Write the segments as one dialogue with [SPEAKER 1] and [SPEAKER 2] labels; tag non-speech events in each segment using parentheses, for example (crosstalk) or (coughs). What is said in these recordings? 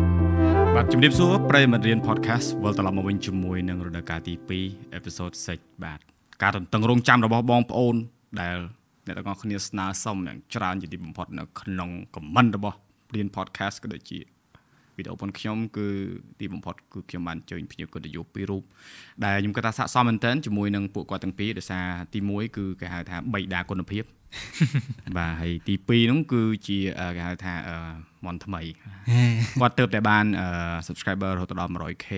[SPEAKER 1] ម្រាបសួរប្រិយមិត្តរៀន podcast វិលត្រឡប់មកវិញជាមួយនឹងរដូវកាលទី2 episode 6បាទការទន្ទឹងរង់ចាំរបស់បងប្អូន ដែលអ្នកទាំងអស់គ្នាស្នើសុំយ៉ាងច្រើនជាទីបំផុតនៅក្នុង comment របស់រៀន podcast ក៏ដូចជាវីដេអូរបស់ខ្ញុំគឺទីបំផុតគឺខ្ញុំបានជើញភ្ញៀវកិត្តិយសពីររូបដែលខ្ញុំគិតថាស័ក្តិសមមែនទែនជាមួយនឹងពួកគាត់ទាំងពីរដោយសារទី1គឺគេហៅថាបៃតាគុណភាព បាទហើយទី2ហ្នឹងគឺជាអឺគេហៅថាអឺមនថ្មី គាត់ទៅតែបានអឺ subscriber រហូតដល់ 100k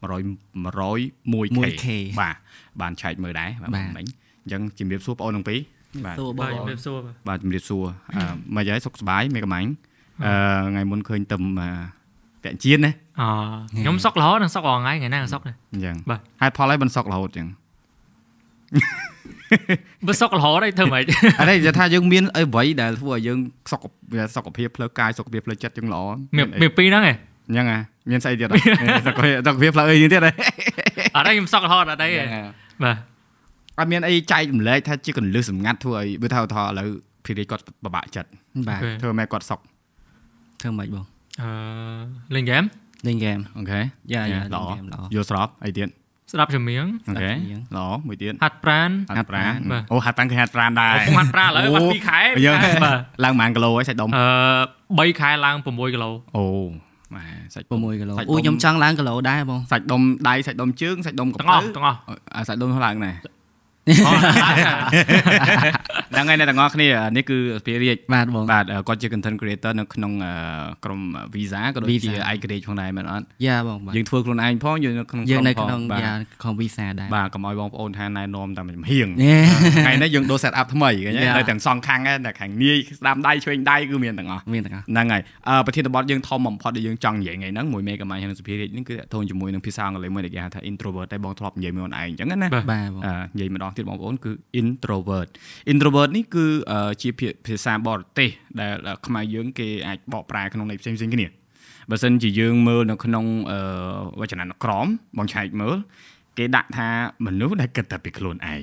[SPEAKER 1] 100 101k
[SPEAKER 2] K
[SPEAKER 1] បាទបានឆែកមើលដែរបាទមិញអញ្ចឹងជំរាបសួរបងអូនទាំងពីរបាទ
[SPEAKER 2] សួរបង
[SPEAKER 3] បាទជំរាបសួរបា
[SPEAKER 1] បា
[SPEAKER 3] ទ
[SPEAKER 1] ទជំរាបសួរអឺមកយាយសុខសប្បាយមេកំអាញ់អឺថ្ងៃមុនឃើញទឹមអឺពាក់ជៀនណា
[SPEAKER 3] អខ្ញុំសុករហូតនឹងសុករហូតថ្ងៃថ្ងៃណាក៏សុកដែរ
[SPEAKER 1] អញ្ចឹង
[SPEAKER 3] បាទ
[SPEAKER 1] ហើយផលហើយបានសុខរហូតអញ្ចឹង
[SPEAKER 3] បើសុករហូតឯងធ្វើ (laughs) ម៉េច
[SPEAKER 1] អត់ទេនិយាយថាយើងមានអីអ្វីដែលធ្វើឲ្យយើងសុខសុខភាពផ្លូវកាយសុខភាពផ្លូវចិត្តយើងល្អ
[SPEAKER 3] មានមានពីរហ្នឹងឯង
[SPEAKER 1] អញ្ចឹងហ៎មានស្អីទៀតអត់ សុខភាពសុខភាពផ្លូវអីយើងទៀតហ៎
[SPEAKER 3] អត់ឯងខ្ញុំសុករហូតអត់ឯង
[SPEAKER 1] ហ្នឹងហើយ
[SPEAKER 3] បាទ
[SPEAKER 1] អត់មានអីចែករំលែកថាជាកន្លឹះសម្ងាត់ធ្វើឲ្យវាថាឧថារណ៍ឥឡូវភីរីគាត់ពិបាកចិត្ត
[SPEAKER 2] បាទ
[SPEAKER 1] ធ្វើម៉ែគាត់សក់
[SPEAKER 2] ធ្វើមិនបង
[SPEAKER 3] អឺលេងហ្គេម
[SPEAKER 2] លេងហ្គេម
[SPEAKER 1] អូខេ
[SPEAKER 2] យ៉ាយ៉ា
[SPEAKER 1] ល្អ
[SPEAKER 2] លេងហ្គេមល្អ
[SPEAKER 1] យល់ស្របអីទៀត
[SPEAKER 3] ស្ដាប់ចម្រៀង
[SPEAKER 1] អូខេ
[SPEAKER 2] ស្ដាប់ជាង
[SPEAKER 1] ល្អមួយទៀត
[SPEAKER 3] ហាត់ប្រាន
[SPEAKER 1] ហាត់ប្រាណ
[SPEAKER 3] បាទ
[SPEAKER 1] អូហាត់ប្រាណគឺហាត់ប្រាណដែរ
[SPEAKER 3] ខ្ញុំហាត់ប្រានឥឡូវបាត់2ខែ
[SPEAKER 1] យើ
[SPEAKER 3] បាទ
[SPEAKER 1] ង (laughs)
[SPEAKER 3] បាទ
[SPEAKER 1] ឡើងប្រហែលគីឡូហើយសាច់ដុំ
[SPEAKER 3] អឺ3ខែឡើង6គីឡូ
[SPEAKER 1] អូម៉ែសាច់ដុំ
[SPEAKER 2] 6គីឡូ
[SPEAKER 1] សាច់ដុំ
[SPEAKER 2] អូខ្ញុំចង់ឡើងគីឡូដែរបង
[SPEAKER 1] សាច់ដុំដៃសាច់ដុំជើងសាច់ដុំក
[SPEAKER 3] ទាំងអស់ទាំងអ
[SPEAKER 1] (laughs)
[SPEAKER 3] ស់
[SPEAKER 1] អូអាសាច់ដុំហ្នឹងឡើងណែ
[SPEAKER 3] អស់ឡើងហើយ
[SPEAKER 1] ហ្នឹងហើយអ្នកទាំងអស់គ្នាអានេះគឺស្ភារីក
[SPEAKER 2] បាទបង
[SPEAKER 1] បាទអឺគាត់ជា content creator នៅក្នុងអឺក្រុម Visa ក៏ដូចជា
[SPEAKER 2] Visa
[SPEAKER 1] iGrade ផងដែរមែនអត់
[SPEAKER 2] យ៉ាបងបាទ
[SPEAKER 1] យើងធ្វើខ្លួនឯងផងយើងនៅក្នុង
[SPEAKER 2] យើងនៅ
[SPEAKER 1] ផង
[SPEAKER 2] ក្នុង
[SPEAKER 1] បាទ
[SPEAKER 2] យ៉ាខំវីសាដែរ
[SPEAKER 1] បាទកុំឲ្យបងប្អូន (laughs) ថាណែនាំតាមចំហៀង
[SPEAKER 2] ហេ (laughs)
[SPEAKER 1] ថ្ងៃនេះយើងដូរ set up ថ្មីឃើញទេ
[SPEAKER 2] Yeah.
[SPEAKER 1] នៅទាំងសងខាងដែរតែខាងនាយស្ដាំដៃឆ្វេងដៃគឺមានទាំងអស់
[SPEAKER 2] មានទាំងអស់
[SPEAKER 1] ហ្នឹងហើយអឺប្រធានបទយើងធំបំផុតដែលយើងចង់និយាយថ្ងៃហ្នឹងមួយមេកម៉ាញហ្នឹងសុភារិតហ្នឹងគឺតកតូនជាមួយនឹងភាសាអង់គ្លេសមួយដែលគេហៅថា introvert តែបងធ្លាប់និយាយមួយខ្លួនឯងអញ្ចឹងណា
[SPEAKER 3] បាទ
[SPEAKER 2] បាទបង
[SPEAKER 1] អឺនិយាយម្ដងទៀតបងប្អូនគឺ introvert introvert នេះគឺជាភាភាសាបរទេសដែលអឺខ្មែរយើងគេអាចបកប្រែក្នុងន័យផ្សេងៗគ្នាបើសិនជាយើងមើលនៅក្នុងអឺវចនានុក្រមបងឆែកមើលគេដាក់ថាមនុស្សដែលគិតតែពីខ្លួនឯង
[SPEAKER 2] ហឹ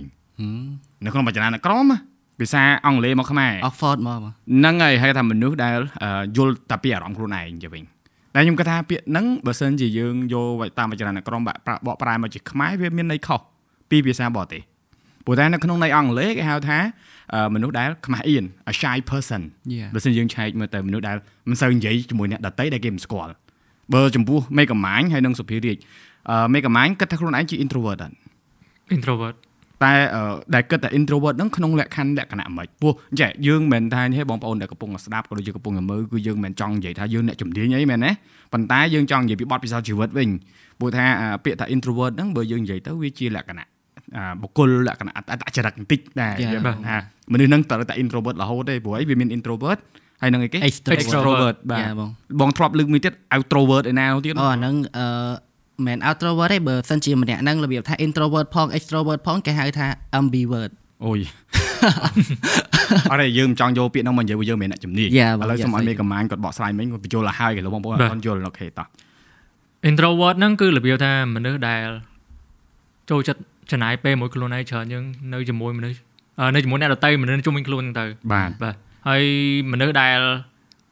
[SPEAKER 2] ម
[SPEAKER 1] នៅក្នុងវចនានុក្រមណាភាសាអង់គ្លេសមកខ្មែរ
[SPEAKER 2] Oxford មកបង
[SPEAKER 1] ហ្នឹងហើយហៅថាមនុស្សដែលអឺយល់តែពីអារម្មណ៍ខ្លួនឯងទៅវិញតែខ្ញុំគិតថាពាក្យហ្នឹងបើសិនជាយើងយកវតាមវចនានុក្រមបាក់ប្រាក់បកប្រែមកជាខ្មែរវាមានន័យខុសពីភាសាបរទេសព្រោះតែនៅក្នុងន័យអង់គ្លេសគេហៅថាអឺមនុស្សដែលខ្មាស់អៀន a shy person
[SPEAKER 2] យ៉ា
[SPEAKER 1] បើសិនយើងឆែកមើលទៅមនុស្សដែលមិនសូវនិយាយជាមួយអ្នកដតីដែលគេមិនស្គាល់បើចំពោះមេកម៉ាញហើយនិងសុភារាជអឺមេកម៉ាញគិតថាខ្លួនឯងជា introvert ដែរ
[SPEAKER 3] introvert
[SPEAKER 1] តែអឺដែលគិតតែ introvert ហ្នឹងក្នុងលក្ខខណ្ឌលក្ខណៈមិនពោះចេះយើងមិនមែនថានេះបងប្អូនដែលកំពុងតែស្ដាប់ក៏ដូចជាកំពុងតែមើលគឺយើងមិនមែនចង់និយាយថាយើងអ្នកជំនាញអីមែនទេប៉ុន្តែយើងចង់និយាយពីបទពិសោធន៍ជីវិតវិញព្រោះថាអ่าពាក្យថា introvert ហ្នឹងបើយើងនិយាយទៅវាជាលក្ខណៈអ่าបុគ្គលលក្ខណៈអត្តអត្តចរិតបន្តិចដែរ
[SPEAKER 2] យ៉ា
[SPEAKER 1] យើងមើ
[SPEAKER 2] ប
[SPEAKER 1] ល
[SPEAKER 2] ង
[SPEAKER 1] ថាមនុស្សហ្នឹងត្រូវតែ introvert រហូតទេព្រោះអីវាមាន introvert ហើយនឹងអីគេ
[SPEAKER 2] Extrovert
[SPEAKER 1] extrovert បា
[SPEAKER 2] យ៉ាបង
[SPEAKER 1] ទបងធ្លាប់លើកមួយទៀត outrovert ឯណានោះទៀត
[SPEAKER 2] អូអាហ្នឹងអឺមិន outrovert ទេបើសិនជាម្នាក់ហ្នឹងរបៀបថា introvert ផង extrovert ផងគេហៅថា ambivert
[SPEAKER 1] អូយ (laughs) អរេយើងមិនចង់យកពាក្យហ្នឹងមកនិយាយព្រោះយើងមិនមែនអ្នកជំនាញ
[SPEAKER 2] Yeah,
[SPEAKER 1] ឥឡូវ
[SPEAKER 2] yeah,
[SPEAKER 1] សូមឲ្យមេ
[SPEAKER 2] sorry.
[SPEAKER 1] កម៉ាញគាត់បកស្រាយមិញគាត់បញ្យល់ឲ្យហើយគេលោកបងប្អូនអ
[SPEAKER 3] But-
[SPEAKER 1] ត់ទាន់យល់អូខេតោះ
[SPEAKER 3] introvert ហ្នឹងគឺរបៀបថាមនុស្សដែលចូលចិត្តចំណាយពេលមួយខ្លួនឯងច្រើនយើងនៅជាមួយមនុស្សអឺនៅជាមួយអ្នកដទៃមនុស្សជុំវិញខ្លួនហ្នឹងទៅ
[SPEAKER 1] បាទ
[SPEAKER 3] បាទហើយមនុស្សដែល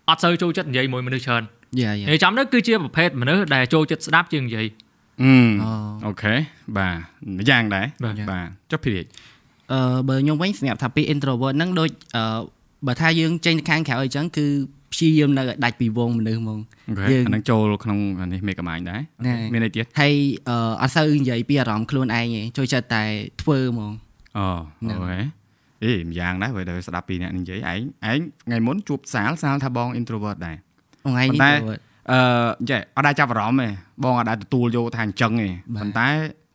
[SPEAKER 3] អត់សូវចូលចិត្តនិយាយមួយមនុស្សច្រើន
[SPEAKER 2] យ៉ាយ៉ា
[SPEAKER 3] និយាយចំទៅគឺជាប្រភេទមនុស្សដែលចូលចិត្តស្ដាប់ជាងនិយាយ
[SPEAKER 1] អឺ
[SPEAKER 2] អូ
[SPEAKER 1] អូខេបាទម្យ៉ាងដែរ
[SPEAKER 3] បាទ
[SPEAKER 1] បាទចុះភីរីក
[SPEAKER 2] អឺបើខ្ញុំវិញសម្រាប់ថាពាក្យ introvert ហ្នឹងដូចអឺបើថាយើងចេញទៅខាងក្រៅអីចឹងគឺព្យាយាមនៅឲ្យដាច់ពីវងមនុស្សហ្មង
[SPEAKER 1] អូខេ
[SPEAKER 2] យើ
[SPEAKER 1] អា
[SPEAKER 2] ង
[SPEAKER 1] ហ្នឹងចូលក្នុងអានេះមេកម៉ាញដែរ
[SPEAKER 2] ណែ
[SPEAKER 1] មានអីទៀត
[SPEAKER 2] ហើយអឺអត់សូវនិយាយពីអារម្មណ៍ខ្លួនឯងទេចូលចិត្តតែធ្វើហ្មង
[SPEAKER 1] អូ
[SPEAKER 2] ហ្នឹង
[SPEAKER 1] អូខេអេម្យ៉ាងដែរបើដល់ស្ដាប់ពីអ្នកនិយាយឯងឯងថ្ងៃមុនជួបសាលសាលថាបង introvert ដែរ
[SPEAKER 2] ថ្ងៃនេះ
[SPEAKER 1] ប៉ុន្តែ
[SPEAKER 2] introvert
[SPEAKER 1] អឺចេះអត់ដែរចាប់អារម្មណ៍ទេបងអត់ដែរទទួលយកថាអញ្ចឹងទេ
[SPEAKER 2] បាទ
[SPEAKER 1] ប៉ុន្តែ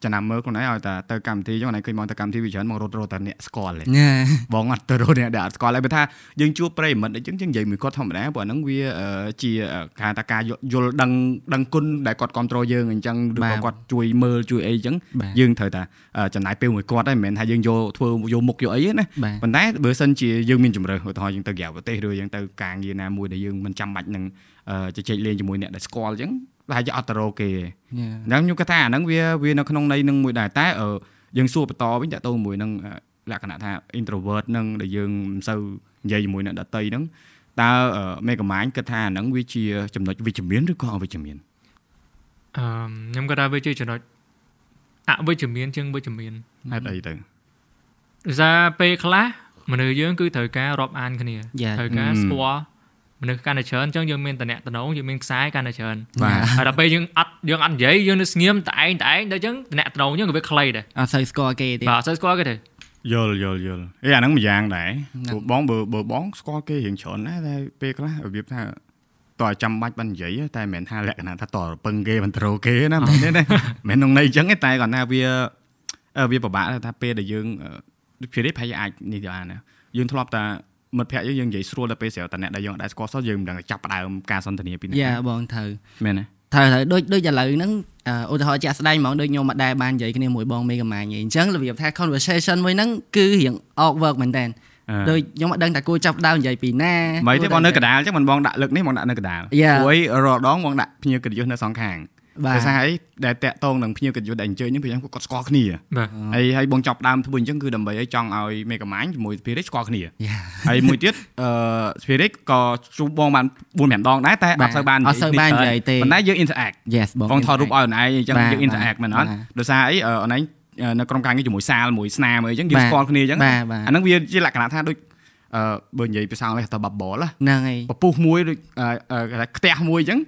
[SPEAKER 1] ចំណាំមើលខ្លួនឯងឲ្យតែទៅកម្មវិធីចឹងឯងឃើញមកទៅកម្មវិធីវាច្រើនមករត់រត់តែអ្នកស្គាល់ទេ
[SPEAKER 2] (laughs) ញ៉ា
[SPEAKER 1] បងអត់ទៅរកអ្នកដែលអត់ស្គាល់ហើយបើថាយើងជួបប្រិយមិត្តអញ្ចឹងយើងនិយាយមួយគាត់ធម្មតាព្រោះអាហ្នឹងវាអឺជាអឺការថាការយល់យល់ដឹងដឹងគុណដែលគាត់គ្រប់គ្រងយើងអញ្ចឹងឬ
[SPEAKER 2] បា
[SPEAKER 1] ក៏
[SPEAKER 2] ទ
[SPEAKER 1] គាត់ជួយមើលជួយអីអញ្ចឹង
[SPEAKER 2] បាទ
[SPEAKER 1] យើងត្រូវតែអឺចំណាយពេលមួយគាត់ហើយមិនមែនថាយើងយកធ្វើយកមុខយកអីទេណា
[SPEAKER 2] បាទ
[SPEAKER 1] ប៉ុន្តែបើសិនជាយើងមានជំរើសឧទាហរណ៍យើងទៅក្រៅប្រទេសឬយើងទៅការងារណាមួយដែលយើងមិនចាំបាច់នឹងអឺជជែកលេងជាមួយអ្នកដែលស្គាល់អញ្ចឹងតែជាអត់ទៅរកគេទេ
[SPEAKER 2] ញ៉ា
[SPEAKER 1] អញ្ចឹងខ្ញុំគិតថាអាហ្នឹងវាវានៅក្នុងន័យនឹងមួយដែរតែអឺយើងសួរបន្តវិញតើតើមួយនឹងអឺលក្ខណៈថា introvert នឹងដែលយើងមិនសូវនិយាយជាមួយអ្នកដតីហ្នឹងតើអឺមេកម៉ាញគិតថាអាហ្នឹងវាជាចំណុចវិជ្ជមានឬក៏អវិជ្ជមាន
[SPEAKER 3] អឺខ្ញុំគាត់ថាវាជាចំណុចអវិជ្ជមានជាងវិជ្ជមាន
[SPEAKER 1] ហេតុអីទៅ
[SPEAKER 3] ដោយសារពេលខ្លះមនុស្សយើងគឺត្រូវការរាប់អានគ្នា
[SPEAKER 2] Yeah.
[SPEAKER 3] ត្រូវការ
[SPEAKER 1] อืม
[SPEAKER 3] ស្គាល់មនុស្សកាន់តែច្រើនអញ្ចឹងយើងមានតំណែងតំណងយើងមានខ្សែកាន់តែច្រើន
[SPEAKER 1] បាទ
[SPEAKER 3] ហើយដល់ពេលយើងអត់យើងអត់និយាយយើងនៅស្ងៀមតែឯងតែឯងដល់អញ្ចឹងតំណែងតំណងយើងក៏វាខ្លីដែរ
[SPEAKER 2] អត់សូវស្គាល់គេទេ
[SPEAKER 3] បាទអត់សូវស្គាល់គេទេ
[SPEAKER 1] យល់យល់យល់អេអាហ្នឹងម្យ៉ាងដែរព្រោះបងបើបើបងស្គាល់គេរៀងច្រើនណាស់តែពេលខ្លះរបៀបថាតើចាំបាច់បាននិយាយទេតែមិនមែនថាលក្ខណៈថាតើរពឹងគេមិនត្រូវគេណាមិនទេណាមិនក្នុងន័យអញ្ចឹងទេតែគាត់ថាវាអឺវាពិបាកដែរថាពេលដែលយើងអឺភារនេះប្រហែលជាអាចនេះទៅបានណាយើងធ្លាប់តែមិត្តភក្តិយើងយើងនិយាយស្រួលតែពេលស្រាវតែអ្នកដែលយើងអត់ដែរស្គាល់សោះយើងមិនដឹងថាចាប់ផ្ដើមការសន្ទនាពីណា
[SPEAKER 2] យ៉ាបងត្រូវ
[SPEAKER 1] មែនទេ
[SPEAKER 2] ត្រូវត្រូវដូចដូចឥឡូវហ្នឹងអឺឧទាហរណ៍ជាក់ស្ដែងហ្មងដូចខ្ញុំមកដែរបាននិយាយគ្នាមួយបងមេកាម៉ាញអីអញ្ចឹងរបៀបថា conversation មួយហ្នឹងគឺរៀង awkward មែនតើ
[SPEAKER 1] អឺ
[SPEAKER 2] ដូចខ្ញុំអត់ដឹងថាគួរចាប់ផ្ដើមនិយាយពីណា
[SPEAKER 1] មិនទេ
[SPEAKER 2] គួ
[SPEAKER 1] បង
[SPEAKER 2] រ
[SPEAKER 1] នៅ
[SPEAKER 2] ដឹង
[SPEAKER 1] កណ្ដាលចឹងមិនបងដាក់លឹកនេះបងដាក់នៅកណ្ដាល
[SPEAKER 2] Yeah.
[SPEAKER 1] ព្រួយរាល់ដងបងដាក់ភ្នៀវកិត្តិយសនៅសងខាង
[SPEAKER 2] បាទ
[SPEAKER 1] ភាសាអីដែលតាក់ទងនឹងភ្នៀវកិត្តិយសដែលអញ្ជើញហ្នឹងព្រោះគាត់គាត់ស្គាល់គ្នា
[SPEAKER 3] បាទ
[SPEAKER 1] ហើយហើយបងចាប់ផ្ដើមធ្វើអញ្ចឹងគឺដើម្បីឲ្យចង់ឲ្យមេកាម៉ាញជាមួយស្ភារិចស្គាល់គ្នា
[SPEAKER 2] Yeah.
[SPEAKER 1] (laughs) ហើយមួយទៀតអឺស្ភារិចក៏ជួបបងបាន4 5ដងដែរតែអត់
[SPEAKER 2] បាទ
[SPEAKER 1] សូវបាន
[SPEAKER 2] អត់សូវបាននិយាយទេ
[SPEAKER 1] ប៉ុន្តែយើង interact
[SPEAKER 2] yes បង
[SPEAKER 1] បងថតរូបឲ្យអូនឯងអញ្ចឹង
[SPEAKER 2] បាទ
[SPEAKER 1] យើង interact
[SPEAKER 2] បាទ
[SPEAKER 1] មែនអត់
[SPEAKER 2] បាទ
[SPEAKER 1] ដោយសារអីអឺអូនឯងអឺនៅក្រុមការងារជាមួយសាលមួយស្នាមអីអញ្ចឹងយើង
[SPEAKER 2] បាទ
[SPEAKER 1] ស្គាល់គ្នាអញ្ចឹងអា
[SPEAKER 2] បាទបាទ
[SPEAKER 1] ហ្នឹងវាជាលក្ខណៈថាដូចអឺបើនិយាយភាសាអង់គ្លេសថា bubble ណា
[SPEAKER 2] ហ្នឹងហើយ
[SPEAKER 1] ពពុះមួយដូចអឺអឺគេថាខ្ទះមួយអញ្ចឹង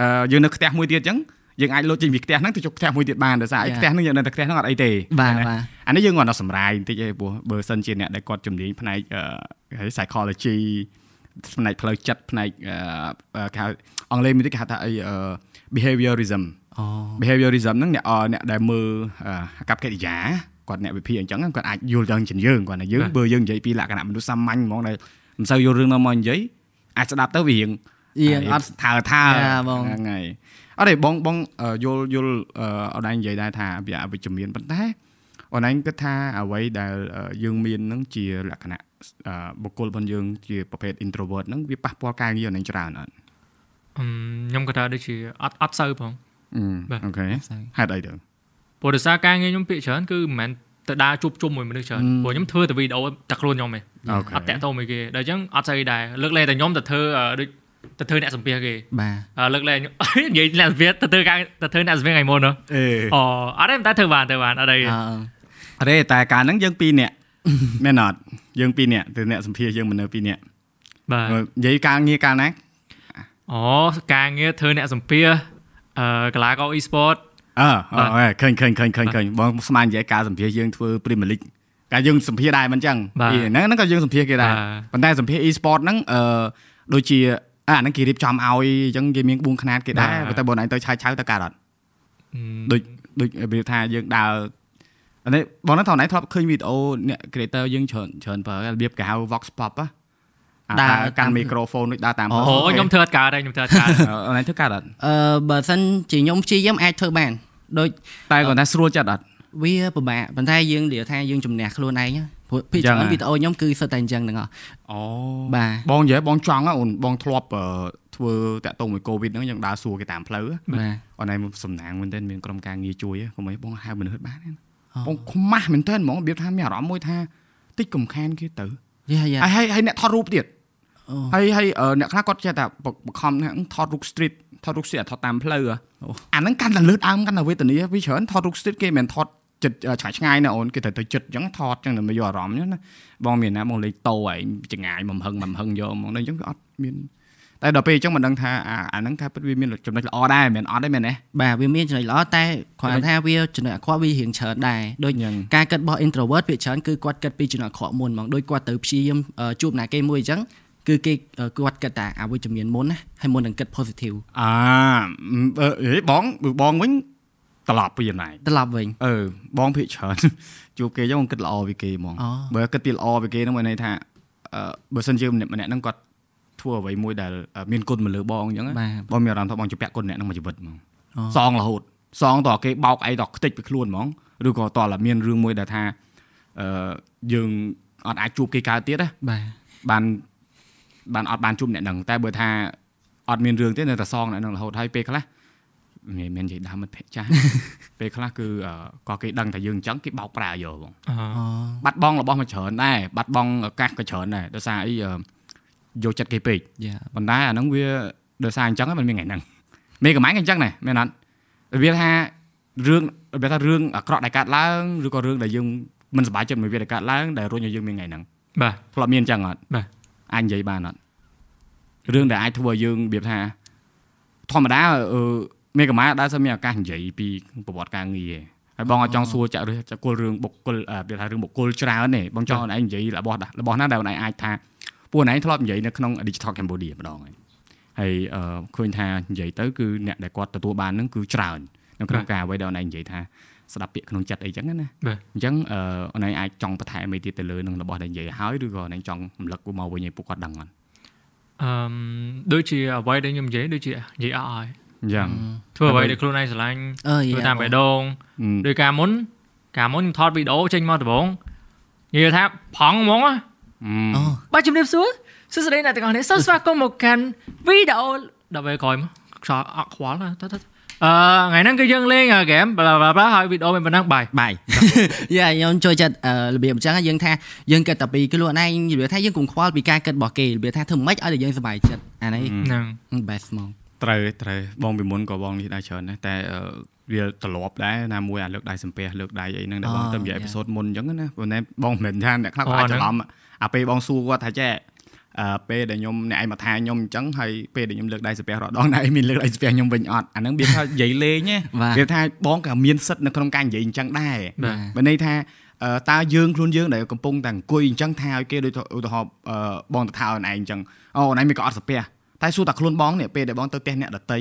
[SPEAKER 1] អឺយើងនៅខ្ទះមួយទៀតអញ្ចឹងយើងអាចលោតចេញពីខ្ទះហ្នឹងទៅជប់ខ្ទះមួយទៀតបានដោយសារអី
[SPEAKER 2] Yeah.
[SPEAKER 1] ខ្ទះហ្នឹងយើងនៅតែខ្ទះហ្នឹងអត់អីទេ
[SPEAKER 2] បាទ
[SPEAKER 1] ណា
[SPEAKER 2] បាទ
[SPEAKER 1] អានេះយើងគាត់ដល់សម្រាយបន្តិចឯងព្រោះបើសិនជាអ្នកដែលគាត់ជំនាញផ្នែកអឺគេហៅ psychology ផ្នែកផ្លូវចិត្តផ្នែកអឺគេហៅអង់គ្លេសមានគេហៅថាអីអឺ behaviorism
[SPEAKER 2] អូ
[SPEAKER 1] behaviorism ហ្នឹងអ្នកអអ្នកដែលមើលអអាកប្បកិរិយាគាត់អ្នកវិភាគអញ្ចឹងគាត់អាចយល់យ៉ាងជាងយើងគាត់ថាយើងបើយើងនិយាយពីលក្ខណៈមនុស្សសាមញ្ញហ្មងដែលមិនសូវយល់រឿងណាមកនិយាយអាចស្ដាប់ទៅវារៀង
[SPEAKER 2] រៀងអត់
[SPEAKER 1] ថើថើ
[SPEAKER 2] ចាបង
[SPEAKER 1] ហ្នឹងហើយអត់ទេបងបងអឺយល់យល់អឺអនឡាញនិយាយដែរថាវាអវិជ្ជមានប៉ុន្តែអនឡាញគិតថាអ្វីដែលអឺយើងមានហ្នឹងជាលក្ខណៈអឺបុគ្គលរបស់យើងជាប្រភេទ introvert ហ្នឹងវាប៉ះពាល់ការងារអនឡាញច្រើនអត់
[SPEAKER 3] អឺខ្ញុំគាត់ថាដូចជាអត់អត់សូវផង
[SPEAKER 1] អឺ
[SPEAKER 3] បាទ
[SPEAKER 1] អូខេហេតុអីទៅ
[SPEAKER 3] ព្រោះដោយសារការងារខ្ញុំភាគច្រើនគឺមិនមែនទៅដើរជួបជុំមួយមនុស្សច្រើនព្រោះខ្ញុំធ្វើតែវីដេអូតែខ្លួនខ្ញុំឯង
[SPEAKER 1] អូខេ
[SPEAKER 3] អត់តាក់ទងមួយគេដល់អញ្ចឹងអត់ស្អីដែរលើកលែងតែខ្ញុំទៅធ្វើអឺដូចទៅធ្វើអ្នកសម្ភារគេ
[SPEAKER 2] បាទ
[SPEAKER 3] អឺលើកលែង (laughs) និយាយអ្នកសម្ភារទៅធ្វើការទៅធ្វើអ្នកសម្ភារថ្ងៃមុនហ៎
[SPEAKER 1] អេ
[SPEAKER 3] អូអត់ទេតែធ្វើបានធ្វើបានអត់អីទេ
[SPEAKER 1] រេតែការហ្នឹងយើងពីរនាក់ (laughs) មែនអត់យើងពីរនាក់ទៅអ្នកសម្ភារយើងមិននៅពីរនាក់
[SPEAKER 3] បាទ
[SPEAKER 1] និយាយការងារកាលណា
[SPEAKER 3] អូការងារធ្វើអ្នកសម្ភារអឺកីឡាករ e-sport
[SPEAKER 1] អឺអូឃើញឃើញឃើញឃើញឃើញបងស្មាននិយាយការសម្ភារយើងធ្វើ Premier League ការយើងសម្ភារដែរមិនចឹង
[SPEAKER 3] បាទ
[SPEAKER 1] ពីហ្នឹងហ្នឹងក៏យើងសម្ភារគេដែរ
[SPEAKER 3] បាទ
[SPEAKER 1] ប៉ុន្តែសម្ភារ e-sport ហ្នឹងអឺដូចជាអាហ្នឹងគេរៀបចំឲ្យអញ្ចឹងគេមានក្បួនខ្នាតគេដែរ
[SPEAKER 3] បាទ
[SPEAKER 1] ប៉ុន្តែបងឯងទៅឆាវឆៅទៅការអត់
[SPEAKER 3] អឺ
[SPEAKER 1] ដូចដូចរបៀបថាយើងដើរអានេះបងហ្នឹងថតណៃធ្លាប់ឃើញវីដេអូអ្នក creator យើងច្រើនច្រើនប្រើរបៀបគេហៅ vox pop ហ៎អា
[SPEAKER 2] ដើរ
[SPEAKER 1] ដើរកា
[SPEAKER 2] តាម
[SPEAKER 1] ន់មីក្រូហ្វូនដូចដើរតាម
[SPEAKER 2] អូ
[SPEAKER 3] អូខ្ញុំធ្វើអត់កើតដែរខ្ញុំធ្វើអត់កើត
[SPEAKER 1] អូនឯងធ្វើកាត់អត់
[SPEAKER 2] អឺបើសិនជាខ្ញុំព្យាយាមអាចធ្វើបានដូច
[SPEAKER 1] តែគាត់ថាស្រួលចិត្តអត់
[SPEAKER 2] វាពិបាកប៉ុន្តែយើងនិយាយថាយើងជំនះខ្លួនឯងណាព្រោះភាគ
[SPEAKER 1] យ៉ាង
[SPEAKER 2] ច្រើន
[SPEAKER 1] ណា
[SPEAKER 2] វីដេអូខ្ញុំគឺសុទ្ធតែអញ្ចឹងទាំងអស់
[SPEAKER 1] អូ
[SPEAKER 2] បាទ
[SPEAKER 1] បងនិយាយបងចង់ហ៎អូនបងធ្លាប់អឺធ្វើតាក់ទងមួយកូវីដហ្នឹងយើងដើរសួរគេតាមផ្លូវហ៎
[SPEAKER 2] បាទ
[SPEAKER 1] អូនឯងសំណាងមែនទែនមានក្រុមការងារជួយហ៎កុំអីបងហៅមនុស្សបានហ៎
[SPEAKER 2] អូ
[SPEAKER 1] បងខ្មាស់មែនទែនហ្មងរបៀបថាមានអារម្មណ៍មួយថាតិចកំខានគេទៅ
[SPEAKER 2] យ៉ាយ៉ា
[SPEAKER 1] ហើយហើយហើយអ្នកថតរូបទៀត
[SPEAKER 2] អូ
[SPEAKER 1] ហើយហើយអឺអ្នកខ្លះគាត់ចេះតែបបង្ខំថាថតរូប street ថតរូប street ឲ្យថតតាមផ្លូវហ៎អាហ្នឹងកាន់តែលើដើមកាន់តែវេទនាវាច្រើនថតរូប street គេមិនមែនថតចិត្តអឺឆ្ងាយឆ្ងាយណាអូនគេត្រូវទៅចិត្តអញ្ចឹងថតអញ្ចឹងដើម្បីយកអារម្មណ៍អញ្ចឹងណាបងមានណាបងលេខតោហើយចងាយមិនហឹងមិនហឹងយកហ្មកហ្នឹងអញ្ចឹងវាអត់មានតែដល់ពេលអញ្ចឹងមិនដឹងថាអាអាហ្នឹងការពិតវាមានចំណុចល្អដែរមិនមែនអត់ទេមែនទេ
[SPEAKER 2] បាទវាមានចំណុចល្អតែគ្រាន់តែថាវាចំណុចអាក្រក់វារៀងច្រើនដែរដូច
[SPEAKER 1] អញ្ចឹង
[SPEAKER 2] ការគិតរបស់ introvert ភាគច្រើនគឺគាត់គិតពីចំណុចអាក្រក់មុនហ្មងដូចគាត់ទៅព្យាយាមអឺជួបអ្នកគេមួយអញ្ចឹងគឺគេអឺគាត់គិតតែអវិជ្ជមានមុនណាហើយមុននឹងគិត positive
[SPEAKER 1] អាអឺហេបងបើបងវិញត្រឡប់ពីចំណាយ
[SPEAKER 2] ត្រឡប់វិញ
[SPEAKER 1] អឺបងភាក (laughs) ច្រើនជួបគេចឹងបងគិតល្អពីគេហ្មង
[SPEAKER 2] អូ
[SPEAKER 1] បើគិតពីល្អពីគេហ្នឹងមានន័យថាអឺបើសិនជាម្នាក់ម្នាក់ហ្នឹងគាត់ធ្វើអ្វីមួយដែលអឺមានគុណមកលើបងអញ្ចឹងណា
[SPEAKER 2] បាទ
[SPEAKER 1] បងមានអារម្មណ៍ថាបងជាពាក់គុណអ្នកហ្នឹងមួយជីវិតហ្មង
[SPEAKER 2] អូ
[SPEAKER 1] សងរហូតសងតើគេបោកអីតើខ្ទេចពីខ្លួនហ្មងឬក៏តើមានរឿងមួយដែលថាអឺយើងអត់អាចជួបគេកើតទៀតណា
[SPEAKER 2] បាទ
[SPEAKER 1] បានបានអត់បានជួបអ្នកហ្នឹងតែបើថាអត់មានរឿងទេនៅតែសងអ្នកហ្នឹងរហូតហើយពេលខ្លះមិនមែននិយាយដើមមិត្តភក្តិចាស់ ពេលខ្លះគឺអឺក៏គេដឹងថាយើងអញ្ចឹងគេបោកប្រាយកបង
[SPEAKER 2] អូ
[SPEAKER 1] បាត់បង់របស់មួយច្រើនដែរបាត់បង់ឱកាសក៏ច្រើនដែរដោយសារអីអឺយកចិត្តគេពេក
[SPEAKER 2] យ៉ា
[SPEAKER 1] ប៉ុន្តែអាហ្នឹងវាដោយសារអញ្ចឹងហើយมันមានថ្ងៃហ្នឹងមេកំាញ់ក៏អញ្ចឹងដែរមែនអត់ របៀបថារឿងរបៀបថារឿងអាក្រក់ដែលកើតឡើងឬក៏រឿងដែលយើងមិនសប្បាយចិត្តមួយវាដែលកើតឡើងដែលរុញឲ្យយើងមានថ្ងៃហ្នឹង
[SPEAKER 3] បាទ
[SPEAKER 1] ធ្លាប់មានអញ្ចឹងអត់
[SPEAKER 3] បាទ
[SPEAKER 1] អាចនិយាយបានអត់រឿងដែលអាចធ្វើឲ្យយើងរបៀបថាធម្មតាអឺមេកាម៉ាដែលសើមានឱកាសនិយាយពីប្រវត្តិការងារឯងហើយបងអត់ចង់សួរចាក់ឬចាក់គល់រឿងបុគ្គលអឺវាថារឿងបុគ្គលច្រើនទេបងចង់ឲ្យឯងនិយាយរបស់ដែររបស់ណាដែលឯងអាចថាពួកឯងធ្លាប់និយាយនៅក្នុង Digital Cambodia ម្ដងឯងហើយអឺឃើញថានិយាយទៅគឺអ្នកដែលគាត់ទទួលបានហ្នឹងគឺច្រើននៅក្នុងការអ្វីដែលឯងនិយាយថាស្ដាប់ពាក្យក្នុងចិត្តអីចឹងណា
[SPEAKER 3] បាទ
[SPEAKER 1] អញ្ចឹងអឺឯងអាចចង់បន្ថែមអីទៀតទៅលើនឹងរបស់ដែលនិយាយហើយឬក៏ឯងចង់រំលឹកមកវិញឲ្យពួកគាត់ដឹងអត់
[SPEAKER 3] អឺមដូចជាអ្វីដែលខ្ញុំនិយាយដូចជានិយាយអស់ហើយ
[SPEAKER 1] អញ្ចឹង
[SPEAKER 3] ធ្វើអ្វីដែលខ្លួនឯងស្រឡាញ់
[SPEAKER 2] អើយ
[SPEAKER 3] ធ្វើតាមបេះដូង
[SPEAKER 1] អឺ
[SPEAKER 3] ដោយការមុន ការមុនខ្ញុំថតវីដេអូចេញមកដំបូងនិយាយថាប្រង់ហ្មងហ៎
[SPEAKER 2] អូ
[SPEAKER 3] បាទជំរាបសួរសួស្តីអ្នកទាំងអស់នេះសូមស្វាគមន៍មកកាន់វីដេអូដល់ពេលក្រោយមកខ្យល់អក់ខ្វល់ណាស់ទៅទៅអឺថ្ងៃហ្នឹងគឺយើងលេងហ្គេមបាឡាបាឡាហើយវីដេអូមានប៉ុណ្ណឹងបាយ
[SPEAKER 2] បាយ (laughs) យ៉ាខ្ញុំចូលចិត្តអឺរបៀបអញ្ចឹងហើយយើងថាយើងគិតតែពីខ្លួនឯងរបៀបថាយើងកុំខ្វល់ពីការគិតរបស់គេរបៀបថាធ្វើម៉េចឲ្យតែយើងសប្បាយចិត្តអានេះ
[SPEAKER 1] Mm.
[SPEAKER 3] ហ្នឹង
[SPEAKER 2] best ហ្មង
[SPEAKER 1] ត្រូវត្រូវបងពីមុនក៏បងនេះដែរច្រើនដែរតែអឺវាត្រឡប់ដែរណាមួយអាលើកដៃសំពះលើកដៃអីហ្នឹងដែលបងទៅនិយាយអេពីសូតមុនអញ្ចឹងណាព្រោះណែបងមិនមែនថាអ្នកខ្លះក៏អាច
[SPEAKER 3] អូហ្នឹង
[SPEAKER 1] ច្រឡំអាពេលបងសួរគាត់ថាចេះអឺពេលដែលខ្ញុំអ្នកឯងមកថាខ្ញុំអញ្ចឹងហើយពេលដែលខ្ញុំលើកដៃសំពះរាល់ (laughs) ដងអ្នកឯងមានលើកដៃសំពះខ្ញុំវិញអត់អា (laughs) ហ្នឹងវាថានិយាយលេងណា
[SPEAKER 2] បាទ
[SPEAKER 1] វាថាបងក៏មានសិទ្ធិនៅក្នុងការនិយាយអញ្ចឹងដែរ
[SPEAKER 3] បាទ
[SPEAKER 1] បើន័យថាអឺតើយើងខ្លួនយើងដែលកំពុងតែអង្គុយអញ្ចឹងថាឲ្យគេដូចថាឧទាហរណ៍អឺបងទៅថាអូនឯងអញ្ចឹងអូនឯងមានក៏អត់សំពះតែសួរតែខ្លួនបងនេះពេលដែលបងទៅផ្ទះអ្នកដតី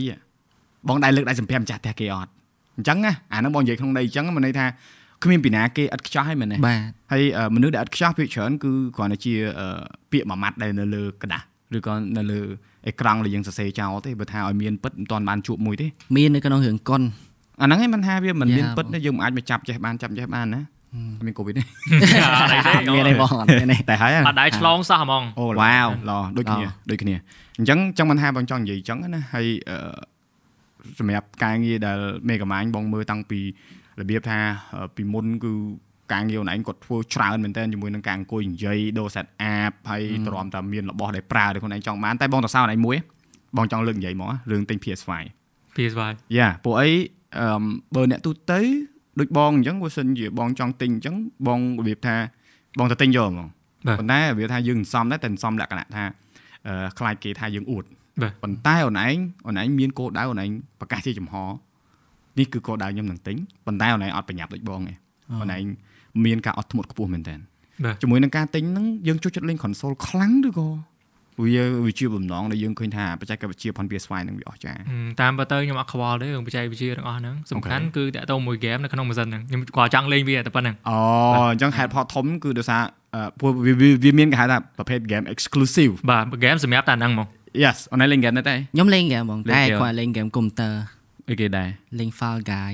[SPEAKER 1] បងដែរលើកដៃសំពះម្ចាស់ផ្ទះគេអត់អញ្ចឹងណាអាហ្នឹងបងនិយាយក្នុងន័យអញ្ចឹងមានន័យថាគ្មានពីណាគេអត់ខ្ចោះហើយមែនទេ
[SPEAKER 2] បាទ
[SPEAKER 1] ហើយអឺមនុស្សដែលអត់ខ្ចោះភាគច្រើនគឺគ្រាន់តែជាអឺពាក្យមួយម៉ាត់ដែលនៅលើกระดาษឬក៏នៅលើអេក្រង់ដែលយើងសរសេរចោលទេបើថាឲ្យមានពិតមិនទាន់បានជួបមួយទេ
[SPEAKER 2] មាននៅក្នុងរឿងកុន
[SPEAKER 1] អាហ្នឹងឯងមិនថាវាមិនមាន
[SPEAKER 2] យ៉ា
[SPEAKER 1] ពិត
[SPEAKER 2] បង
[SPEAKER 1] ទេយើងមិនអាចមកចាប់ចេះបានចាប់ចេះបានណាមានកូវីដទេ
[SPEAKER 3] អត់អីទេ
[SPEAKER 2] មានអីបងអត់មានអី
[SPEAKER 1] តែហើយ
[SPEAKER 3] អត់ដែរឆ្លងសោះហ្មង
[SPEAKER 1] អូ
[SPEAKER 2] វ៉ា
[SPEAKER 1] វ៉ា
[SPEAKER 2] វ
[SPEAKER 1] វឡដូចគ្នា
[SPEAKER 2] ឡ
[SPEAKER 1] ដូចគ្នាអញ្ចឹងចង់បានថាបងចង់និយាយអញ្ចឹងណាហើយអឺសម្រាប់ការងារដែលមេកាម៉ាញបងមើលតាំងពីរបៀបថាអឺពីមុនគឺការងារខ្លួនឯងគាត់ធ្វើច្រើនមែនតើជាមួយនឹងការអង្គុយនិយាយដូរសាត់អាបហើយទ្រាំតែមានរបស់ដែលប្រើដែលខ្លួនឯងចង់បានតែបងតសោខ្លួនឯងមួយបងចង់លើកនិយាយមកណារឿងទិញ PS5
[SPEAKER 3] PS5
[SPEAKER 1] យ៉ាពួកអីអឺមបើអ្នកទូទៅដូចបងអញ្ចឹងបើសិនជាបងចង់ទិញអញ្ចឹងបងរបៀបថាបងទៅទិញយកហ្មង
[SPEAKER 3] បាទ
[SPEAKER 1] ប៉ុន្តែរបៀបថាយើងសន្សំដែរតែសន្សំលក្ខណៈថាអឺខ្លាចគេថាយើងអួត
[SPEAKER 3] បាទ
[SPEAKER 1] ប៉ុន្តែអូនឯងអូនឯងមានគោលដៅអូនឯងប្រកាសជាចំហនេះគឺគោលដៅខ្ញុំនឹងទិញប៉ុន្តែអូនឯងអត់ប្រញាប់ដូចបងទេអូនឯងមានការអត់ធ្មត់ខ្ពស់មែនតើ
[SPEAKER 3] បាទ
[SPEAKER 1] ជាមួយនឹងការទិញហ្នឹងយើងចូលចិត្តលេង console ខ្លាំងឬក៏វាវាជាបំណងដែលយើងឃើញថាបច្ចេកវិទ្យាផន PS5 ហ្នឹងវាអស្ចារ្យ
[SPEAKER 3] ហឹមតាមពិតទៅខ្ញុំអត់ខ្វល់ទេរឿងបច្ចេកវិទ្យាទាំងអស់ហ្នឹងសំខាន់គឺតាក់ទងមួយហ្គេមនៅក្នុងម៉ាស៊ីនហ្នឹងខ្ញុំក៏ចង់លេងវាតែប៉ុណ្្នឹង
[SPEAKER 1] អូអញ្ចឹងហេតុផលធំគឺដោយសារអឺពួកវាវាវាមានគេហៅថាប្រភេទ game exclusive
[SPEAKER 3] បាទហ្គេមសម្រាប់តែហ្នឹងហ្មង
[SPEAKER 1] yes អនឡាញលេង game ដែរតែ
[SPEAKER 2] ខ្ញុំលេងហ្គេមហ្មង
[SPEAKER 1] លេ
[SPEAKER 2] តែ
[SPEAKER 1] ងហ្គេម
[SPEAKER 2] គាត់លេងហ្គេមកុំព្យូទ័រ
[SPEAKER 1] អីគេដែរ
[SPEAKER 2] លេង Fall Guy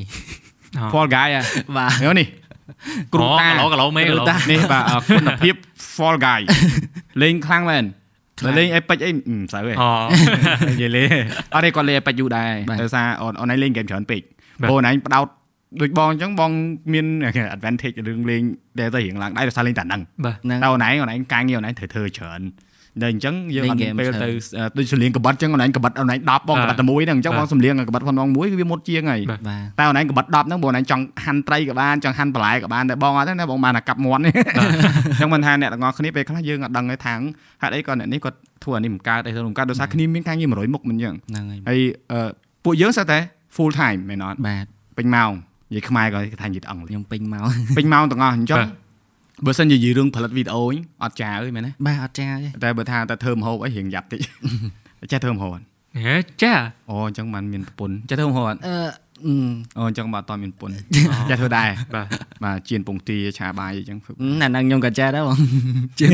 [SPEAKER 1] Fall Guy
[SPEAKER 2] បាទ
[SPEAKER 1] ហ្នឹងនេះគ្រូតា
[SPEAKER 3] អូកឡូកឡូមេកឡូ
[SPEAKER 1] នេះបាទ (laughs) អ่าគុណភាព Fall (laughs) Guy លេងខ្លាំងមែន
[SPEAKER 2] ខ្លាំង
[SPEAKER 1] តែលេង Epic អីមិនស្រូវទេ
[SPEAKER 3] អូ
[SPEAKER 1] និយាយលេងអត់ទេគាត់លេង Epic យូរដែរ
[SPEAKER 2] បាទ
[SPEAKER 1] ដោយសារអូនអូនឯងលេង game ច្រើនពេក
[SPEAKER 3] បាទ
[SPEAKER 1] បងឯងផ្ដោតដូចបងអញ្ចឹងបងមាន (laughs) advantage រឿងលេងដែលទៅរៀងឡើងដែរដោយសារលេងតែហ្នឹង
[SPEAKER 3] បាទ
[SPEAKER 2] ហ្នឹង
[SPEAKER 1] តែអូនឯងអូនឯងការងារអូនឯងត្រូវធ្វើច្រើនតែអញ្ចឹងយើងអត់
[SPEAKER 2] លេ
[SPEAKER 1] មាន
[SPEAKER 2] ង
[SPEAKER 1] ពេល
[SPEAKER 2] ហ្គេម
[SPEAKER 1] ទៅអឺដូចសលៀងកបិតអញ្ចឹងអូនឯងកបិតអូនឯង10បងកបិតតែមួយហ្នឹងអញ្ចឹងបងសំលៀងកបិតផងមួយគឺវាមុតជាងហើយ
[SPEAKER 3] បាទ
[SPEAKER 2] បាទ
[SPEAKER 1] តែអូនឯងកបិត10ហ្នឹងបងអូនឯងចង់ហាន់ត្រីក៏បានចង់ហាន់បន្លែក៏បានតែបងអត់ទេណាបងបានតែកាប់មាត់នេះ អញ្ចឹងមិនថាអ្នកទាំងអស់គ្នាពេលខ្លះយើងអត់ដឹងទេថាងហេតុអីក៏អ្នកនេះគាត់ធ្វើអានេះមិនកើតអីទៅមិនកើតដោយសារគ្នាមានការងារ100មុខមិនអញ្ចឹង
[SPEAKER 2] ហ្នឹងហើយ
[SPEAKER 1] ហើយអឺពួកយើងស្អាប់តែ full time មែនអត់
[SPEAKER 2] បាទ
[SPEAKER 1] ពេញម៉ោងនិយាយខ្មែរក៏គេថានិយាយអង់គ្លេស
[SPEAKER 2] ខ្ញុំពេញមក (laughs)
[SPEAKER 1] ពេញម៉ោងទាំងអស់អញ្ចឹ
[SPEAKER 3] បា
[SPEAKER 1] ង
[SPEAKER 3] ទ
[SPEAKER 1] បើសិនជានិយាយរឿងផលិតវីដេអូវិញអត់ចាអើយមែនទេ
[SPEAKER 2] បាទអត់ចាទេ
[SPEAKER 1] តែបើថាតែធ្វើមហូបអីរៀងយ៉ាប់តិច ចេះធ្វើម (laughs) ហូបអត់
[SPEAKER 3] ហេចា
[SPEAKER 1] អូអញ្ចឹងបានមានប្រពន្ធ (laughs) ចេះធ្វើមហូបអត់
[SPEAKER 2] អឺ
[SPEAKER 1] អូអញ្ចឹង (laughs) បានអត់តមានប្រពន្ធ ចេះធ្វើដែរ
[SPEAKER 3] បាទ
[SPEAKER 1] បាទជៀនពងទាឆាបាយអីចឹង (laughs) ធ្វើ
[SPEAKER 2] អឺអាហ្នឹងខ្ញុំក៏ចា (laughs) ដែរបងជឿ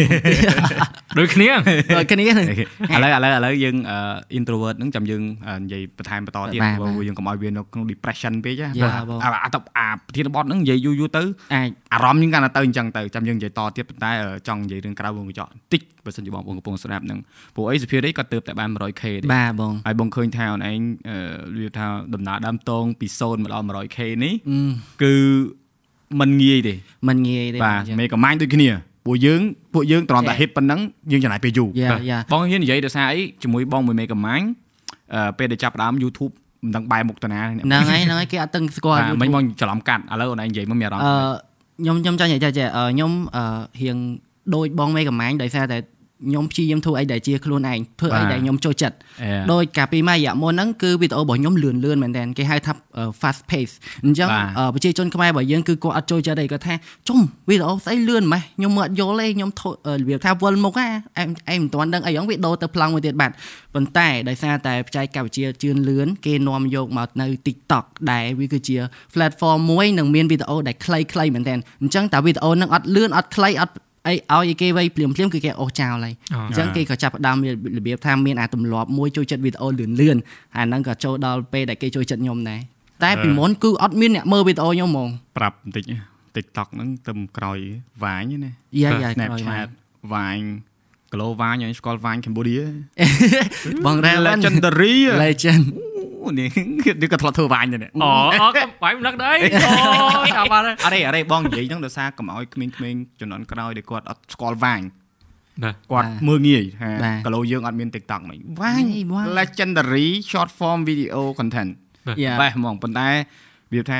[SPEAKER 3] ដូចគ្នា
[SPEAKER 2] (laughs) ដូចគ្នាហ្នឹង
[SPEAKER 1] ឥឡូវឥឡូវឥឡូវយើងអឺ introvert ហ្នឹងចាំយើងអឺនិយាយបន្ថែមបន្តទៀត
[SPEAKER 2] បាទ
[SPEAKER 1] ព្រោះ
[SPEAKER 2] បាទ
[SPEAKER 1] យើងកុំឲ្យវានៅក្នុង depression ពេក
[SPEAKER 2] យ៉ា
[SPEAKER 1] ណា
[SPEAKER 2] បង
[SPEAKER 1] អាអាតអាប្រធានបទហ្នឹងនិយាយយូរយូរទៅ
[SPEAKER 2] អាច
[SPEAKER 1] អារម្មណ៍យើងកាន់តែទៅអញ្ចឹងទៅចាំយើងនិយាយតទៀតប៉ុន្តែអឺចង់និយាយរឿងក្រៅវងកញ្ចក់បន្តិចបើសិនជាបងប្អូនកំពុងស្ដាប់ហ្នឹងព្រោះអីសុភារីគាត់ទៅតែបាន 100k ទេ
[SPEAKER 2] បាទបង
[SPEAKER 1] ហើយបងឃើញថាអូនឯងអឺវាថាដំណើរដើមតងពី0មកដល់ 100k នេះ
[SPEAKER 2] អឺ
[SPEAKER 1] គឺมันងាយទេ
[SPEAKER 2] มันងាយទេ
[SPEAKER 1] បាទ
[SPEAKER 2] អញ្ចឹង
[SPEAKER 1] មេកម៉ាញ់ដូចគ្នាពួកយើងពួកយើងត្រង់តែ
[SPEAKER 2] Yeah.
[SPEAKER 1] hit ប៉ុណ្ណឹងយើងចំណាយពេលយូរ
[SPEAKER 2] យ៉ា
[SPEAKER 3] បាទ
[SPEAKER 2] យ៉ា
[SPEAKER 1] បងហ៊ាននិយាយដោយសារអីជាមួយបងមួយមេកម៉ាញ់អឺពេលដែលចាប់ផ្ដើម YouTube មិនដឹងបែរមុខទៅណានេះ
[SPEAKER 2] ហ្នឹងហើយហ្នឹងហើយគេអត់ទាំងស្គាល់
[SPEAKER 1] បាទមិញមកច្រឡំកាត់ឥឡូវអូនឯងនិយាយមកមានអារម្ម
[SPEAKER 2] អ
[SPEAKER 1] ណ៍
[SPEAKER 2] ឺខ្ញុំខ្ញុំចង់និយាយចេះអឺខ្ញុំអឺរៀងដូចបងមេកំាញ់ដោយសារតែខ្ញុំព្យាយាមធ្វើអីដែលជាខ្លួនឯងធ្វើអី
[SPEAKER 1] បាទ
[SPEAKER 2] ដែលខ្ញុំចូលចិត្ត
[SPEAKER 1] អេ
[SPEAKER 2] ដោយកាលពីមួយរយៈមុនហ្នឹងគឺវីដេអូរបស់ខ្ញុំលឿនលឿនមែនតើគេហៅថាអឺ fast pace អញ្ចឹងអឺប្រជាជនខ្មែររបស់យើងគឺគាត់អត់ចូលចិត្តអីគាត់ថាចុំវីដេអូស្អីលឿនម៉េះខ្ញុំមិនអត់យល់ទេខ្ញុំធ្វើអឺរបៀបថាវល់មុខហ่าអែមអែមមិនទាន់ដឹងអីហងវីដេអូទៅប្លង់មួយទៀតបាទប៉ុន្តែដោយសារតែបច្ចេកវិទ្យាជឿនលឿនគេនាំយកមកនៅ TikTok ដែរវាគឺជា platform មួយនឹងមានវីដេអូដែលខ្លីៗមែនតើអញ្ចឹងតែវីដេអូហ្នឹងអត់លឿនអត់ខ្លីអត់អីឲ្យឯគេវៃភ្លាមភ្លាមៗគឺគេអស់ចោលហើយ
[SPEAKER 3] អ่า
[SPEAKER 2] អញ្ចឹងគេក៏ចាប់ផ្ដើមមានរបៀបថាមានអាទម្លាប់មួយចូលចិត្តវីដេអូលឿនលឿនអាហ្នឹងក៏ចូលដល់ពេលដែលគេចូលចិត្តខ្ញុំដែរតែពីមុនគឺអត់មានអ្នកមើលវីដេអូខ្ញុំហ្មង
[SPEAKER 1] ប្រាប់បន្តិច TikTok ហ្នឹងទៅក្រោយវ៉ាញណា
[SPEAKER 2] យ៉ាយ៉ា
[SPEAKER 1] Snapchat វ៉ាញ Glow វ៉ាញអញស្គាល់វ៉ាញ Cambodia
[SPEAKER 2] បងរ៉ែល
[SPEAKER 1] Legendary
[SPEAKER 2] (laughs)
[SPEAKER 1] ហ៎
[SPEAKER 2] Legend
[SPEAKER 1] អូនេះ (laughs) នេះក៏ធ្លាប់ធ្វើវ៉ាញដែរនេះ
[SPEAKER 3] អូអូកុំបាយមិនលឹកដែរអូចាប់បានហើយ
[SPEAKER 1] អរេអរេបងនិយាយហ្នឹងដោយសារកុំឲ្យក្មេងៗចំនួនក្រោយដែលគាត់អត់ស្គាល់វ៉ាញ
[SPEAKER 3] បាទ
[SPEAKER 1] គាត់
[SPEAKER 2] បាទ
[SPEAKER 1] មើលងាយថា
[SPEAKER 2] បាទ
[SPEAKER 1] កឡូយើងអត់មាន TikTok ហ្មងវ៉ាញ
[SPEAKER 2] អីវ៉ាញ
[SPEAKER 1] Legendary short form video content
[SPEAKER 2] យ៉ា
[SPEAKER 1] បែបហ្មងប៉ុន្តែវាថា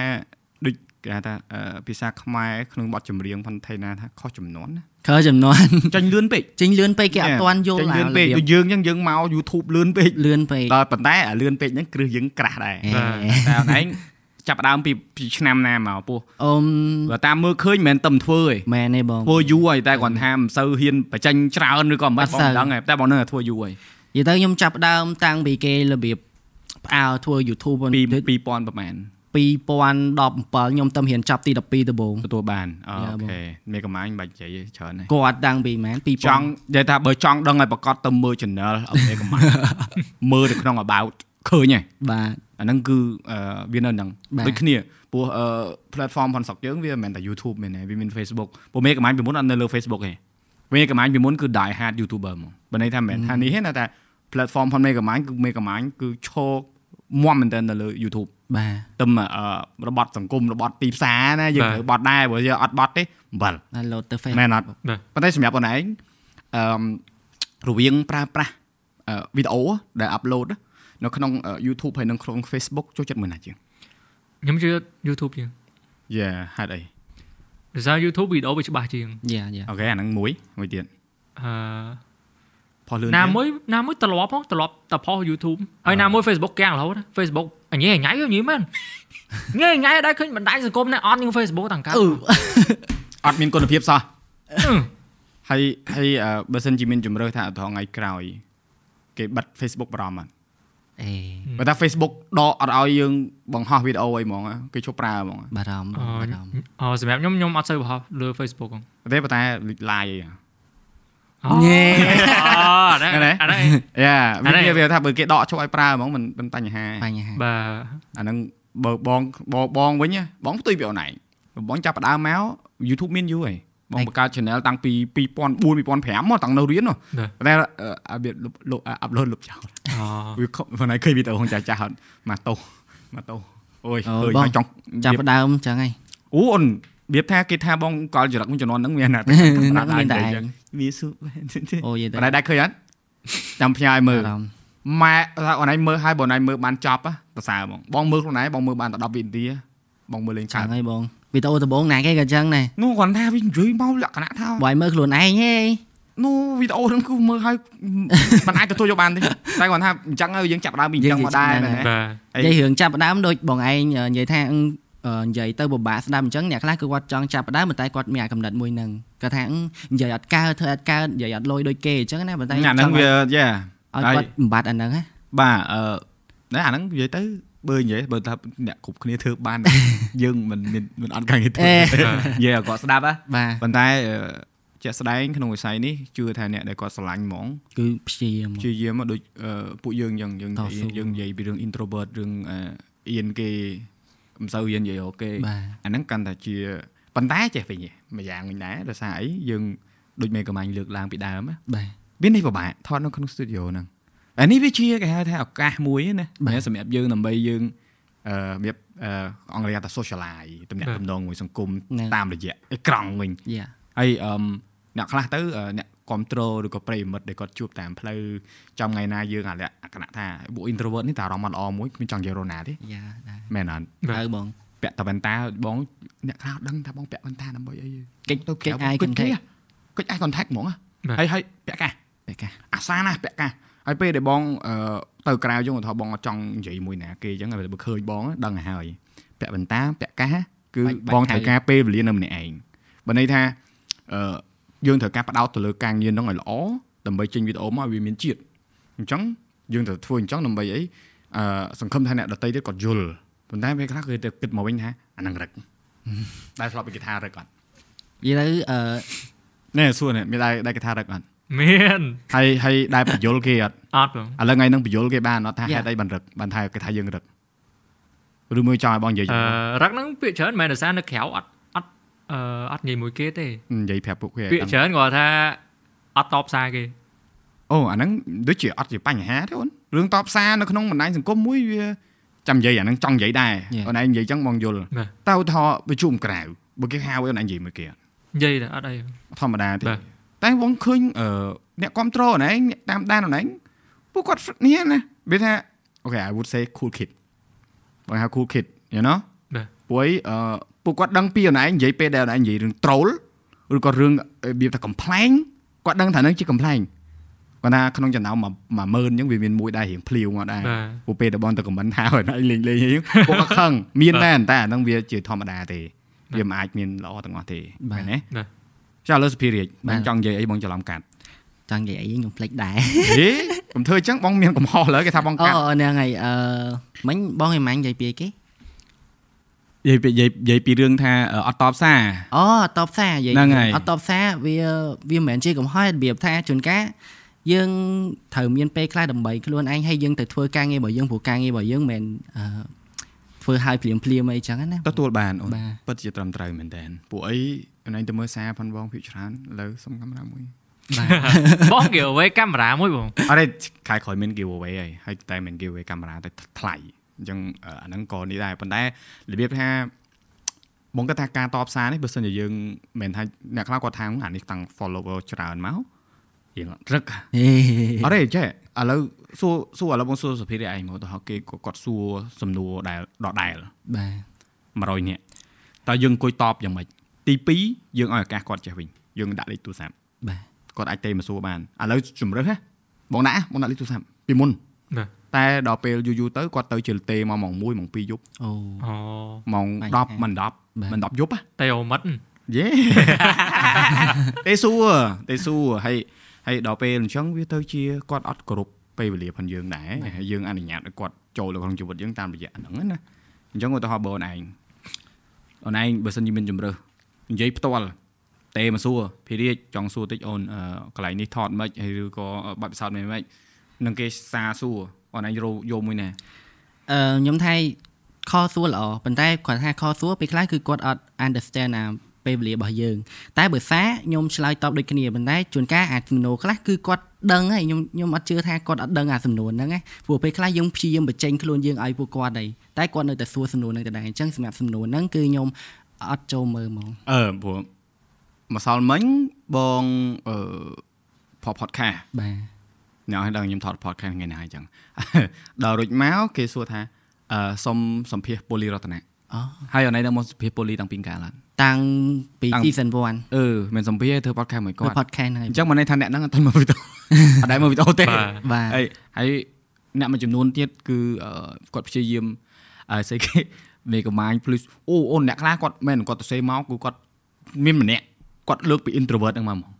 [SPEAKER 1] ដូចគេហៅថាអឺភាសាខ្មែរក្នុងបទចម្រៀងផាន់ថេណាថាខុសចំនួនណា
[SPEAKER 2] ខើចំនួ (laughs) ន
[SPEAKER 1] ចាញ់លឿនពេក
[SPEAKER 2] ចេញលឿនពេកគេអត់
[SPEAKER 1] ចា
[SPEAKER 2] ទាន់យល់
[SPEAKER 1] ចាញ់លឿ
[SPEAKER 2] អា
[SPEAKER 1] នពេក
[SPEAKER 2] របៀ
[SPEAKER 1] ដូច
[SPEAKER 2] ប
[SPEAKER 1] យើងអញ្ចឹងយើងមក YouTube លឿនពេក
[SPEAKER 2] លឿនពេក
[SPEAKER 1] ដល់ប៉ុន្តែអាលឿនពេកហ្នឹងគ្រឹះយើងក្រាស់ដែរ
[SPEAKER 3] បាទ
[SPEAKER 1] តែ (laughs) អូនឯងចាប់ផ្ដើមពីពីឆ្នាំណាមកពោះ
[SPEAKER 2] អ៊ំ
[SPEAKER 1] បើតាមមើលឃើញមិនមែនតែមិនធ្វើទេ
[SPEAKER 2] មែនទេបង
[SPEAKER 1] ធ្វើយូរហើយតែគាត់ថាមិនសូវហ៊ានបញ្ចេញច្រើនឬក៏មិនបាច់
[SPEAKER 2] អ
[SPEAKER 1] ប
[SPEAKER 2] ត់
[SPEAKER 1] ង
[SPEAKER 2] សូវ
[SPEAKER 1] មិនដឹងទេតែបងនៅតែធ្វើយូរហើយ
[SPEAKER 2] និយាយទៅខ្ញុំចាប់ផ្ដើមតាំងពីគេរបៀបផ្អើលធ្វើ YouTube
[SPEAKER 1] ពី
[SPEAKER 2] ពី
[SPEAKER 1] 2000ប្រហែល
[SPEAKER 2] 2017ខ្ញុំទៅរៀនចប់ទី12ដំបូង
[SPEAKER 1] ទទួលបានអ
[SPEAKER 2] យ៉ា
[SPEAKER 1] ូ
[SPEAKER 2] បង
[SPEAKER 1] ខេមេកំាញ់បាច់និយាយច្រើនហើយ
[SPEAKER 2] គាត់តាំងពីមែន
[SPEAKER 1] ចង់និយាយថាបើចង់ដឹងឲ្យប្រកាសទៅមើល channel អត់មេកំាញ់
[SPEAKER 2] (laughs)
[SPEAKER 1] មើលទៅក្នុង about ឃើញហើយ
[SPEAKER 2] 2000បាទ
[SPEAKER 1] អាហ្នឹងគឺអឺវានៅហ្នឹង
[SPEAKER 2] បាទ
[SPEAKER 1] ដូចគ្នាព្រោះអឺ platform ផនសក់យើងវាមិនមែនតែ YouTube មែនទេវាមាន Facebook ព្រោះមេកំាញ់ពីមុនអត់នៅលើ Facebook ទេមេកំាញ់ពីមុនគឺ die hard YouTuber ហ្មងបើន័យថាមិនមែនថានេះទេណាតែ platform ផនមេកំាញ់គឺមេកំាញ់គឺឈរមាំមែនទែននៅលើ YouTube
[SPEAKER 2] បាទ
[SPEAKER 1] ទំអឺរបត់សង្គមរបត់ទីផ្សារណាយើង
[SPEAKER 3] បាទ
[SPEAKER 1] ត្រូវបត់ដែរព្រោះយើងអត់បត់ទេអំបិល
[SPEAKER 2] អាឡូតទៅ
[SPEAKER 1] មែ
[SPEAKER 2] Facebook
[SPEAKER 1] នអត់
[SPEAKER 3] បាទ
[SPEAKER 1] ប៉ុន្តែសម្រាប់ខ្លួនឯងអឺមរវាងប្រើប្រាស់អឺវីដេអូដែល upload នៅក្នុងអឺ YouTube ហើយនៅក្នុង Facebook ចូលចិត្តមើលណាជាង
[SPEAKER 3] ខ្ញុំជឿ YouTube ជាង
[SPEAKER 1] យេហេតុអី
[SPEAKER 3] ដោយសារ YouTube វីដេអូវាច្បាស់ជាង
[SPEAKER 2] យ៉ាយ៉ា
[SPEAKER 1] អូខេអាហ្នឹងមួយមួយទៀត
[SPEAKER 3] អឺ
[SPEAKER 1] ផុសលឿន
[SPEAKER 3] ណា
[SPEAKER 1] ទៀត
[SPEAKER 3] មួយណាមួយត្រឡប់ផងត្រឡប់តផុស YouTube ហើយណាមួយ Facebook កាំងរហូតណា Facebook à, អញញ៉ៃអញញ៉ៃយីមែន ញ៉ៃញ៉ៃដល់ឃើញបណ្ដាញសង្គមណែអត់នឹង Facebook ទាំងកា
[SPEAKER 2] អឺ
[SPEAKER 1] អត់មានគុណភាពសោះហើយហើយអឺបើសិនជាមានជំរឿសថាអត់ថងៃក្រោយ គេបិទ Facebook បារម្ភអត់
[SPEAKER 2] អេ
[SPEAKER 1] បើថា Facebook ដកអត់ឲ្យយើងបង្ហោះវីដេអូអីហ្មងណាគេឈប់ប្រើហ្មងណា
[SPEAKER 2] បារម្ភ
[SPEAKER 3] អ
[SPEAKER 2] បារម្ភ
[SPEAKER 3] អូសម្រាប់ខ្ញុំខ្ញុំអត់សូវបង្ហោះលើ Facebook ហង
[SPEAKER 1] ប៉ុន្តែប៉ុន្តែលិចឡាយអី
[SPEAKER 3] អូ
[SPEAKER 2] ញ៉េ
[SPEAKER 3] អាហ្នឹងអា
[SPEAKER 1] (laughs)
[SPEAKER 3] ហ្នឹង
[SPEAKER 1] យ៉ា
[SPEAKER 3] អានេះ
[SPEAKER 1] Yeah វាវាថាបើគេដកឈប់ឲ្យប្រើហ្មងមិនមិនបញ្ហាទេ
[SPEAKER 2] បញ្ហា
[SPEAKER 3] បា
[SPEAKER 1] អាហ្នឹងបើបងបងបងវិញណាបងផ្ទុយពីអូនឯងបើបងចាប់ផ្ដើមមក YouTube មានយូរហើយបងបង្កើត channel តាំងពី2004 2005មកតាំងនៅរៀនមកប៉ុន្តែអឺអាវាលុបលុបអាប់ឡូតលុបចោល
[SPEAKER 3] ទអូ
[SPEAKER 1] វាខំមិនឲ្យឃើញវីដេអូហងចាស់ចាស់ហត់មកតោមកតោអូយឃើញហើយចង់
[SPEAKER 2] ចាប់ផ្ដើមចឹងហើយ
[SPEAKER 1] អូអូនរបៀបថាគេថាបងកលចរិតមួយចំនួនហ្នឹងមានណាស់
[SPEAKER 2] ហ្នឹងមានតែឯង
[SPEAKER 1] វាស៊ូ
[SPEAKER 2] អូយ
[SPEAKER 1] ប
[SPEAKER 2] តែ
[SPEAKER 1] ងដែរឃើញអត់ចាំផ្ញើឲ្យមើ
[SPEAKER 2] បា
[SPEAKER 1] ល
[SPEAKER 2] រម្ភ
[SPEAKER 1] ម៉ែថាអូនឯងមើលឲ្យបងឯងមើលបានចប់ប្រសើរហ្មងបងមើលខ្លួនឯងបងមើលបានតែ10វិនាទីបងមើលលេង
[SPEAKER 2] ចឹ
[SPEAKER 1] ខា
[SPEAKER 2] ង
[SPEAKER 1] ង
[SPEAKER 2] ហើយបងវីដេអូដំបូងណាគេក៏ចឹងដែរ
[SPEAKER 1] នោះគាត់ថាវានិយាយមកលក្ខណៈថា
[SPEAKER 2] បើឲ្យមើលខ្លួនឯងហេ
[SPEAKER 1] នោះវីដេអូហ្នឹងគឺមើល (laughs) ឲ្យមិនអាចទទួលយកបានទេតែគាត់ថាអញ្ចឹងហើយយើងចាប់ដើមពីអញ្ចឹងមកដែរណា
[SPEAKER 3] បា
[SPEAKER 1] អី
[SPEAKER 2] និយាយរឿងចាប់ផ្ដើមដូចបងឯងអឺនិយាយថាអឺអឺនិយាយទៅពិបាកស្ដាប់អញ្ចឹងអ្នកខ្លះគឺគាត់ចង់ចាប់ផ្ដើមប៉ុន្តែគាត់មានអាកំណត់មួយហ្នឹងគាត់ថាអឺនិយាយអត់កើតធ្វើអត់កើតនិយាយអត់លយដូចគេអញ្ចឹងណាប៉ុន្តែ
[SPEAKER 1] អាហ្នឹងវាយ៉ា
[SPEAKER 2] ឲ្យគាត់បំបត្តិ
[SPEAKER 1] បាទ
[SPEAKER 2] អាហ្នឹងណា
[SPEAKER 1] អឺណែអាហ្នឹងនិយាយទៅបើនិយាយបើថាអ្នកគ្រប់គ្នាធ្វើ (laughs) បាន យើងមិនមានមិនអត់ការងារធ្វើ
[SPEAKER 2] អេ
[SPEAKER 1] ទេនិយាយឲ្យគាត់ស្ដាប់ណា
[SPEAKER 2] បាទ
[SPEAKER 1] ប៉ុន្តែអឺជាក់ស្ដែងក្នុងវិស័យនេះជឿថាអ្នកដែលគាត់ស្រឡាញ់ហ្មង
[SPEAKER 2] គឺព្យាយាម
[SPEAKER 1] ជាយាមមកដូចអឺពួកយើងអញ្ចឹងយើងនិយាយ
[SPEAKER 2] តស៊ូ
[SPEAKER 1] យើងនិយាយពីរឿង introvert រឿងអឺអៀនគេមិនសូវហ៊ាននិយាយអូគេ
[SPEAKER 2] បាទ
[SPEAKER 1] អាហ្នឹងកាន់តែជាប៉ុន្តែចេះវិញឯងម្យ៉ាងវិញដែរដោយសារអីយើងដូចមេកំាញ់លើកឡើងពីដើមណា
[SPEAKER 2] បាទ
[SPEAKER 1] វានេះពិបាកថតនៅក្នុង studio ហ្នឹងអានេះវាជាគេហៅថាឱកាសមួយណា
[SPEAKER 2] បាទ
[SPEAKER 1] តែសម្រាប់យើងដើម្បីយើងអឺរបៀបអឺអង់គ្លេសហៅថា socialize ទំនាក់ទំនងមួយសង្គម
[SPEAKER 2] ហ្នឹង
[SPEAKER 1] តាមរយៈអេក្រង់វិញ
[SPEAKER 2] យ៉ា
[SPEAKER 1] ហើយអឺមអ្នកខ្លះទៅអឺអ្នក គ្រប់ត្រូលឬក៏ប្រិយមិត្តដែលគាត់ជួបតាមផ្លូវចំថ្ងៃណាយើងអាលក្ខណៈថាពួក introvert នេះតែអារម្មណ៍អត់ល្អមួយគ្មានចង់និយាយរកណាទេ
[SPEAKER 2] យ៉ាដែរ
[SPEAKER 1] មែនអត់
[SPEAKER 3] បាទ
[SPEAKER 2] ហើយបង
[SPEAKER 1] ពាក់តាវ៉ែនតាបងអ្នកខ្លះដឹងថាបងពាក់វ៉ែនតាដើម្បីអី
[SPEAKER 2] កិច្ច
[SPEAKER 1] ទៅ
[SPEAKER 2] កិច្ចអាយ contact
[SPEAKER 1] គេអាច contact ហ្មងហ៎
[SPEAKER 3] បាទ
[SPEAKER 1] ហើយហើយពាក់កាស
[SPEAKER 2] បែបកាស
[SPEAKER 1] អាសាណាស់ពាក់កាសហើយពេលដែលបងអឺទៅក្រៅយើងក៏ថាបងអត់ចង់និយាយមួយណាគេអញ្ចឹងតែបើឃើញបងដឹងឲ្យហើយពាក់បន្តាពាក់កាសគឺបងត្រូវការពេលវេលានៅម្នាក់ឯងបើន័យថាអឺយើងត្រូវការផ្ដោតទៅលើការងារហ្នឹងឲ្យល្អដើម្បីចេញវីដេអូមកឲ្យវាមានជាតិអញ្ចឹងយើងត្រូវធ្វើអញ្ចឹងដើម្បីអីអឺសង្ឃឹមថាអ្នកដតីទៀតគាត់យល់ប៉ុន្តែពេលខ្លះគឺទៅគិតមកវិញថាអាហ្នឹងរឹកតែធ្លាប់ពីគេថារឹកអត់
[SPEAKER 2] និយាយទៅអឺ
[SPEAKER 1] ណែសួរនេះមានដែរដែរគេថារឹកអត់
[SPEAKER 3] មាន
[SPEAKER 1] ហើយហើយដែរបញ្យលគេអត់
[SPEAKER 3] អត់បង
[SPEAKER 1] ឥឡូវថ្ងៃហ្នឹងបញ្យលគេបានអត់ថាហេតុអីបានរឹកបានថាគេថាយើងរឹកឬមួយចង់ឲ្យបងនិយាយ
[SPEAKER 3] អឺរឹកហ្នឹងពាក្យច្រើនមិនមែនដោយសារនៅក្រៅអត់អត់អឺអត់និយាយមួយគេទេ
[SPEAKER 1] និយាយប្រាប់ពួកគេ
[SPEAKER 3] ពាក្យច្រើនគាត់ថាអត់តបសារគេ
[SPEAKER 1] អូអាហ្នឹងដូចជាអត់ជាបញ្ហាទេអូនរឿងតបសារនៅក្នុងបណ្ដាញសង្គមមួយវាចាំនិយាយអាហ្នឹងចង់និយាយដែរអូនឯងនិយាយចឹងបងយល់តើថោប្រជុំក្រៅបើគេហៅអូនឯងនិយាយមួយគេ
[SPEAKER 3] និយាយតែអត់អី
[SPEAKER 1] ធម្មតាទេតែបងឃើញអ្នកគ្រប់គ្រងអូនឯងតាមដានអូនឯងពួកគាត់នេះណាវាថាអូខេ I would say cool kid បងហៅ cool kid you know ពួកឯងអឺពួកគាត់ដឹងពីអូនឯងនិយាយពេលដែលអូនឯងនិយាយរឿង troll ឬក៏រឿងរបៀបថា complain គាត់ដឹងថានឹងជា complain គាត់ថាក្នុងចំណោម10000អញ្ចឹងវាមានមួយដែររៀងភ្លាវមកដែរ
[SPEAKER 3] បាទ
[SPEAKER 1] ពួកពេលដែលបងទៅ comment ថាអូនឯងលេងលេងអីហ្នឹងពួកគាត់ខឹងមានមែនតែអាហ្នឹងវាជាធម្មតាទេវាមិនអាចមានល្អទាំងអស់ទេមែនទេ
[SPEAKER 3] បាទ
[SPEAKER 1] ចាឥឡូវសុភារាជបងចង់និយាយអីបងច្រឡំកាត់
[SPEAKER 2] ចង់និយាយអីខ្ញុំភ្លេចដែរ
[SPEAKER 1] (laughs) ហេខ្ញុំធ្វើអញ្ចឹងបងមានកំហុសឥឡូវគេថាបង
[SPEAKER 2] អូ
[SPEAKER 1] កាត់
[SPEAKER 2] ហ្នឹងហើយអឺមិញបងឯម៉ាញ់និយាយពីអីគេ
[SPEAKER 1] និយាយពីនិយាយនិយាយពីរឿងថាអត់តបសារ
[SPEAKER 2] អូតបសារនិយាយ
[SPEAKER 1] ហ្នឹងហើយ
[SPEAKER 2] អត់តបសារវាវាមិនមែនជាកំហុសរបៀបថាជួនកាលយើងត្រូវមានពេលខ្លះដើម្បីខ្លួនឯងហើយយើងទៅធ្វើការងាររបស់យើងព្រោះការងាររបស់យើងមិនមែនអឺធ្វើឲ្យភ្លាមភ្លាមអីចឹងណា
[SPEAKER 1] ទទួលបានអូន
[SPEAKER 2] បាទ
[SPEAKER 1] ពិតជាត្រឹមត្រូវមែនតើពួកអីអូនឯងទៅមើលសារផងបងភាគច្រើនឥឡូវសុំកាមេរ៉ាមួយ
[SPEAKER 3] បងគេអ្វីកាមេរ៉ាមួយបង
[SPEAKER 1] (coughs) អរេខែក្រោយមាន giveaway ហើយហើយតែមាន giveaway កាមេរ៉ាតែថ្លៃអញ្ចឹងអឺអាហ្នឹងក៏នេះដែរប៉ុន្តែរបៀបថាបងគាត់ថាការតបសារនេះបើសិនជាយើងមិនមែនថាអ្នកខ្លះគាត់ថាអានេះតាំង follower ច្រើនមកយើងរឹក
[SPEAKER 2] ហេ
[SPEAKER 1] អរេចេះឥឡូវសួរសួរឥឡូវបងសួរសុភារីឯងមកទៅហៅគេក៏គាត់សួរសំណួរដែលដដែល
[SPEAKER 2] បាទ
[SPEAKER 1] 100នាក់តើយើងអង្គុយតបយ៉ាងម៉េចទី2យើងឲ្យឱកាសគាត់ចេះវិញយើងដាក់លេខទូរស័ព្ទ
[SPEAKER 2] បាទ
[SPEAKER 1] គាត់អាចទេមកសួរបានឥឡូវជំរឿសណាបងដាក់ណាបងដាក់លេខទូរស័ព្ទពីមុន
[SPEAKER 3] បាទ
[SPEAKER 1] តែដល់ពេលយូរយូរទៅគាត់ទៅជាលទេមកម៉ោង1ម៉ោង2យប់
[SPEAKER 2] អូ
[SPEAKER 3] អូ
[SPEAKER 1] ម៉ោង
[SPEAKER 2] បាញ់
[SPEAKER 1] 10មិន
[SPEAKER 2] បាទ
[SPEAKER 1] 10មិន10យប់ហ៎
[SPEAKER 3] តែអូមិត្ត
[SPEAKER 1] យេ (laughs) ទេសួរទេសួរហើយហើយដល់ពេលអញ្ចឹងវាទៅជាគាត់អត់គ្រប់ពេលវេលាផងយើងដែរហើយយើងអនុញ្ញាតឲ្យគាត់ចូលទៅក្នុងជីវិតយើងតាមរយៈហ្នឹងណាអញ្ចឹងឧទាហរណ៍បងឯងអូនឯងបើសិនជាមានជំរើសនិយាយផ្ទាល់ទេមកសួរភីរាជចង់សួរតិចអូនអឺកន្លែងនេះថតមិនខ្មិចហើយឬក៏បាត់ពិសោធន៍មិនមិនខ្មិចនឹងគេសារសួរអូនឯងយកយកមួយណា
[SPEAKER 2] អឺខ្ញុំថាខសួរល្អប៉ុន្តែគាត់ថាខសួរពេលខ្លះគឺគាត់អត់ understand ណាពេលវេលារបស់យើង តែបើសារខ្ញុំឆ្លើយតបដូចគ្នាប៉ុន្តែជួនកាលអាចសំណួរខ្លះគឺគាត់ដឹងហើយខ្ញុំខ្ញុំអត់ជឿថាគាត់អត់ដឹងអាសំណួរហ្នឹងណាព្រោះពេលខ្លះយើងព្យាយាមបញ្ចេញខ្លួនយើងឲ្យពួកគាត់ដែរតែគាត់នៅតែសួរសំណួរហ្នឹងដដែលអញ្ចឹងសម្រាប់សំណួរហ្នឹងគឺខ្ញុំអត់ចូលមើលហ្មង
[SPEAKER 1] អឺព្រោះម្សិលមិញបងអឺផផតខាស
[SPEAKER 2] បាទ
[SPEAKER 1] អ្នកឲ្យដឹងខ្ញុំថត podcast ថ្ងៃណាអញ្ចឹង (laughs) ដល់រួចមកគេសួរថាអឺសុំសម្ភាសន៍ពូលីរតនៈ
[SPEAKER 2] អូ
[SPEAKER 1] ហើយអនឡាញដល់មកសម្ភាសន៍ពូលីតាំងពីកាលឡើង
[SPEAKER 2] តាំងពី
[SPEAKER 1] តាំង
[SPEAKER 2] season
[SPEAKER 1] អឺមិនសម្ភាសន៍ឲ្យធ្វើ podcast មួយ
[SPEAKER 2] 1គឺ
[SPEAKER 3] (laughs)
[SPEAKER 1] គាត់
[SPEAKER 2] podcast ហ្នឹងហើយ
[SPEAKER 1] អញ្ចឹងមិនន័យថាអ្នកហ្នឹងអត់ (laughs) ទាន់មើលវីដេអូ អត់ដែរមើលវីដេអូទេ
[SPEAKER 3] បាទ
[SPEAKER 2] បាទ
[SPEAKER 1] ហើយហើយអ្នកមួយចំនួនទៀតគឺអឺគាត់ព្យាយាមអឺស្អីគេ (laughs) មេកម៉ាញ plus អូអូនអ្នកខ្លះគាត់មិនមែនគាត់ទៅសេមកគឺគាត់មានម្នាក់គាត់លើកពី introvert ហ្នឹងមកហ្មង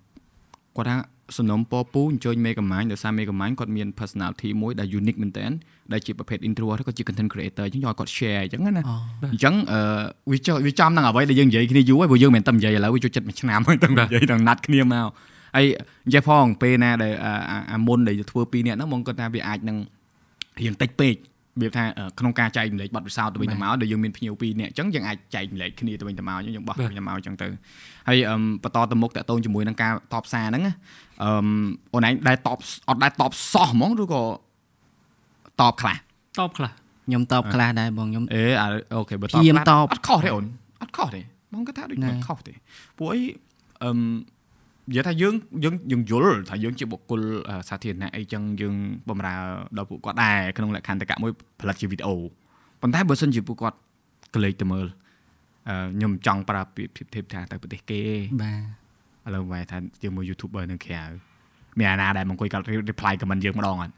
[SPEAKER 1] គាត់ថាសំណុំពរពូអញ្ជើញមេកម៉ាញដោយសារមេកម៉ាញគាត់មាន personality មួយដែល unique មែនតើដែលជាប្រភេទ introvert គាត់ជា content creator អញ្ចឹងយកឲ្យគាត់ share អញ្ចឹងណា
[SPEAKER 2] អូ
[SPEAKER 1] អញ្ចឹងអឺវាចវាចំនឹងអ្វីដែលយើងនិយាយគ្នាយូរហើយព្រោះយើងមិនតែនិយាយឥឡូវវាចូលចិត្តមួយឆ្នាំ (laughs) ហើយតែនិយាយដល់ណាត់គ្នាមក ហើយនិយាយផងពេលណាដែលអាអាអាមុនដែលធ្វើពីរនាក់ហ្នឹងបងគាត់ថាវាអាចនឹងរៀងតិចពេករបៀបថាអឺក្នុងការចែករំលែកបទពិសោធន៍ទៅវិញទៅមកដែលយើងមានភ្ញៀវពីរនាក់អញ្ចឹងយើងអាចចែករំលែកគ្នាទៅវិញទៅមកអញ្ចឹងយើងបោះគ្នាមកអញ្ចឹងទៅហើយអឹមបន្តទៅមុខតាក់ទងជាមួយនឹងការតបសារហ្នឹងណាអឹមអូនឯងដែលតបអត់ដែលតបសោះហ្មងឬក៏តបខ្លះ
[SPEAKER 3] តបខ្លះ
[SPEAKER 2] ខ្ញុំតបខ្លះដែរបងខ្ញុំ
[SPEAKER 1] អេអាអូខេបើត
[SPEAKER 2] ព្យាយាម
[SPEAKER 1] ខ្លះ
[SPEAKER 2] តប
[SPEAKER 1] អត់ខុសទេអូនអត់ខុសទេបងគាត់ថាដូចមិនខុសទេពួកអីអឹម និយាយថាយើងយើងយើងយល់ថាយើងជាបុគ្គលសាធារណៈអីចឹងយើងបំរើដល់ពួកគាត់ដែរក្នុងលក្ខន្តិកៈមួយផលិតជាវីដេអូប៉ុន្តែបើសិនជាពួកគាត់ក្លែកទៅមើលអឺខ្ញុំចង់ប្រាប់ពីភាពធៀបថាទៅប្រទេសគេ
[SPEAKER 2] បាទ
[SPEAKER 1] ឥឡូវវាយថាជាមួយ YouTuber នៅក្រៅមានអាណាដែលមកអង្គុយកាត់ reply comment យើងម្ដងអត់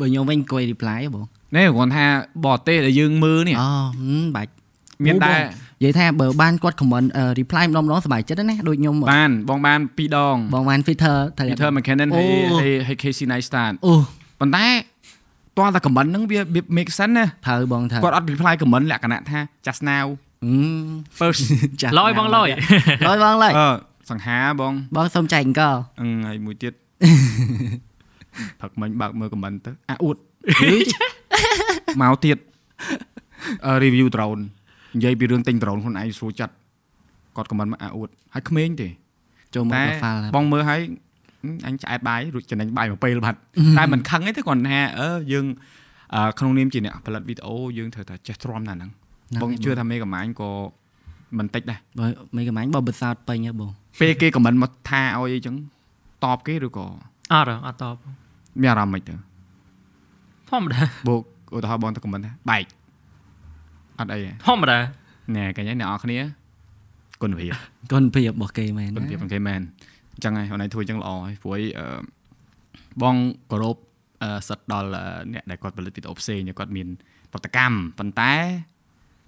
[SPEAKER 2] បើខ្ញុំវិញអង្គុយ reply ហ៎បង
[SPEAKER 1] នេះគាត់ថាបរទេសដែលយើងមើលនេះ
[SPEAKER 2] អូហឹមបាច់
[SPEAKER 1] មានដែរ
[SPEAKER 2] និយាយថាបើបានគាត់ comment អឺ reply ម្ដងម្ដងសប្បាយចិត្តណាស់ដូចខ្ញុំ
[SPEAKER 1] បានបងបាន2ដង
[SPEAKER 2] បងបាន Twitter តែ
[SPEAKER 1] Peter McKinnon
[SPEAKER 2] អូ
[SPEAKER 1] ហើយហើយ Casey Neistat
[SPEAKER 2] អូ
[SPEAKER 1] ប៉ុន្តែតោះតែ comment ហ្នឹងវា make sense ណា
[SPEAKER 2] ថើបងថើ
[SPEAKER 1] គាត់អត់ reply comment លក្ខណៈថា just now
[SPEAKER 2] ហឹម
[SPEAKER 1] first
[SPEAKER 2] ចាស់
[SPEAKER 3] ឡយបងឡយ
[SPEAKER 2] ឡយបងឡយ
[SPEAKER 1] (laughs) អឺសង្ហាបង
[SPEAKER 2] បងសុំចែកអង្គរ
[SPEAKER 1] អឹងហើយមួយទៀតផឹកមិញបើកមើល comment ទៅអាអួតមកទៀតអឺ review drone និយាយពីរឿងទិញ drone ខ្លួនឯងស្រួលចិត្តគាត់ comment មកអាអួតហើយក្មេងទេ
[SPEAKER 2] ចូលមក
[SPEAKER 1] តែ
[SPEAKER 2] profile ហើយ
[SPEAKER 1] បងមើលហើយអឺអញឆ្អែតបាយរួចចំណេញបាយមួយពេលបាត់ តែមិនខឹងទេគាត់ថាអឺយើងអឺក្នុងនាមជាអ្នកផលិតវីដេអូយើងត្រូវតែចេះទ្រាំណាស់ហ្នឹង
[SPEAKER 2] ហ្នឹង
[SPEAKER 1] បង
[SPEAKER 2] ហើយ
[SPEAKER 1] ជឿថាមេកំាញ់ក៏មិនតិចដែរ
[SPEAKER 2] បើមិនកំាញ់បើបិទសោតពេញហ៎បង
[SPEAKER 1] ពេលគេខមមិនមកថាឲ្យអីចឹងតបគេឬក៏
[SPEAKER 3] អត់ហ៎អត់តប
[SPEAKER 1] មានអារម្មណ៍មិនទៅ
[SPEAKER 3] ធម្មតា (laughs)
[SPEAKER 1] បូកឧទាហរណ៍បងទៅខមមិនថាបែកអត់អីទេ
[SPEAKER 3] ធម្មតា
[SPEAKER 1] ណែកញ្ញាអ្នកនរគ្នាគុណភាព
[SPEAKER 2] គុណភាពរបស់គេមែន
[SPEAKER 1] គុណភាព
[SPEAKER 2] ណា
[SPEAKER 1] ហ្នឹងគេមែនអញ្ចឹងហើយហ្នឹងធ្វើអញ្ចឹងល្អហើយព្រោះអីអឺបងគោរពអឺសិតដល់អឺអ្នកដែលគាត់ផលិតវីដេអូផ្សេងដែលគាត់មានប្រតិកម្មប៉ុន្តែ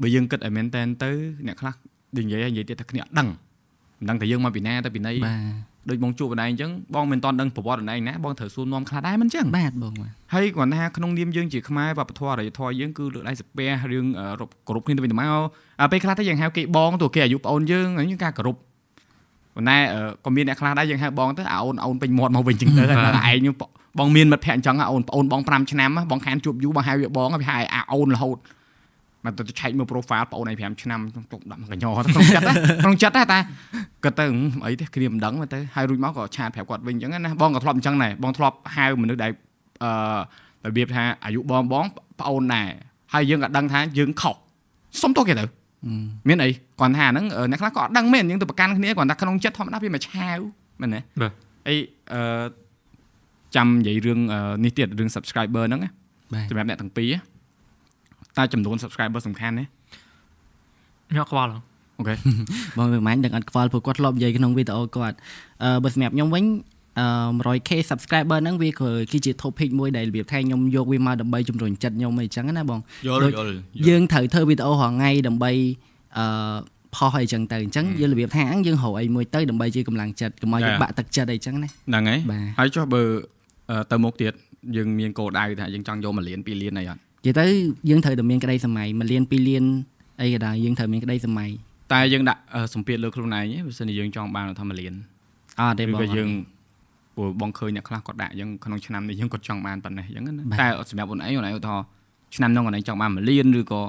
[SPEAKER 1] បើយើងគិតឲ្យមែនតែនទៅអ្នកខ្លះនិយាយហើយនិយាយទៀតថាគ្នាអត់ដឹងមិនដឹងថាយើងមកពីណាទៅពីណី
[SPEAKER 2] បា
[SPEAKER 1] ដូចបងជួបបណ្ដៃអញ្ចឹងបងមិនតាន់ដឹងប្រវត្តិបណ្ដៃណាបងត្រូវសួរនាំខ្លះដែរមិនអញ្ចឹង
[SPEAKER 2] ទបាទបងបាទ
[SPEAKER 1] ហើយគាត់ថាក្នុងនាមយើងជាខ្មែរវប្បធម៌អរិយធម៌យើងគឺលើកដៃសាពះរឿងអឺរົບគោរពគ្នាទៅវិញទៅមកអ่าពេលខ្លះទៅយើងហៅគេបងទោះគេអាយុប្អូនយើងហ្នឹងយើងការគោរពប៉ុន្តែអឺក៏មានអ្នកខ្លះដែរយើងហៅបងទៅអាអូនអូនពេញមាត់មកវិញអញ្ចឹងទៅហើយថាឯងហ្នឹងបងមានមិត្តភក្តិអញ្ចឹងអាអូនប្អូនបង5ឆ្នាំហ៎បងខានជួបយូរបងហៅវាបងហ៎វាហៅអាអូនរហូតមកទៅឆែកមើល profile ប្អូនឯង5ឆ្នាំចង់ទុកដាក់កញ្ញោក្នុងចិត្តណាក្នុងចិត្តណាតា គាត់ទៅហឹមអីទេគ្នាមិនដឹងមកទៅហើយរួចមកក៏ឆាតប្រាប់គាត់វិញអញ្ចឹងណាបងក៏ធ្លាប់អញ្ចឹងដែរបងធ្លាប់ហៅមនុស្សដែលអឺរបៀបថាអាយុបងបងប្អូនដែរហើយយើងក៏ដឹងថាយើងខុសសុំទោសគេទៅមានអីគាត់ថាហ្នឹងអឺអ្នកខ្លះក៏អត់ដឹងមែនយើងទៅប្រកាន់គ្នាគាត់ថាក្នុងចិត្តធម្មតាវាមកឆាវមែនទេអីអឺចាំនិយាយរឿងអឺនេះទៀតរឿង subscriber ហ្នឹងណា
[SPEAKER 2] បាទ
[SPEAKER 1] សម្រាប់អ្នកទាំងពីរណាតើចំនួន subscriber សំខាន់ណា
[SPEAKER 3] ញក់ខ្វល់ហ៎
[SPEAKER 1] អូខេ
[SPEAKER 2] បងមិនមាញ់ដឹងអត់ខ្វល់ព្រោះគាត់ធ្លាប់និយាយក្នុងវីដេអូគាត់អឺបើសម្រាប់ខ្ញុំវិញអឺ 100k subscriber ហ្នឹងវាក៏គឺជា topic មួយដែលរបៀបថាខ្ញុំយកវាមកដើម្បីជំរុញចិត្តខ្ញុំអីចឹងណាបង
[SPEAKER 1] យ
[SPEAKER 2] ដូច
[SPEAKER 1] ល់យល់
[SPEAKER 2] យើងត្រូវធ្វើវីដេអូរាល់ថ្ងៃដើម្បីអឺផុសអីចឹងទៅអញ្ចឹងយើងរបៀបថាយើងរកអីមួយទៅដើម្បីជាកម្លាំងចិត្តកុំឲ្យយើង
[SPEAKER 1] ចា៎
[SPEAKER 2] បាក់ទឹកចិត្តអីចឹងណា
[SPEAKER 1] ហ្នឹងហើយ
[SPEAKER 2] បាទ
[SPEAKER 1] ហើយចុះបើអឺទៅមុខទៀតយើងមានគោលដៅថាយើងចង់យក1លាន2លានអីអត់
[SPEAKER 2] និយាយទៅយើងត្រូវតែមានក្តីសម័យមួយលានពីរលានអីក៏ដោយយើងត្រូវមានក្តីសម័យ
[SPEAKER 1] តែយើងដាក់អឺសម្ពាធលើខ្លួនឯងឯងបើសិនជាយើងចង់បានថា1លាន
[SPEAKER 2] អត់ទេ
[SPEAKER 1] ឬ
[SPEAKER 2] បង
[SPEAKER 1] ក៏យើងព្រោះបងឃើញអ្នកខ្លះគាត់ដាក់យើងក្នុងឆ្នាំនេះយើងគាត់ចង់បានប៉ុណ្ណេះអញ្ចឹងណា
[SPEAKER 2] បាទ
[SPEAKER 1] តែសម្រាប់អូនឯងអូនឯងឧទាហរណ៍ឆ្នាំហ្នឹងអូនឯងចង់បាន1លានឬក៏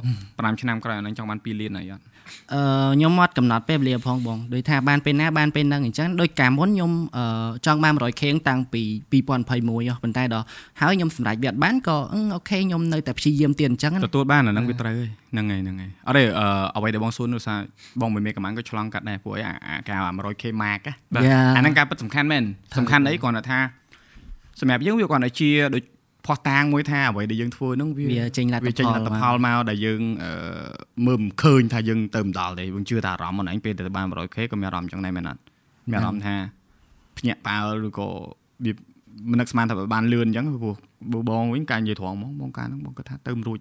[SPEAKER 1] 5ឆ្នាំក្រោយអូនឯងចង់បាន2លានអីអត់
[SPEAKER 2] អឺខ្ញុំមកកំណត់ពេលវេលាផងបងដោយថាបានពេលណាបានពេលហ្នឹងអញ្ចឹងដោយកាលមុនខ្ញុំអឺចង់បាន100ខៀងតាំងពី2021ហ៎ប៉ុន្តែដល់ហើយខ្ញុំសម្រេចវាអត់បានក៏អឺអូខេខ្ញុំនៅតែព្យាយាមទៀតអញ្ចឹងណា
[SPEAKER 1] ទទួលបានអាហ្នឹងវាត្រូវហើយហ្នឹងហើយហ្នឹងហើយអត់ទេអឺអ្វីដែលបងសួរនោះថាបងមិនមានកម្លាំងក៏ឆ្លងកាត់ដែរព្រោះអីអាអាការ 100k mark ណា
[SPEAKER 2] យ៉ា
[SPEAKER 1] អាហ្នឹងការពិតសំខាន់មែនសំខាន់អីគ្រាន់តែថាសម្រាប់យើងវាគ្រាន់តែជាដូចផោះតាងមួយថាអ្វីដែលយើងធ្វើហ្នឹងវា
[SPEAKER 2] វាចេញលទ្ធផល
[SPEAKER 1] វាចេញលទ្ធផលមកដែលយើងអឺមើលមិនឃើញថាយើងទៅមិនដល់ទេយើងជឿថាអារម្មណ៍ហ្នឹងឯងពេលទៅបាន 100k ក៏មានអារម្មណ៍ចឹងដែរមែនអត់មានអារម្មណ៍ថាភ្ញាក់ផ្អើលឬក៏វាមិននឹកស្មានថាបានលឿនចឹងព្រោះបើបងវិញការនិយាយត្រង់ហ្មងបងកាលហ្នឹងបងគាត់ថាទៅមិនរួច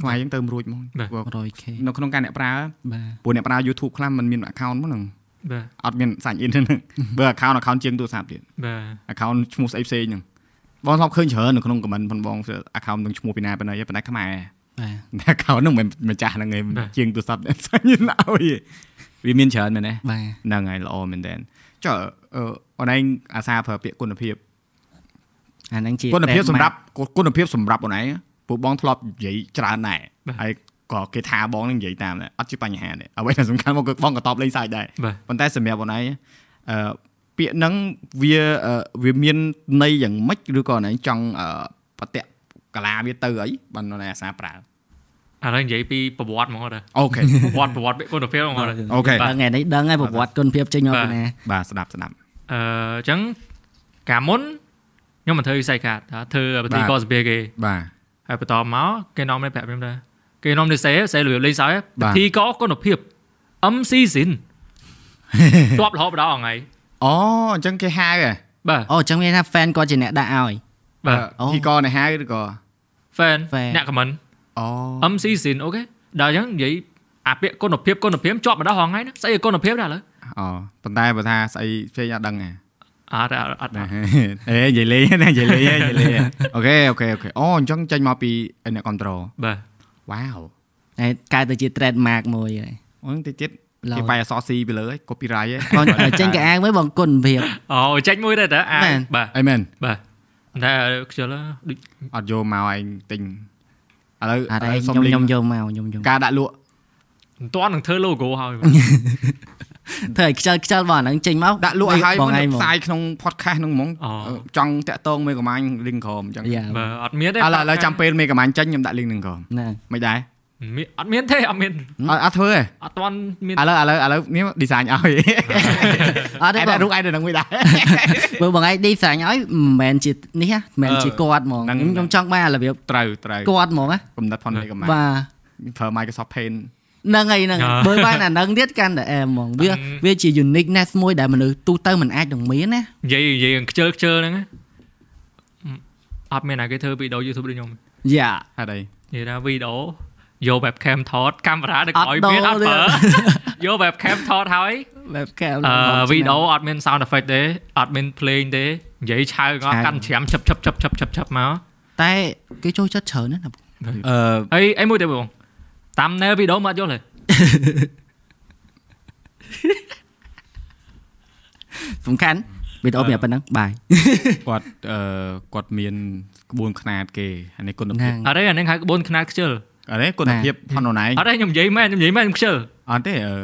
[SPEAKER 1] ខ្មែរយើងទៅមិនរួចហ្មងព្រោះ
[SPEAKER 2] 100k
[SPEAKER 1] នៅក្នុងការអ្នកប្រើ
[SPEAKER 2] បា
[SPEAKER 1] ព្រោះ
[SPEAKER 2] ទ
[SPEAKER 1] អ្នកប្រើ YouTube ខ្លះมันមាន account ហ្មងហ្នឹង
[SPEAKER 3] បាទ
[SPEAKER 1] អត់មានសាច់អ៊ីនទេ (laughs) ហ្នឹងបើ account account ជាងទូរស័ព្ទទៀត
[SPEAKER 3] បាទ
[SPEAKER 1] account ឈ្មោះស្អីផ្សេងហ្នឹងបងធ្លាប់ឃើញច្រើននៅក្នុង comment ផងបង account នឹងឈ្មោះពីណាពីណីប៉ុន្តែខ្មែរ (laughs)
[SPEAKER 2] បាទ
[SPEAKER 1] តែ account ហ្នឹងមិនមិនម្ចាស់ហ្នឹងឯង
[SPEAKER 3] បាទ
[SPEAKER 1] ជាងទូរស័ (laughs) ព្ទអ្នកសាញ់ឲ្យឯងវាមានច្រើនមែនទេ
[SPEAKER 2] បាទ
[SPEAKER 1] ហ្នឹងហើយល្អមែនតើចុះអឺអូនឯងអាសាប្រើពាក្យគុណភាព
[SPEAKER 2] អាហ្នឹងជា
[SPEAKER 1] គុណភាព
[SPEAKER 2] trademark
[SPEAKER 1] សម្រាប់គុណភាពសម្រាប់អូនឯងពួកបងធ្លាប់និយាយច្រើនដែរ
[SPEAKER 3] បាទ
[SPEAKER 1] ហើយក៏គេថាបងនឹងនិយាយតាមដែរអត់ជាបញ្ហាទេអ្វីដែលសំខាន់មកគឺបងក៏តបលេងសាច់ដែរ
[SPEAKER 3] បាទ
[SPEAKER 1] ប៉ុន្តែសម្រាប់បងឯងអឺពាក្យហ្នឹងវាអឺវាមានន័យយ៉ាងម៉េចឬក៏បងឯងចង់អឺបតៈកាឡាវាទៅអីបានបងឯងអាសាប្រើ
[SPEAKER 3] ឥឡូវនិយាយពីប្រវត្តិហ្មងអត់ទេ
[SPEAKER 1] អូខេ
[SPEAKER 3] ប្រវត្តិប្រវត្តិគុណភាពហ្មងអត់ទេ
[SPEAKER 1] (laughs) អូខេ
[SPEAKER 2] បើថ្ងៃនេះដឹងហើយប្រវត្តិគុណភាពចេញមក
[SPEAKER 3] បាទ
[SPEAKER 2] ពីណា
[SPEAKER 1] បាទស្ដាប់ស្ដាប់
[SPEAKER 3] អឺអញ្ចឹងកាលមុនខ្ញុំមិនធ្វើវិស័យកាតធ្វើបន្ទី
[SPEAKER 1] បាទ
[SPEAKER 3] កោសភាគេ
[SPEAKER 1] បាទ
[SPEAKER 3] ហើយបន្តមកគេនាំនេះប្រាប់ខ្ញុំថាគេនាំនេះសេសេរបៀបលេងសើច
[SPEAKER 1] បាទ
[SPEAKER 3] បន្ទីកោគុណភាព MC Sin ជាប់រហូតដល់ថ្ងៃ
[SPEAKER 1] អូអញ្ចឹងគេហៅហ៎
[SPEAKER 3] បាទ
[SPEAKER 2] អូអញ្ចឹងមានថា fan គាត់ជាអ្នកដាក់ឲ្យ
[SPEAKER 3] បាទ
[SPEAKER 2] អូ
[SPEAKER 1] ពីកនេះហៅឬក៏
[SPEAKER 3] fan
[SPEAKER 2] Fan
[SPEAKER 3] អ្នក comment
[SPEAKER 1] អូ
[SPEAKER 3] MC Sin អូខេដល់អញ្ចឹងនិយាយអាពាក្យគុណភាពគុណភាពជាប់មកដល់ហងៃហ្នឹងស្អីគុណភាពដែរឥឡូវ
[SPEAKER 1] អូប៉ុន្តែបើថាស្អីផ្សេងអត់ដឹងហ៎
[SPEAKER 3] អត់ទេអត់អត់
[SPEAKER 1] (laughs) ណាអេនិយាយលេងណានិយាយលេងនិយាយ (laughs) លេងអូខេអូខេអូខេអូអញ្ចឹងចេញមកពីអ្នកគ្រប់ត្រូល
[SPEAKER 3] បាទ
[SPEAKER 1] វ៉ាវ
[SPEAKER 2] ហើយកែទៅជា trademark មួយហើយ
[SPEAKER 1] អូនតិចទៀត
[SPEAKER 2] ឡើយ
[SPEAKER 1] គេបាយអសរស៊ីពីលើហ្នឹង copyright
[SPEAKER 2] បងចេញកាអាវមួយបងគុណភាព
[SPEAKER 3] អូចាច់មួយដែរតើអា
[SPEAKER 2] មែន
[SPEAKER 3] បាទ
[SPEAKER 1] អីមែន
[SPEAKER 3] បាទប៉ុន្តែខ្ជិលដូច
[SPEAKER 1] អត់យកមកឯងទិញឥឡូវ
[SPEAKER 2] អត់
[SPEAKER 1] ឥ
[SPEAKER 2] ឯ
[SPEAKER 1] ឡូវសុំ
[SPEAKER 2] ង
[SPEAKER 1] លីង
[SPEAKER 2] ខ្ញុំខ្ញុំយកមកខ្ញុំខ្ញុំ
[SPEAKER 1] ការដាក់លក់
[SPEAKER 3] មិនទាន់នឹងធ្វើ logo ហើយ
[SPEAKER 2] ធ្វើឲ្យខ្ជិលខ្ជិលបងអាហ្នឹងចេញមក
[SPEAKER 1] ដាក់លក់ឲ្យហើយ
[SPEAKER 2] បងឯង
[SPEAKER 1] ផ្
[SPEAKER 2] ហ្ម
[SPEAKER 1] សា
[SPEAKER 2] ង
[SPEAKER 1] យក្នុង podcast ហ្នឹងហ្មង
[SPEAKER 3] អូ
[SPEAKER 1] ចង់តាក់ទងមេកំាញ់ link ក្រុមអញ្ចឹងឥ
[SPEAKER 2] យ៉ា
[SPEAKER 3] បើអត់មានទេ
[SPEAKER 1] ឡូវឥឡូវចាំពេលមេកំាញ់ចេញខ្ញុំដាក់ link ហ្នឹងក្រុម
[SPEAKER 2] ណា
[SPEAKER 1] មិនដែរ
[SPEAKER 3] មានអត់មានទេអត់មាន
[SPEAKER 1] អត់អត់ធ្វើទេ
[SPEAKER 3] អត់ទាន់មាន
[SPEAKER 1] ឥឡូវឥឡូវឥឡូវនេះ design ឲ្យ
[SPEAKER 2] អត់ទេ
[SPEAKER 1] ឯ
[SPEAKER 2] បង
[SPEAKER 1] ងរូបឯងនៅនឹងមួយដែរ
[SPEAKER 2] មើលបងឯង design ឲ្យមិនមែនជានេះណាមិនមែនជាគាត់ហ្មង
[SPEAKER 1] ហ្នឹង
[SPEAKER 2] ខ្ញុំខ្ញុំចង់បានអារបៀប
[SPEAKER 1] (laughs) ត្រូវត្រូវ
[SPEAKER 2] គាត់ហ្មងណា
[SPEAKER 1] កំណត់ផនមេកំាញ់
[SPEAKER 2] បាទ
[SPEAKER 1] ប្រើ Microsoft Paint
[SPEAKER 2] ហ្នឹងហើយហ្នឹងហើយបើបានអាហ្នឹងទៀតកាន់តែអែមហ្មងវាវាជា uniqueness មួយដែលមនុស្សទូទៅមិនអាចនឹងមានណា
[SPEAKER 3] និយាយនិយាយនឹងខ្ជិលខ្ជិលហ្នឹងណាអត់មានណាគេធ្វើវីដេអូ YouTube ដូចខ្ញុំ
[SPEAKER 2] យ៉ា
[SPEAKER 1] ហេតុអី
[SPEAKER 3] និយាយថាវីដេអូយក webcam ថតកាមេរ៉ាដឹកក្រោយមានអត់
[SPEAKER 2] ទេ
[SPEAKER 3] ប្រើយក webcam ថតហើយ
[SPEAKER 2] បែបកែវ
[SPEAKER 3] អឺវីដេអូអត់មាន sound effect ទេអត់មានភ្លេងទេនិយាយឆៅងអត់កាន់ច្រាមឈឹបឈឹបឈឹបឈឹបឈឹបឈឹបមក
[SPEAKER 2] តែគេចូលចិត្តច្រើនណាស់ណាបង
[SPEAKER 1] អឺ
[SPEAKER 3] ហើយអីមួយទៀតបងតាម nail វីដេអូមកអត់យល់ទេ
[SPEAKER 2] សំខាន់វីដេអូមានប៉ុណ្ណឹងបាយ
[SPEAKER 1] គាត់អឺគាត់មានក្បួនខ្នាតគេអានេះគុណភាព
[SPEAKER 2] ហ្នឹង
[SPEAKER 3] អត់ទេអាហ្នឹងហៅក្បួនខ្នាតខ្ជិល
[SPEAKER 1] អានេះគុណភាពផនណៃ
[SPEAKER 3] អត់ទេខ្ញុំនិយាយមែនខ្ញុំនិយាយមែនខ្ញុំខ្ជិល
[SPEAKER 1] អត់ទេអឺ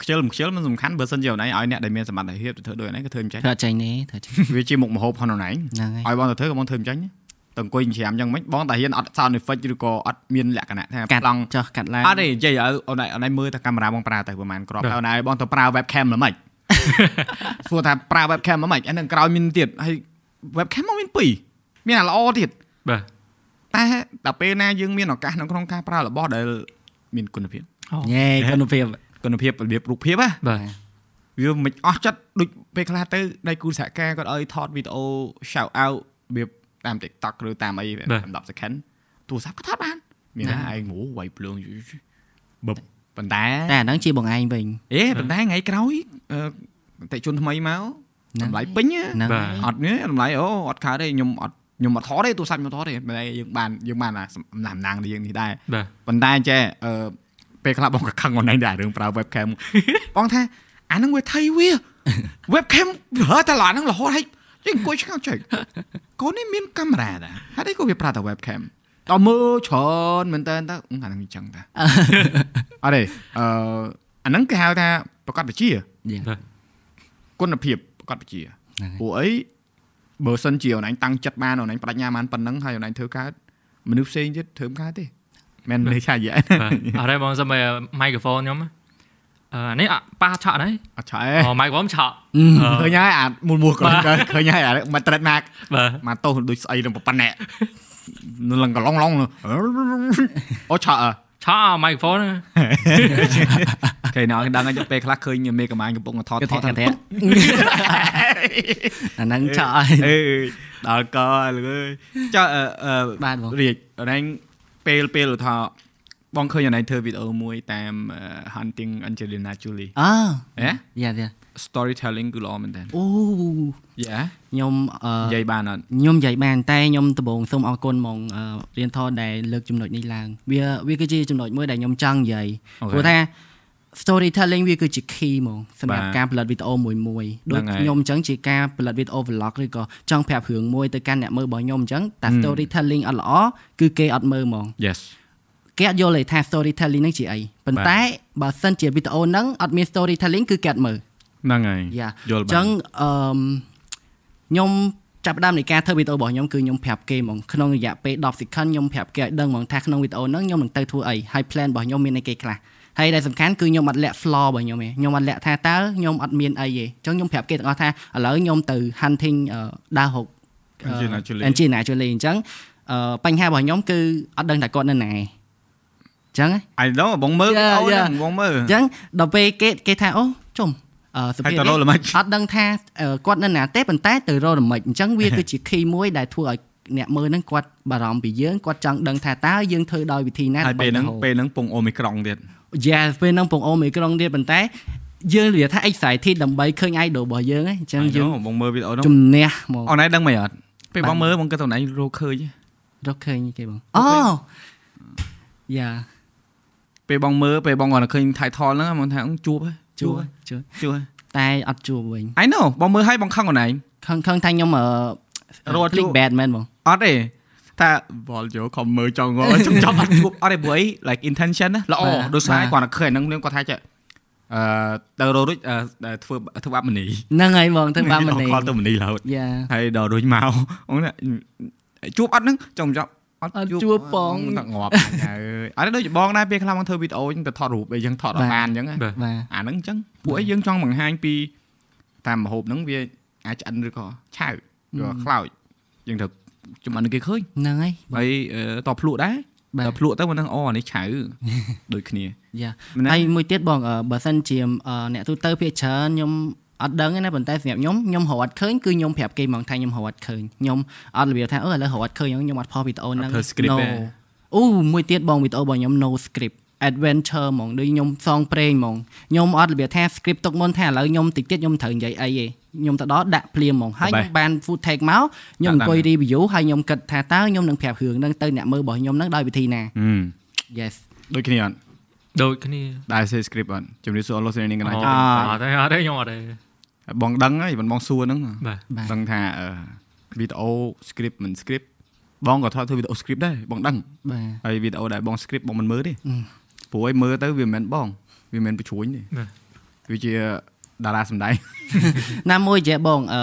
[SPEAKER 1] ខ្ជិលមិនខ្ជិលមិនសំខាន់បើសិនជាអូនឯងឲ្យអ្នកដែលមានសមត្ថភាពទៅធ្វើដូចអូនឯងក៏ធ្វើមិនចាញ់
[SPEAKER 2] ធ្វើអត់ចេញទេធ្វើចេញ
[SPEAKER 1] (laughs) វាជាមុខម្ហូបផនណៃ
[SPEAKER 2] ហ្នឹងហើយ
[SPEAKER 1] ឲ្យបងទៅធ្វើក៏បងធ្វើមិនចាញ់ទៅអង្គុយញ៉ាំយ៉ាងម៉េចបងតាហ៊ានអត់ sound effect ឬក៏អត់មានលក្ខណៈថា
[SPEAKER 2] កាត់
[SPEAKER 1] ប្លង់
[SPEAKER 2] ចោះកាត់ឡើង
[SPEAKER 1] អត់ទេនិយាយឲ្យអូនឯងអូនឯងមើលតែកាមេរ៉ាបងប្រើតែប្រហែលក្របហើយអូនឯងបងទៅប្រើ webcam ល្មិច
[SPEAKER 2] (laughs)
[SPEAKER 1] សួរថាប្រើ webcam ល្មិចអានឹងក្រោយមានទៀតហើយ webcam មកមានពីរមានអាល្អទៀត
[SPEAKER 3] បាទ
[SPEAKER 1] តែដល់ពេលណាយើងមានឱកាសនៅក្នុងការប្រើរបស់ដែលមានគុណភាព
[SPEAKER 2] ញ៉េគុណភាព
[SPEAKER 1] គុណភាពរបៀបរូបភាពណា
[SPEAKER 3] បាទ
[SPEAKER 1] វាមិនអស់ចិត្តដូចពេលខ្លះទៅដៃគូសហការគាត់ឲ្យថតវីដេអូ shout out របៀបតាម TikTok ឬតាមអី10 second ទូរស័ព្ទក៏ថតបានមានណាឯងអូវាយភ្លើងបបប៉ុន្តែ
[SPEAKER 2] តែអាហ្នឹងជាបងឯងវិញ
[SPEAKER 1] អេប៉ុន្តែថ្ងៃក្រោយអឺអតិថិជនថ្មីមក
[SPEAKER 2] ហ្នឹង
[SPEAKER 1] តម្លៃពេញណា
[SPEAKER 2] ហ្នឹងហើយ
[SPEAKER 1] អត់នេះតម្លៃអូអត់កើតទេខ្ញុំអត់ខ្ញុំអត់ថតទេទូរស័ព្ទខ្ញុំអត់ថតទេប៉ុន្តែយើងបានយើងបានអាសំណាំណាងរៀងនេះដែរ
[SPEAKER 3] បាទ
[SPEAKER 1] ប៉ុន្តែចេះអឺពេលខ្លះបងក៏ខឹងខ្លួនឯងដែររឿងប្រើ webcam បងថាអាហ្នឹងវាថៃវា webcam ប្រើតែឡានហ្នឹងរហូតហើយចេះអង្គុយឆ្កោចចេះកូននេះមានកាមេរ៉ាដែរហេតុអីក៏វាប្រើតែ webcam តើមើលច្រើនមែនតើទៅអាហ្នឹងវាចឹង
[SPEAKER 3] (laughs)
[SPEAKER 1] តាអរេអឺអាហ្នឹងគេហៅថាប្រកាសវិជា
[SPEAKER 2] យ៉ា
[SPEAKER 1] គុណភាពប្រកាសវិជា
[SPEAKER 2] ហ្នឹងហើយ
[SPEAKER 1] ព្រោះអីបើសិនជាអូនឯងតាំងចិត្តបានអូនឯងបដិញ្ញាបានប៉ុណ្ណឹងហើយអូនឯងធ្វើកើតមនុស្សផ្សេងទៀតធ្វើមិនកើតទេមិន (laughs) មែនលេខឆាយឯង
[SPEAKER 3] បាទអត់ទេបងសុំឲ្យ microphone ខ្ញុំណាអឺអានេះអត់ប៉ះឆក់ហ្នឹង
[SPEAKER 1] អត់ឆែ
[SPEAKER 3] អូ microphone ឆក់ (laughs) អឺ
[SPEAKER 1] ឃើញហើយអាមូលមូលក៏ឃើញហើយអាមកត្រេតណាក់
[SPEAKER 3] បាទ
[SPEAKER 1] មកតោសដូចស្អីនឹងប៉ុណ្ណេះ
[SPEAKER 3] (laughs)
[SPEAKER 1] នឹងឡើងកឡុងឡុងអូឆក់អ
[SPEAKER 3] ឆក់ microphone ហ្នឹង
[SPEAKER 1] ឺគេណោដឹងតែពេលខ្លះឃើញមេកាម៉ាញកំពុងថត
[SPEAKER 2] គេ
[SPEAKER 1] ថ
[SPEAKER 2] ថ
[SPEAKER 1] ត
[SPEAKER 2] ត
[SPEAKER 1] ថ
[SPEAKER 2] ថ
[SPEAKER 1] ត
[SPEAKER 2] ត
[SPEAKER 1] (laughs)
[SPEAKER 2] អាហ្នឹងចោលឲ្យ
[SPEAKER 1] អេដល់កលើចុះអឺ
[SPEAKER 2] បាទបង
[SPEAKER 1] រៀបអរឯងពេលពេលថាបងឃើញអរឯងធ្វើវីដេអូមួយតាម Hunting Angelina Jolie
[SPEAKER 2] អូ
[SPEAKER 1] ហ៎
[SPEAKER 2] យ៉ាយ៉ា
[SPEAKER 1] storytelling គឺល្អមែនតើ
[SPEAKER 2] អូ
[SPEAKER 1] យ៉ា
[SPEAKER 2] ខ្ញុំ
[SPEAKER 1] និ
[SPEAKER 2] អឺ
[SPEAKER 1] យាយបានអត់
[SPEAKER 2] ខ្ញុំនិយាយបានតែខ្ញុំដំបូងសូមអរគុណហ្មងអឺរៀនថតដែលលើកចំណុចនេះឡើងវាវាគឺជាចំណុចមួយដែលខ្ញុំចង់និយាយព្រោះថា storytelling វាគឺជា key ហ្មងសម្រាប់ការផលិតវីដេអូមួយមួយដូចខ្ញុំអញ្ចឹងជាការផលិតវីដេអូ vlog ឬក៏ចង់ប្រាប់រឿងមួយទៅកាន់អ្នកមើលរបស់ខ្ញុំអញ្ចឹងតែ storytelling អត់ល្អគឺគេអត់មើលហ្មង
[SPEAKER 1] yes
[SPEAKER 2] គេអត់យល់ទេថា storytelling ហ្នឹងជាអីប៉ុន្តែបើសិនជាវីដេអូហ្នឹងអត់មាន storytelling គឺគេអត់មើល
[SPEAKER 1] ហ្នឹងហើយ
[SPEAKER 2] យ៉ា
[SPEAKER 1] យល់
[SPEAKER 2] អ
[SPEAKER 1] បាន
[SPEAKER 2] ញ្ចឹងអឺមខ្ញុំ ចាប់ផ្ដើមនៃការធ្វើវីដេអូរបស់ខ្ញុំគឺខ្ញុំប្រាប់គេហ្មងក្នុងរយៈពេល10 second ខ្ញុំប្រាប់គេឲ្យដឹងហ្មងថាក្នុងវីដេអូហ្នឹងខ្ញុំនឹងទៅធ្វើអីហើយ plan របស់ខ្ញុំមានអីគេខ្លះហើយដែលសំខាន់គឺខ្ញុំអត់លាក់ flaw របស់ខ្ញុំទេខ្ញុំអត់លាក់ថាតើខ្ញុំអត់មានអីទេអញ្ចឹងខ្ញុំប្រាប់គេទាំងអស់ថាឥឡូវខ្ញុំទៅ hunting ដើរហុក
[SPEAKER 1] Engine actually
[SPEAKER 2] engine actually អញ្ចឹងអឺបញ្ហារបស់ខ្ញុំគឺអត់ដឹងថាគាត់នៅណាអញ្ចឹង
[SPEAKER 1] I know បងមើល
[SPEAKER 2] Yeah,
[SPEAKER 1] អូន
[SPEAKER 2] yeah.
[SPEAKER 1] ហ្នឹងបងមើល
[SPEAKER 2] អញ្ចឹងដល់ពេលគេគេថាអូចុំអឺសុភា
[SPEAKER 1] ហើយទៅរកល្មិច
[SPEAKER 2] អត់ដឹងថាអឺគាត់នៅណាទេប៉ុន្តែទៅរកល្មិចអញ្ចឹងវាគឺជា key មួយដែលធ្វើឲ្យអ្នកមើលហ្នឹងគាត់បារម្ភពីយើងគាត់ចង់ដឹងថាតើយើងធ្វើដោយវិធីណា
[SPEAKER 1] ហើយពេលហ្នឹង
[SPEAKER 2] ដើម្បីទៅ
[SPEAKER 1] ពេលហ្នឹងពងអូមីក្រុងទៀត
[SPEAKER 2] Yes ពេលហ្នឹងពងអូមីក្រុងទៀតប៉ុន្តែយើងនិយាយថា excited ដើម្បីឃើញ idol របស់យើងហ្នឹងអញ្ចឹង
[SPEAKER 1] I
[SPEAKER 2] យើង
[SPEAKER 1] know បងមើលវីដេអូហ្នឹង
[SPEAKER 2] ជំនះមក
[SPEAKER 1] អូនឯងដឹងមិនអត់ពេលប
[SPEAKER 2] បាត់
[SPEAKER 1] ងមើលបងគិតថាអូនឯងរកឃើញ
[SPEAKER 2] រកឃើញគេបងអូយ៉ា
[SPEAKER 1] ពេលបងមើលពេលបងគាត់ឃើញ title ហ្នឹងបងថាអឺជួបហើយ
[SPEAKER 2] ជួជួ
[SPEAKER 1] ជួបហើយ
[SPEAKER 2] តែអត់ជួវិញ
[SPEAKER 1] I know បងមើលឲ្យបងខឹងអូនឯង
[SPEAKER 2] ខឹងខឹងថាខ្ញុំអឺ
[SPEAKER 1] រត់ជួ
[SPEAKER 2] click bad មែនបង
[SPEAKER 1] អត់ទេថាវល់យកខំមើលចង់ងល់ (laughs) ចង់ចប់អត់ជួបអត់ទេព្រោះអី like intention ណាល្អ
[SPEAKER 2] បាទ
[SPEAKER 1] ដូចស្អាយ
[SPEAKER 2] បា
[SPEAKER 1] គាត់
[SPEAKER 2] ទ
[SPEAKER 1] តែឃើញអាហ្នឹងនឹងគាត់ថាចេះអឺទៅរករួចអឺដែលធ្វើធ្វើអាប់ម (laughs) នី
[SPEAKER 2] ហ្នឹងហើយបងទៅបាន
[SPEAKER 1] (laughs)
[SPEAKER 2] មិន
[SPEAKER 1] អត់
[SPEAKER 2] ទេ
[SPEAKER 1] គាត់ទៅមនីរហូត
[SPEAKER 2] យ៉ា
[SPEAKER 1] ហើយដល់រួចមកអូនណាជួបអត់ហ្នឹងចង់ចប់អត់
[SPEAKER 2] អត់
[SPEAKER 1] ជួប
[SPEAKER 2] ជួបផង
[SPEAKER 1] តែងាប់ (laughs) អើយអត់ទេដូចបងដែរពេលខ្លះបងធ្វើវីដេអូចឹងទៅថតរូបអីចឹងថតអត់បានចឹងណា
[SPEAKER 3] បាទ
[SPEAKER 2] បាទ
[SPEAKER 1] អាហ្នឹងអញ្ចឹងពួកឯងយើងចង់បង្ហាញពីតាមម្ហូបហ្នឹងវាអាចឆ្អិនឬក៏ឆៅឬក៏ខ្លោចយើងត្រូវចំអិនឲ្យគេឃើញ
[SPEAKER 2] ហ្នឹងហើយ
[SPEAKER 1] ហើយអឺតភ្លក់ដែរ
[SPEAKER 2] បាទ
[SPEAKER 1] តភ្លក់ទៅមិនដឹងអូអានេះ
[SPEAKER 2] (laughs)
[SPEAKER 1] ឆៅ ដូចគ្នា
[SPEAKER 2] យ៉ា
[SPEAKER 1] មិនដឹង
[SPEAKER 2] ហើយមួយទៀតបងអឺបើសិនជាអឺអ្នកទូទៅភាគច្រើនខ្ញុំអត់ដឹងទេណាប៉ុន្តែសម្រាប់ខ្ញុំខ្ញុំរកអត់ឃើញគឺខ្ញុំប្រាប់គេហ្មងថាខ្ញុំរកអត់ឃើញខ្ញុំអត់របៀបថាអឺឥឡូវរកអត់ឃើញខ្ញុំអត់ផុសវីដេអូហ្នឹង
[SPEAKER 1] ធ្វើ script
[SPEAKER 2] No
[SPEAKER 1] ទេ
[SPEAKER 2] អូមួយទៀតបងវីដេអូរបស់ខ្ញុំ no script adventure ហ្មងដូចខ្ញុំសងព្រេងហ្មងខ្ញុំអត់របៀបថា script ទុកមុនថាឥឡូវខ្ញុំតិចទៀតខ្ញុំត្រូវនិយាយអីទេខ្ញុំទៅដល់ដាក់ភ្លាមហ្មងហើយខ្ញុំបាន food take មកខ្ញុំអង្គុយ review ហើយខ្ញុំគិតថាតើខ្ញុំនឹងប្រាប់រឿងហ្នឹងទៅអ្នកមើលរបស់ខ្ញុំហ្នឹងដោយវិធីណា
[SPEAKER 1] ហឹម
[SPEAKER 2] Yes
[SPEAKER 1] ដូចគ្នាអត់
[SPEAKER 3] ដូចគ្នា
[SPEAKER 1] ដែរសេ script អត់ជំរាបសួរអស់លោកស្រីនាងកន្លែង
[SPEAKER 3] អ
[SPEAKER 1] ចឹង
[SPEAKER 3] ត់ទេអត់ទេខ្ញុំអត់ទេ
[SPEAKER 1] បងដឹងហើយមិនបងសួរហ្នឹង
[SPEAKER 3] បាទ
[SPEAKER 2] បាទ
[SPEAKER 1] ដឹងថាអឺវីដេអូ script មិន script បងក៏ថតធ្វើវីដេអូ script ដែរបងដឹង
[SPEAKER 2] បាទ
[SPEAKER 1] ហើយវីដេអូដែលបង script បងមិនមើលទេ
[SPEAKER 2] អឺ
[SPEAKER 1] ព្រោះឲ្យមើលទៅវាមិនមែនបងវាមិនមែនបញ្រួញទេ
[SPEAKER 3] បាទ
[SPEAKER 1] វាជាតារាសម្ដែង
[SPEAKER 2] ណាមួយចេះបងអឺ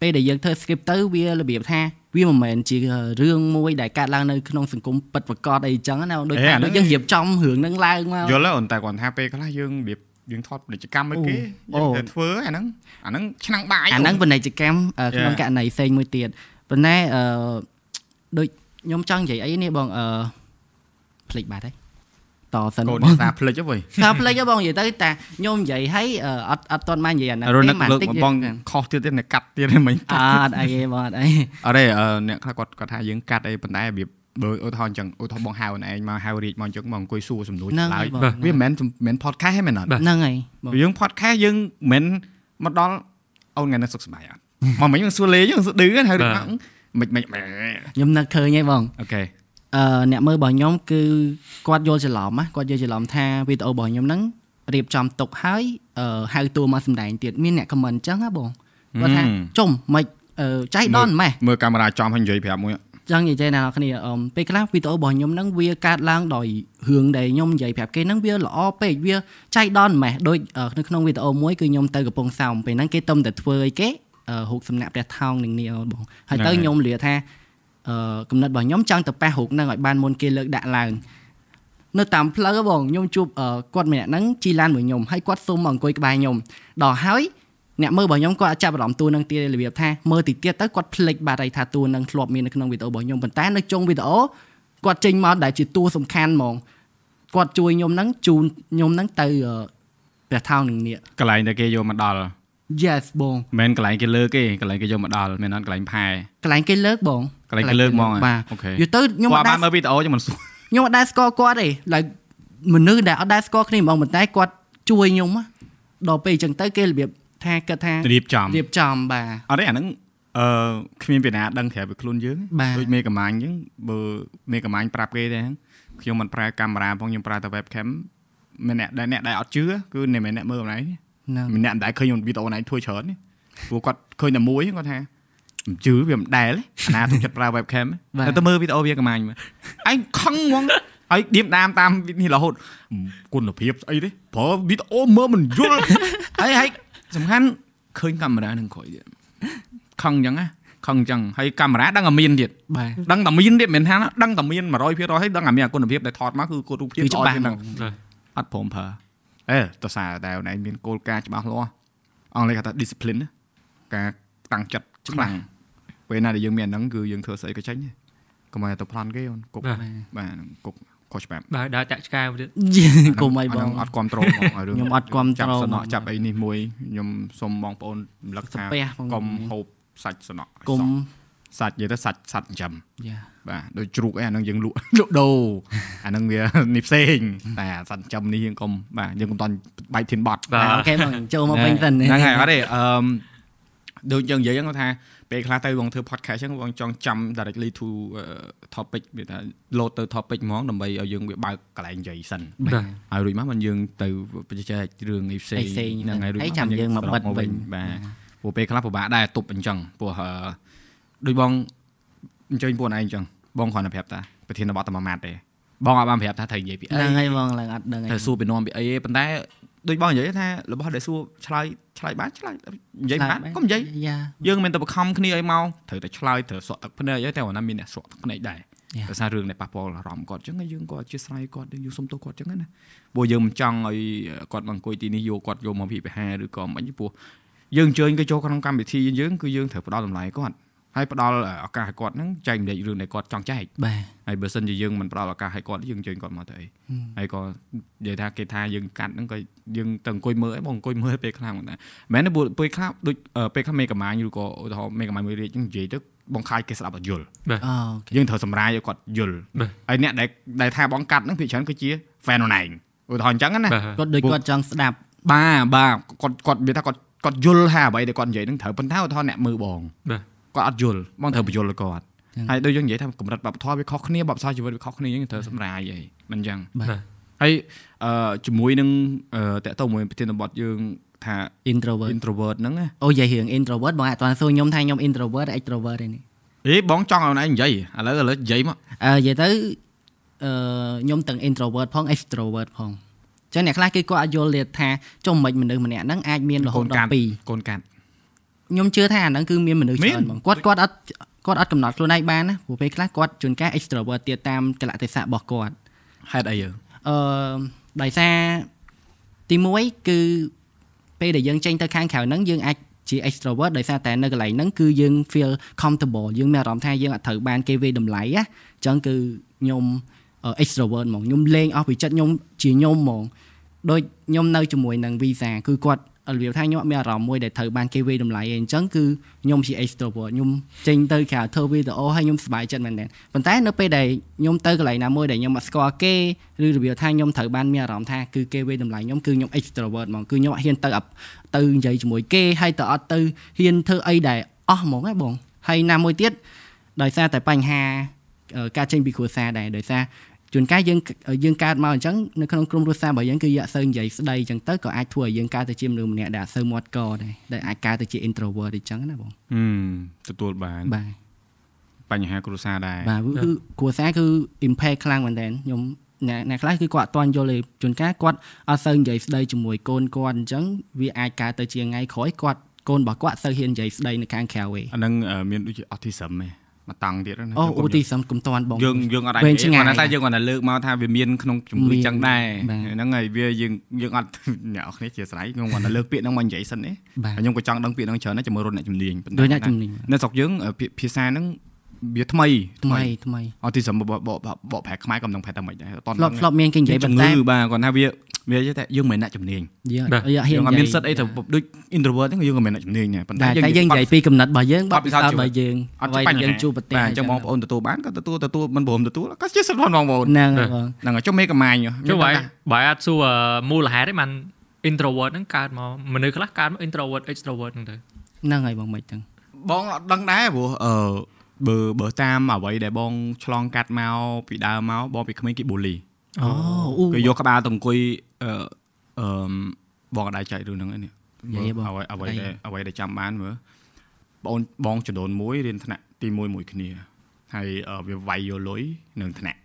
[SPEAKER 2] ពេលដែលយើងធ្វើ script ទៅវារបៀបថាវាមិនមែនជារឿងមួយដែលកើតឡើងនៅក្នុងសង្គមពិតប្រាកដអីចឹងណាបងដូច
[SPEAKER 1] អេ
[SPEAKER 2] ថា
[SPEAKER 1] អាហ្នឹង
[SPEAKER 2] ដូចយើងរៀបចំរឿងហ្នឹងឡើងមក
[SPEAKER 1] យល់ហើយអូនតែគាត់ថាពេលខ្លះយើងរបៀបយើងថតពាណិជ្ជកម្មឲ្យគេ
[SPEAKER 2] អូ
[SPEAKER 1] យើងទៅធ្វើអាហ្នឹងអាហ្នឹងឆ្នាំងបាយ
[SPEAKER 2] អាហ្នឹង
[SPEAKER 1] អូ
[SPEAKER 2] ពាណិជ្ជកម្មអឺ
[SPEAKER 1] Yeah.
[SPEAKER 2] ក្នុងករណីផ្សេងមួយទៀតប៉ុន្តែអឺដូចខ្ញុំចង់និយាយអីនេះបងអឺភ្លេចបាត់ហើយតសិន
[SPEAKER 1] ូ
[SPEAKER 2] ក
[SPEAKER 1] ន
[SPEAKER 2] បង
[SPEAKER 1] ថាផ្លិចហ្នឹងវិញ
[SPEAKER 2] ថាភ្លេចហ៎បងនិយាយទៅ (laughs) តែខ្ញុំនិយាយហើយអឺអត់អត់ទាន់បាននិយាយអាហ្នឹង
[SPEAKER 1] រនឹ
[SPEAKER 2] ទេ
[SPEAKER 1] ក
[SPEAKER 2] មក
[SPEAKER 1] លើក
[SPEAKER 2] តិច
[SPEAKER 1] បងបងខុសទៀតទេអ្នកកាត់ទៀតហ្នឹងមិញ
[SPEAKER 2] អត់អីទេបងអត់អី
[SPEAKER 1] អរេអឺអ្នកខ្លះគាត់គាត់ថាយើងកាត់អីប៉ុន្តែរបៀបបើឧទាហរណ៍អញ្ចឹងឧទាហរណ៍បងហៅអូនឯងមកហៅរៀបមកអញ្ចឹងមកអង្គុយសួរសំណួរ
[SPEAKER 2] ហ្នឹង
[SPEAKER 1] ឆ្លើ
[SPEAKER 2] ហើយ យបង
[SPEAKER 1] (laughs) វាមិនមែនមិនមែន podcast ទេមែនអត់
[SPEAKER 2] ហ្នឹងហើយបង
[SPEAKER 1] យើង podcast យើងមិនមែនមកដល់អូនថ្ងៃនេះសុខសប្បាយអត់ (laughs) មកមិញយើងសួរលេងយើងសួរឌឺហ្នឹងហើយដូចថាមិនមិនមិន
[SPEAKER 2] ខ្ញុំនឹកឃើញហើយបង
[SPEAKER 1] អូខេ
[SPEAKER 2] អឺអ្នកមើលរបស់ខ្ញុំគឺគាត់យល់ច្រឡំណាគាត់យល់ច្រឡំថាវីដេអូរបស់ខ្ញុំហ្នឹងរៀបចំទុកហើយអឺហៅតួមកសម្ដែងទៀតមានអ្នកខមមិនអញ្ចឹងណាបងគាត់ថា
[SPEAKER 1] ហឹម
[SPEAKER 2] ចំមិនអឺចៃដនម៉េះ
[SPEAKER 1] មើលកាមេរ៉ាចំហើយនិយាយប្រាប់មួយ
[SPEAKER 2] ចង់និយាយណាអ្នកគ្នាអមពេលខ្លះវីដេអូរបស់ខ្ញុំហ្នឹងវាកើតឡើងដោយរឿងដែលខ្ញុំនិយាយប្រាប់គេហ្នឹងវាល្អពេកវាចៃដនម៉េះដូចអឺនៅក្នុងវីដេអូមួយគឺខ្ញុំទៅកំពង់សោមពេលហ្នឹងគេទំតែធ្វើអីគេអឺរូបសំណាក់ព្រះថោងនឹងនេះអូនបងហើយទៅ
[SPEAKER 1] ហ្នឹងហើយ
[SPEAKER 2] ខ្ញុំលាថាអឺកំណត់របស់ខ្ញុំចង់ទៅប៉ះរូបហ្នឹងឲ្យបានមុនគេលើកដាក់ឡើង នៅតាមផ្លូវហ៎បងខ្ញុំជួបអឺគាត់ម្នាក់ហ្នឹងជីឡានមួយខ្ញុំហើយគាត់សុំមកអង្គុយក្បែរខ្ញុំដល់ហើយអ្នកមើលរបស់ខ្ញុំគាត់អាចចាប់អារម្មណ៍តួនឹងទៀតរបៀបថាមើលតិចទៀតទៅគាត់ភ្លេចបាត់ហើយថាតួនឹងធ្លាប់មាននៅក្នុងវីដេអូរបស់ខ្ញុំប៉ុន្តែនៅចុងវីដេអូគាត់ចេញមកដែលជាតួសំខាន់ហ្មងគាត់ជួយខ្ញុំហ្នឹងជូនខ្ញុំហ្នឹងទៅអឺព្រះថោងនឹងនេះ
[SPEAKER 1] កន្លែងតែគេយកមកដល់
[SPEAKER 2] Yes បង
[SPEAKER 1] មិនមែនកន្លែងគេលើកទេកន្លែងគេយកមកដល់មិនមែនអត់កន្លែងផែ
[SPEAKER 2] កន្លែងគេលើកបង
[SPEAKER 1] កន្លែងគេលើកហ្មងហ៎
[SPEAKER 2] បាទ
[SPEAKER 1] អូខេ
[SPEAKER 2] យូរទៅខ្ញុំ
[SPEAKER 1] គា
[SPEAKER 2] អ
[SPEAKER 1] ត់
[SPEAKER 2] ត់
[SPEAKER 1] បានមើ
[SPEAKER 2] ដាច់
[SPEAKER 1] លវីដេអូខ្ញុំមិនសួរ
[SPEAKER 2] ខ្ញុំអត់ដែរស្គាល់គាត់ទេឡើយមនុស្សដែលអត់ដែរស្គាល់គ្នាហ្មងប៉ុន្តែគាត់ជួយខ្ញុំហ៎ដល់ពេលអញ្ចឹងទៅគេរបៀបថាគាត់ថា
[SPEAKER 1] (laughs) រៀបចំ
[SPEAKER 2] រៀបចំបាទ
[SPEAKER 1] អត់ទេអាហ្នឹងអឺគ្មានពីណាដឹងប្រាប់ពីខ្លួនយើង
[SPEAKER 2] បាទ
[SPEAKER 1] ដូចមេកំាញ់អញ្ចឹងបើមេកំាញ់ប្រាប់គេទេហ្នឹងខ្ញុំមិនប្រើកាមេរ៉ាផងខ្ញុំប្រើតែ webcam មានអ្នកដែលអ្នកដែលអត់ជឿគឺអ្នកមិនមែនអ្នកមើលអនឡាញទេ
[SPEAKER 2] ហ្នឹង
[SPEAKER 1] ម្នាក់មិនដែលឃើញវីដេអូណៃធ្វើច្រើនទេព្រោះគាត់ឃើញតែមួយគាត់ថាមិនជឿវាមិនដែលទេអាណាទុកចិត្តប្រើ webcam ទេតែមើលវីដេអូវាកំាញ់មើលឯងខឹងហ្មងហើយឌៀមដាមតាមវិធីរហូតគុណភាពស្អីទេប្រើវីដេអូមើលមិនយ
[SPEAKER 2] (laughs)
[SPEAKER 1] ល់ហើយហើយសំខាន់ឃើញកាមេរ៉ានឹងក្រោយទៀតខឹងអញ្ចឹងណា ខឹងអញ្ចឹងហើយកាមេរ៉ាដឹងតែមានទៀត
[SPEAKER 2] បាទ
[SPEAKER 1] ដឹងតែមានទៀតមិនថាដឹងតែមាន100%ហើយដឹងតែមានអាគុណភាពដែលថតមកគឺគាត់រូបភាព
[SPEAKER 2] គឺ
[SPEAKER 1] ល្អ
[SPEAKER 2] ច្បាស់
[SPEAKER 1] ជាង
[SPEAKER 2] ហ្ម
[SPEAKER 1] ហ្នឹង
[SPEAKER 2] ង (laughs)
[SPEAKER 1] អត់ព្រមប្រើអេតោះសារតែណែមានគោលការណ៍ច្បាស់លាស់អង់គ្លេសគេថា discipline ណាការតាំងចិត្តខ្លាំងពេលណាដែលយើងមានអាហ្នឹងគឺយើងធ្វើស្អីក៏ចេញដែរកុំឲ្យទៅប្លន់គេអូនគុក
[SPEAKER 3] បាទ
[SPEAKER 1] ណាបាទហ្នឹងគុកខុសច្បាប់
[SPEAKER 3] បាទដើរតាក់ឆ្កែមួយទៀត
[SPEAKER 2] កុំអីប
[SPEAKER 1] ហ្នឹ
[SPEAKER 2] ង
[SPEAKER 1] ងអត់គ្រប់ត្រូលបងឲ្យរឿង
[SPEAKER 2] ខ្ញុំអត់គ្រប់ត្រូល
[SPEAKER 1] ចាប់សណក់ចាប់អីនេះមួយខ្ញុំសូមបងប្អូនរំលឹកថា
[SPEAKER 2] ស្ពះបង
[SPEAKER 1] កុំហូបសាច់សណក់
[SPEAKER 2] កុំ
[SPEAKER 1] សាច់និយាយទៅសាច់សัตว์ចិញ្ចឹម
[SPEAKER 2] យ៉ា
[SPEAKER 1] បាទដូចជ្រូកអីអាហ្នឹងយើងលក់ (laughs) លក់ដូរអាហ្នឹងវា (laughs) នេះផ្សេងតែអាសត្វចិញ្ចឹមនេះយើងកុំបាទយើងកុំតន់បែកធានបត់
[SPEAKER 3] បាទ
[SPEAKER 2] អូខេបងចូលមកវិញសិន
[SPEAKER 1] ហ្នឹងហើយអត់ទេអឺដូចយើងនិយាយហ្នឹងគាត់ថាពេលខ្លះទៅបងធ្វើ podcast ហ្នឹងបងចង់ចាំ directly to អឺ topic វាថា load ទៅ topic ហ្មងដើម្បីឲ្យយើងវាបើកកន្លែងនិយាយសិន
[SPEAKER 3] បាទ
[SPEAKER 1] ហើយរួចមកមិនយើងទៅបញ្ចែករឿងអីផ្សេង
[SPEAKER 2] ផ្សេង
[SPEAKER 1] ហ្នឹងហើយរួច
[SPEAKER 2] ហើយចាំយើងមកបិទវិញ
[SPEAKER 1] បាទព្រោះពេលខ្លះពិបាកដែរទប់អញ្ចឹងព្រោះអឺដូចបងអញ្ជើញពួកឯងអញ្ចឹងបងគ្រាន់តែប្រាប់តាប្រធានបទតែមួយម៉ាត់ទេបងអត់បានប្រាប់ថាត្រូវនិយាយពីអី
[SPEAKER 2] ហ្នឹងហើយបងឡើងអត់ដឹងអី
[SPEAKER 1] ត្រូវសួរពីនាំពីអីទេប៉ុន្តែដូចបងនិយាយថារបស់ដែលសួរឆ្លើយឆ្លើយបានឆ្លើយនិយាយបានក៏និយាយ
[SPEAKER 2] យ៉ា
[SPEAKER 1] យើងមិនមែនទៅបង្ខំគ្នាអីមកត្រូវតែឆ្លើយត្រូវសក់ទឹកភ្នែកអីតែគាត់ណាមានអ្នកសក់ទឹកភ្នែកដែរ
[SPEAKER 2] Yeah.
[SPEAKER 1] ដោយសាររឿងដែលប៉ះពាល់អារម្មណ៍គាត់អញ្ចឹងហើយយើងក៏អធិស្ស្រ័យគាត់យើងសុំទោសគាត់អញ្ចឹងណាព្រោះយើងមិនចង់ឲ្យគាត់មកអង្គុយទីនេះយកគាត់យកមកពិភាក្សាឬក៏មិនអីព្រោះយើងអញ្ជើញគេចូលក្នុងកម្មវិធីយើងគឺយើងត្រូវផ្ដល់តម្លៃគាត់ហើយផ្ដល់ឱកាសឲ្យគាត់ហ្នឹងចែករំលែករឿងដែលគាត់ចង់ចែក
[SPEAKER 2] បាទ
[SPEAKER 1] ហើយបើសិនជាយើងមិនផ្ដល់ឱកាសឲ្យគាត់យើងអញ្ជើញគាត់មកទៅអីហើយក៏និយាយថាគេថាយើងកាត់ហ្នឹងក៏យើងទៅអង្គុយមើលអីបងអង្គុយមើលពេលខ្លះហ្នឹងដែរមិនមែនទេព្រោះពេលខ្លះដូចអឺពេលខ្លះមេកាម៉ាញឬក៏ឧទាហរណ៍មេកាម៉ាញមួយរាជហ្នឹងនិយាយទៅបងខាយគេស្ដាប់អត់យល់
[SPEAKER 2] អូខេ
[SPEAKER 1] យើងត្រូវសម្រាយឲ្យគាត់យល់
[SPEAKER 3] បាទ
[SPEAKER 1] ហើយអ្នកដែលដែលថាបងកាត់ហ្នឹងភាគច្រើនគឺជា fan នរណែងឧទាហរណ៍អញ្ចឹងណា
[SPEAKER 3] បា
[SPEAKER 2] គា
[SPEAKER 3] ទ
[SPEAKER 2] ត់ដូចគាត់ចង់ស្ដាប់
[SPEAKER 1] បាទបាទគាត់គាត់និយាយថាគាត់គាត់យល់ថាអ្វីដែលគាត់និយាយហ្នឹងត្រូវប៉ុន្តែឧទាហរណ៍អ្នកមើលបង
[SPEAKER 3] បាទ
[SPEAKER 1] គាត់អត់យល់បងត្រូវបញ្យល់ឲ្យគាត់ហើយដូចយើងនិយាយថាកម្រិតបបធម៌វាខុសគ្នាបបសាជីវិតវាខុសគ្នាយើងត្រូវសម្រាយឲ្យមិនអញ្ចឹង
[SPEAKER 3] បាទ
[SPEAKER 1] ហើយអឺជាមួយនឹងអឺតកតមួយប្រធានបទយើងថា
[SPEAKER 2] introvert
[SPEAKER 1] introvert ហ្នឹងណា
[SPEAKER 2] អូនិយាយរឿង introvert បងអត់ទាន់សួរខ្ញុំថាខ្ញុំ introvert ឬ extrovert ទេនេះ
[SPEAKER 1] អេបងចង់ឲ្យនរឯងនិយាយឥឡូវឥឡូវនិយាយមក
[SPEAKER 2] អឺនិយាយទៅអឺខ្ញុំទាំង introvert ផង extrovert ផងអញ្ចឹងអ្នកខ្លះគេគាត់អាចយល់ទេថាចុះមិនមនុស្សម្នាក់ហ្នឹងអាចមានរហូតដល់2
[SPEAKER 1] កូនកាត់
[SPEAKER 2] ខ្ញុំជឿថាអាហ្នឹងគឺមានមនុស្ស
[SPEAKER 1] មា
[SPEAKER 2] ច្រើ
[SPEAKER 1] ន
[SPEAKER 2] នបងគាត់គាត់អត់គាត់អត់កំណត់ខ្លួនឯងបានណាព្រោះពេលខ្លះគាត់ជួនកាល extrovert ទៀតតាមកលៈទេសៈរបស់គាត់
[SPEAKER 1] ហេតុអីយើង
[SPEAKER 2] អឺដោយសារទី1គឺពេលដែលយើងចេញទៅខាងក្រៅហ្នឹងយើងអាចជា extrovert ដោយសារតែនៅកន្លែងហ្នឹងគឺយើង feel comfortable យើងមានអារម្មណ៍ថាយើងអត់ត្រូវបានគេវាយតម្លៃណាអញ្ចឹងគឺខ្ញុំ អឺ extrovert ហ្មងខ្ញុំលេងអស់ពីចិត្តខ្ញុំជាខ្ញុំហ្មងដូចខ្ញុំនៅជាមួយនឹង visa គឺគាត់របៀបថាខ្ញុំអត់មានអារម្មណ៍មួយដែលត្រូវបានគេវាយតម្លៃឯងអញ្ចឹងគឺខ្ញុំជា extrovert ខ្ញុំចេញទៅក្រៅធ្វើវីដេអូហើយខ្ញុំសប្បាយចិត្តមែនទែនប៉ុន្តែនៅពេលដែលខ្ញុំទៅកន្លែងណាមួយដែលខ្ញុំអត់ស្គាល់គេឬរបៀបថាខ្ញុំត្រូវបានមានអារម្មណ៍ថាគឺគេវាយតម្លៃខ្ញុំគឺខ្ញុំ extrovert ហ្មងគឺខ្ញុំអត់ហ៊ានទៅអបទៅនិយាយជាមួយគេហើយទៅអត់ទៅហ៊ានធ្វើអីដែលអស់ហ្មងហ៎បងហើយណាមួយទៀតដោយសារតែបញ្ហា អឺការចេញពីគ្រួសារដែរដោយសារជួនកាលយើងយើងកើតមកអញ្ចឹងនៅក្នុងក្រុមគ្រួសាររបស់យើងគឺយើងអត់សូវនិយាយស្ដីអញ្ចឹងទៅក៏អាចធ្វើឲ្យយើងកើតទៅជាមនុស្សម្នាក់ដែលអត់សូវមាត់កដែរដែលអាចកើតទៅជា introvert អញ្ចឹងណាបង
[SPEAKER 1] ហឹមទទួលបាន
[SPEAKER 2] បាទ
[SPEAKER 1] បញ្ហាគ្រួសារដែរ
[SPEAKER 2] បាទគឺគ្រួសារគឺ impact ខ្លាំងមែនតើខ្ញុំអ្នកអ្នកខ្លះគឺគាត់អត់ទាន់យល់ទេជួនកាលគាត់អត់សូវនិយាយស្ដីជាមួយកូនគាត់អញ្ចឹងវាអាចកើតទៅជាថ្ងៃក្រោយគាត់កូនរបស់គាត់អត់សូវហ៊ាននិយាយស្ដីនៅខាងក្រៅឯង
[SPEAKER 1] អាហ្នឹងអឺមានដូចជា autism ឯងមកតាំងទៀតហ្នឹងណា
[SPEAKER 2] អូ
[SPEAKER 1] ខ្ញុំ
[SPEAKER 2] ឧ
[SPEAKER 1] កុំ
[SPEAKER 2] ទាហរណ៍កុំតាន់បង
[SPEAKER 1] យើងយើងអត់អាច
[SPEAKER 2] វែ
[SPEAKER 1] និ
[SPEAKER 2] ង
[SPEAKER 1] យាយ
[SPEAKER 2] ឆ្ងាយ
[SPEAKER 1] គាត់តែយើងគាត់តែលើកមកថាវាមានក្នុងជំនួយ
[SPEAKER 2] មាន
[SPEAKER 1] ចឹងដែរ
[SPEAKER 2] បាទ
[SPEAKER 1] ហ្នឹងហើយវាយើងយើងអត់ (laughs) អ្នកនរគ្នាជាស្រ័យខ្ញុំគាត់តែលើកពាក្យហ្នឹងមកនិយាយសិនទេ
[SPEAKER 2] បាទ
[SPEAKER 1] ហើយខ្ញុំក៏ចង់ដឹងពាក្យហ្នឹងច្រើនណាស់ជាមួយរត់អ្នកជំនាញប៉ុន្តែ
[SPEAKER 2] ដូចអ្នកជំនាញ
[SPEAKER 1] នៅស្រុកយើងអឺពាក្យភាសាហ្នឹងវាថ្មី
[SPEAKER 2] ថ្មីថ្មី
[SPEAKER 1] អត់ទីសម្បបបបកប្រែខ្មែរក៏មិនដឹងប្រែតែមិនដែរអត់
[SPEAKER 2] ធ្លាប់ធ្លាប់មានគេនិយាយ
[SPEAKER 1] ជំ
[SPEAKER 2] ប៉ុន្តែ
[SPEAKER 1] ងឺបាទគាត់ថាវាវានិយាយតែយើងមិនមែនអ្នកជំនាញ
[SPEAKER 2] យើង
[SPEAKER 3] បាទ
[SPEAKER 2] យើងអត់ហ៊ា
[SPEAKER 1] យើងអត់
[SPEAKER 2] ននិយា
[SPEAKER 1] មា
[SPEAKER 2] យ
[SPEAKER 1] នសិទ្ធអីទៅដូច introvert ហ្នឹងយើងក៏មិនមែនអ្នកជំនាញដែរប៉ុន្តែ
[SPEAKER 2] តែតែយើងនិយាយពីកំណត់របស់យើង
[SPEAKER 1] ប
[SPEAKER 2] ប
[SPEAKER 1] ទ
[SPEAKER 2] ទ
[SPEAKER 1] ពិ
[SPEAKER 2] ពិ
[SPEAKER 1] សោធ
[SPEAKER 2] សោធ
[SPEAKER 1] ន៍
[SPEAKER 2] ន៍
[SPEAKER 1] ជីវិត
[SPEAKER 2] របស់
[SPEAKER 1] អត់
[SPEAKER 2] យើង
[SPEAKER 1] បញ្ហា
[SPEAKER 2] អ្វីដែលយើងជួបប្រទេស
[SPEAKER 1] បាទអញ្ចឹងបងប្អូនទទួលបានក៏ទទួលទទួលមិនព្រមទទួលក៏ជាសិទ្ធិរបស់បងប្អូន
[SPEAKER 2] ហ្នឹងហើយ
[SPEAKER 1] ហ្នឹងហើយ
[SPEAKER 2] បង
[SPEAKER 1] ចុះមេកម៉ាញ
[SPEAKER 3] ចុះបាយបាយអត់សួរអឺមូលហេតុឯងបាន introvert ហ្នឹងកើតមកមនុស្សខ្លះកើតមក introvert extrovert ហ្នឹងទៅ
[SPEAKER 2] ហ្នឹងហើយបងមិនទាំង
[SPEAKER 1] បងអត់ដឹងដែរព្រោះអឺបើបើតាមអ្វីដែលបងឆ្លងកាត់មកពីដើមមកបងពីក្មេងគេបូលី
[SPEAKER 2] អូអ៊ូ
[SPEAKER 1] គេយកក្បាលទៅអង្គុយអឺអឺបងអត់ដែរចែករឿងហ្នឹងឯនេះ
[SPEAKER 2] និយាយបង
[SPEAKER 1] អ្វីអ្វី
[SPEAKER 2] អី
[SPEAKER 1] ដែលអ្វីដែលចាំបានមើលបងបងចំនួនមួយរៀនថ្នាក់ទី1មួយគ្នាហើយអឺវាវាយយកលុយនឹងថ្នាក់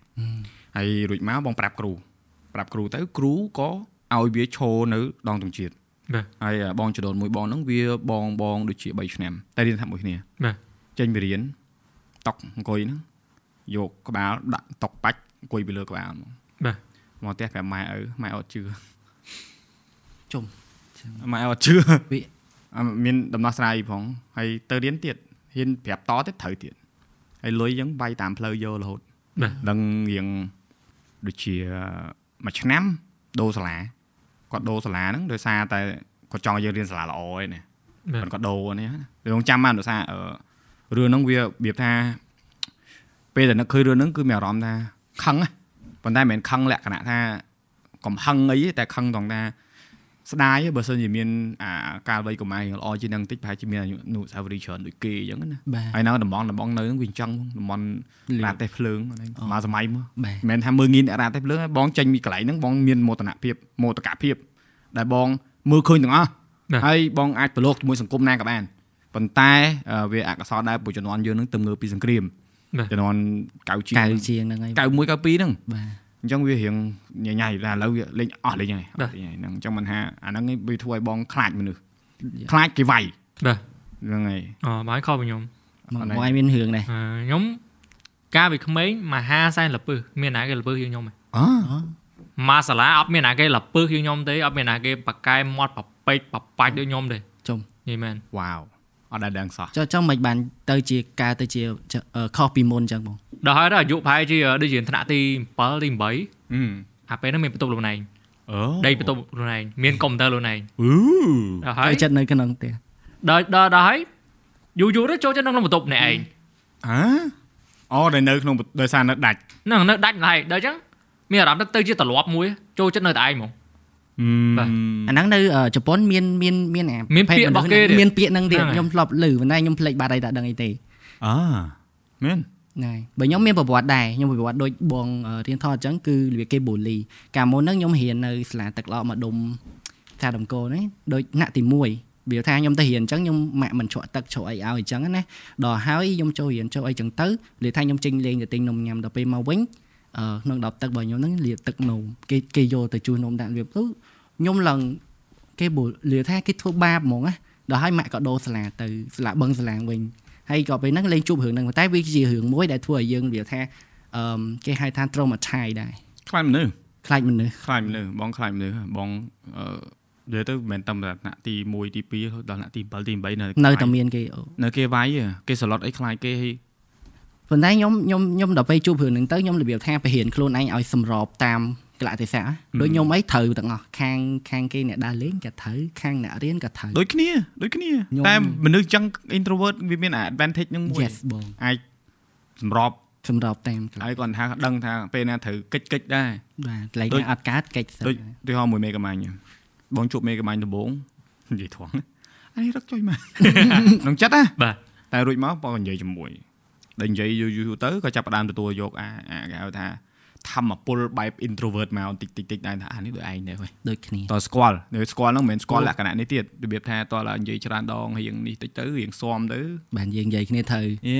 [SPEAKER 1] ហើយរួចមកបងប្រាប់គ្រូប្រាប់គ្រូទៅគ្រូក៏ឲ្យវាឈរនៅដងទងជាតិ
[SPEAKER 3] បាទ
[SPEAKER 1] ហើយអ่าបងចដូនមួយបងហ្នឹងវាបងបងដូចជា3ឆ្នាំតែរៀនថ្នាក់មួយគ្នា
[SPEAKER 3] បាទ
[SPEAKER 1] ចេញពីរៀនតុកអង្គុយហ្នឹងយកក្បាលដាក់តុកបាច់អង្គុយពីលើក្បាលហ្មង
[SPEAKER 3] បាទ
[SPEAKER 1] មកផ្ទះប្រាប់ម៉ែឪម៉ែអត់ជឿ
[SPEAKER 2] ជុំ
[SPEAKER 1] ម៉ែអត់ជឿ
[SPEAKER 2] វា
[SPEAKER 1] អ่ะមានដំណោះស្រាយផងហើយទៅរៀនទៀតហ៊ានប្រាប់តទៀតត្រូវទៀតហើយលុយអញ្ចឹងបាយតាមផ្លូវយករហូត
[SPEAKER 3] បាទ
[SPEAKER 1] ដឹងរៀងដូចជាមួយឆ្នាំដូរសាលាគាត់ដូរសាលាហ្នឹងដោយសារតែគាត់ចង់ឲ្យយើងរៀនសាលាល្អឯណាគា
[SPEAKER 3] បាទ
[SPEAKER 1] ត់ក៏ដូរនេះណាយើងចាំបានដោយសារអឺរឿងហ្នឹងវារបៀបថាពេលដែលនឹកឃើញរឿងហ្នឹងគឺមានអារម្មណ៍ថាខឹងណាប៉ុន្តែមិនមែនខឹងលក្ខណៈថាកំហឹងអីទេតែខឹងត្រង់ថាស្ដាយបើសិនជាមានអាកាលវ័យកុមារយើងល្អជាងហ្នឹងតិចប្រហែលជាមានអនុស្សាវរីយ៍ច្រើនដូចគេអញ្ចឹងណា
[SPEAKER 2] បាទ
[SPEAKER 1] ហើយនៅតំបន់តំបន់នៅហ្នឹងវាអញ្ចឹងតំបន់រ៉ាតេសភ្លើងហ្នឹងមកសម័យមក
[SPEAKER 2] បា
[SPEAKER 1] មិ
[SPEAKER 2] ទ
[SPEAKER 1] នមែនថាមើលងាយអ្នករ៉ាទេភ្លើងឯងបងចេញពីកន្លែងហ្នឹងបងមានមោទនភាពមោទកភាពដែលបងមើលឃើញទាំងអស់ហើយបងអាចប្រឡូកជាមួយសង្គមណាក៏បានប៉ុន្តែអឺវាអកុសលដែរពួកជំនាន់យើងហ្នឹងទៅមើលពីសង្គ្រាមជំនាន់កៅជា
[SPEAKER 2] កៅជាងហ្នឹងហើយបា
[SPEAKER 1] 91
[SPEAKER 2] ទ
[SPEAKER 1] 92ហ្នឹងអញ្ចឹងវារៀងញ៉ៃញ៉ៃតែឥឡូវវាលេងអស់លេងហើយអស់លេងហើយហ្នឹងអញ្ចឹងមិនថាអាហ្នឹងឯងវាធ្វើឲ្យបងខ្លាចមនុស្សខ្លាចគេវាយ
[SPEAKER 3] បាទ
[SPEAKER 1] ហ្នឹងហើយ
[SPEAKER 3] អូបានខុសពីខ្ញុំ
[SPEAKER 2] មក
[SPEAKER 1] អត់ណែ
[SPEAKER 2] មកឲ្យមានរឿងដែរ
[SPEAKER 3] អឺខ្ញុំកាលពីក្មេងមហាសែនលពឹសមានណាគេលពឹសជាងខ្ញុំហ៎
[SPEAKER 1] អូ
[SPEAKER 3] ម៉ាសាឡាអត់មានណាគេលពឹសជាងខ្ញុំទេអត់មានណាគេប៉ាកែមាត់ប៉ពេចប៉បាច់ដូចខ្ញុំទេ
[SPEAKER 2] ជុំ
[SPEAKER 3] និយាយមែន
[SPEAKER 1] វ៉ាវអត់ដែលដឹងសោះ
[SPEAKER 2] ចុះចុះមិនបានទៅជាការទៅជាចុះអឺខុសពីមុនអញ្ចឹងបង
[SPEAKER 3] ដល់ហើយដល់អាយុប្រហែលជាដូចជាថ្នាក់ទី7ទី
[SPEAKER 1] អឺ
[SPEAKER 3] 8អាពេលហ្នឹងមានបន្ទប់លំឯង
[SPEAKER 1] អូ
[SPEAKER 3] ដីបន្ទប់លំឯងមានកុំព្យូទ័រលំឯង
[SPEAKER 1] អឺ
[SPEAKER 3] ដល់ហើយ
[SPEAKER 2] ទៅចិត្តនៅក្នុងផ្ទះ
[SPEAKER 3] ដល់ដល់ដល់ហើយយូរយូរទៅចូលចិត្តនៅក្នុងបន្ទប់អ្នកឯង
[SPEAKER 1] អើអូដែលនៅក្នុងដោយសារនៅដាច់
[SPEAKER 3] ហ្នឹងនៅដាច់ឡើយដល់អញ្ចឹងមានអារម្មណ៍ថាទៅជាទម្លាប់មួយចូលចិត្តនៅតែឯងហ្មង បាទ
[SPEAKER 2] អាហ្នឹងនៅអឺជប៉ុនមានមានមានអា
[SPEAKER 3] មានពាក្យ
[SPEAKER 2] ប្រភេទ
[SPEAKER 3] របស់គេទៀត
[SPEAKER 2] មានពាក្យហ្នឹងទៀត
[SPEAKER 3] ហ្នឹងហើយ
[SPEAKER 2] ខ្ញុំធ្លាប់ឮប៉ុន្តែខ្ញុំភ្លេចបាត់ហើយតែដឹងអីទេ
[SPEAKER 1] អាមែន
[SPEAKER 2] ហ្នឹងហើយបើខ្ញុំមានប្រវត្តិដែរខ្ញុំប្រវត្តិដូចបងអឺរៀនថតអញ្ចឹងគឺរបៀបគេបូលីកាលមុនហ្នឹងខ្ញុំរៀននៅសាលាទឹកឡោកមកដុំថាដំកូលហ្នឹងដូចថ្នាក់ទី1វាថាខ្ញុំទៅរៀនអញ្ចឹងខ្ញុំម៉ាក់មិនជ្រក់ទឹកជ្រក់អីឲ្យអញ្ចឹងណាដល់ហើយខ្ញុំចូលរៀនចូលអីអញ្ចឹងទៅនិយាយថាខ្ញុំចេញលេងទៅទិញនំញ៉ាំដល់ពេលមកវិញ អឺក្នុងដបទឹករបស់ខ្ញុំហ្នឹងលាទឹកនំគេគេយកទៅជូននំដាក់វាទៅខ្ញុំឡើងគេបុលាថាគេធ្វើបាបហ្មងណាដល់ហើយម៉ាក់ក៏ដោសាលាទៅសាលាបឹងសាលាវិញហើយក៏ពេលហ្នឹងលេងជួបរឿងហ្នឹងប៉ុន្តែវាជារឿងមួយដែលធ្វើឲ្យយើងវាថាអឺគេហៅថា traumatized ដែរ
[SPEAKER 1] ខ្លាចមនុស្ស
[SPEAKER 2] ខ្លាចមនុស្ស
[SPEAKER 1] ខ្លាចមនុស្សបងខ្លាចមនុស្សហ៎បងអឺនិយាយទៅមិនមែនតាមតែថ្នាក់ទី1ទី2ដល់ថ្នាក់ទី7ទី8នៅ
[SPEAKER 2] នៅតែមានគេអូ
[SPEAKER 1] នៅគេវាយហ៎គេសឡុតអីខ្លាចគេហី
[SPEAKER 2] ប៉ុន្តែខ្ញុំខ្ញុំខ្ញុំដល់ពេលជួបរឿងហ្នឹងទៅខ្ញុំរបៀបថាបរិហារខ្លួនឯងឲ្យសម្របតាមកលៈទេសៈណាដូចខ្ញុំអីត្រូវទាំងអស់ខាងខាងគេអ្នកដើរលេងក៏ត្រូវខាងអ្នករៀនក៏ត្រូវ
[SPEAKER 1] ដូចគ្នាដូចគ្នា
[SPEAKER 2] ខ្ញុំ
[SPEAKER 1] តែមនុស្សចឹង introvert វាមាន advantage ហ្នឹងមួយ
[SPEAKER 2] yes បង
[SPEAKER 1] អាចសម្រប
[SPEAKER 2] សម្របតាមខ្លះ
[SPEAKER 1] ហើយគាត់ថាដឹងថាពេលណាត្រូវកិច្ចកិច្ចដែរ
[SPEAKER 2] បាទកន្លែង
[SPEAKER 1] ដូច
[SPEAKER 2] ណាអត់កើតកិច្ចសិ
[SPEAKER 1] ដូច
[SPEAKER 2] ន
[SPEAKER 1] ទីហោមួយមេកំាញ់បងជួបមេកំាញ់ដំបង (laughs) និយាយធំអានេះរឹកចុយ
[SPEAKER 2] (laughs)
[SPEAKER 1] មក ក្នុងចិត្តណា
[SPEAKER 3] បាទ
[SPEAKER 1] តែរួចមកបងនិយាយជាមួយដល់និយាយយូរយូរទៅក៏ចាប់ផ្ដើមទទួលយកអាអាគេហៅថាធម្មពលបែប introvert មកបន្តិចតិចតិចៗដែរថាអានេះដូចឯងដែរវ៉េ
[SPEAKER 2] ដូចគ្នា
[SPEAKER 1] តើស្គាល់នៅស្គាល់ហ្នឹងមិនមែនស្គាល់លក្ខណៈនេះទៀតរបៀបថាតើឡើយនិយាយច្រើនដងរៀងនេះតិចទៅរៀងស៊ំទៅ
[SPEAKER 2] បានយើងនិយាយគ្នាត្រូវ
[SPEAKER 1] យេ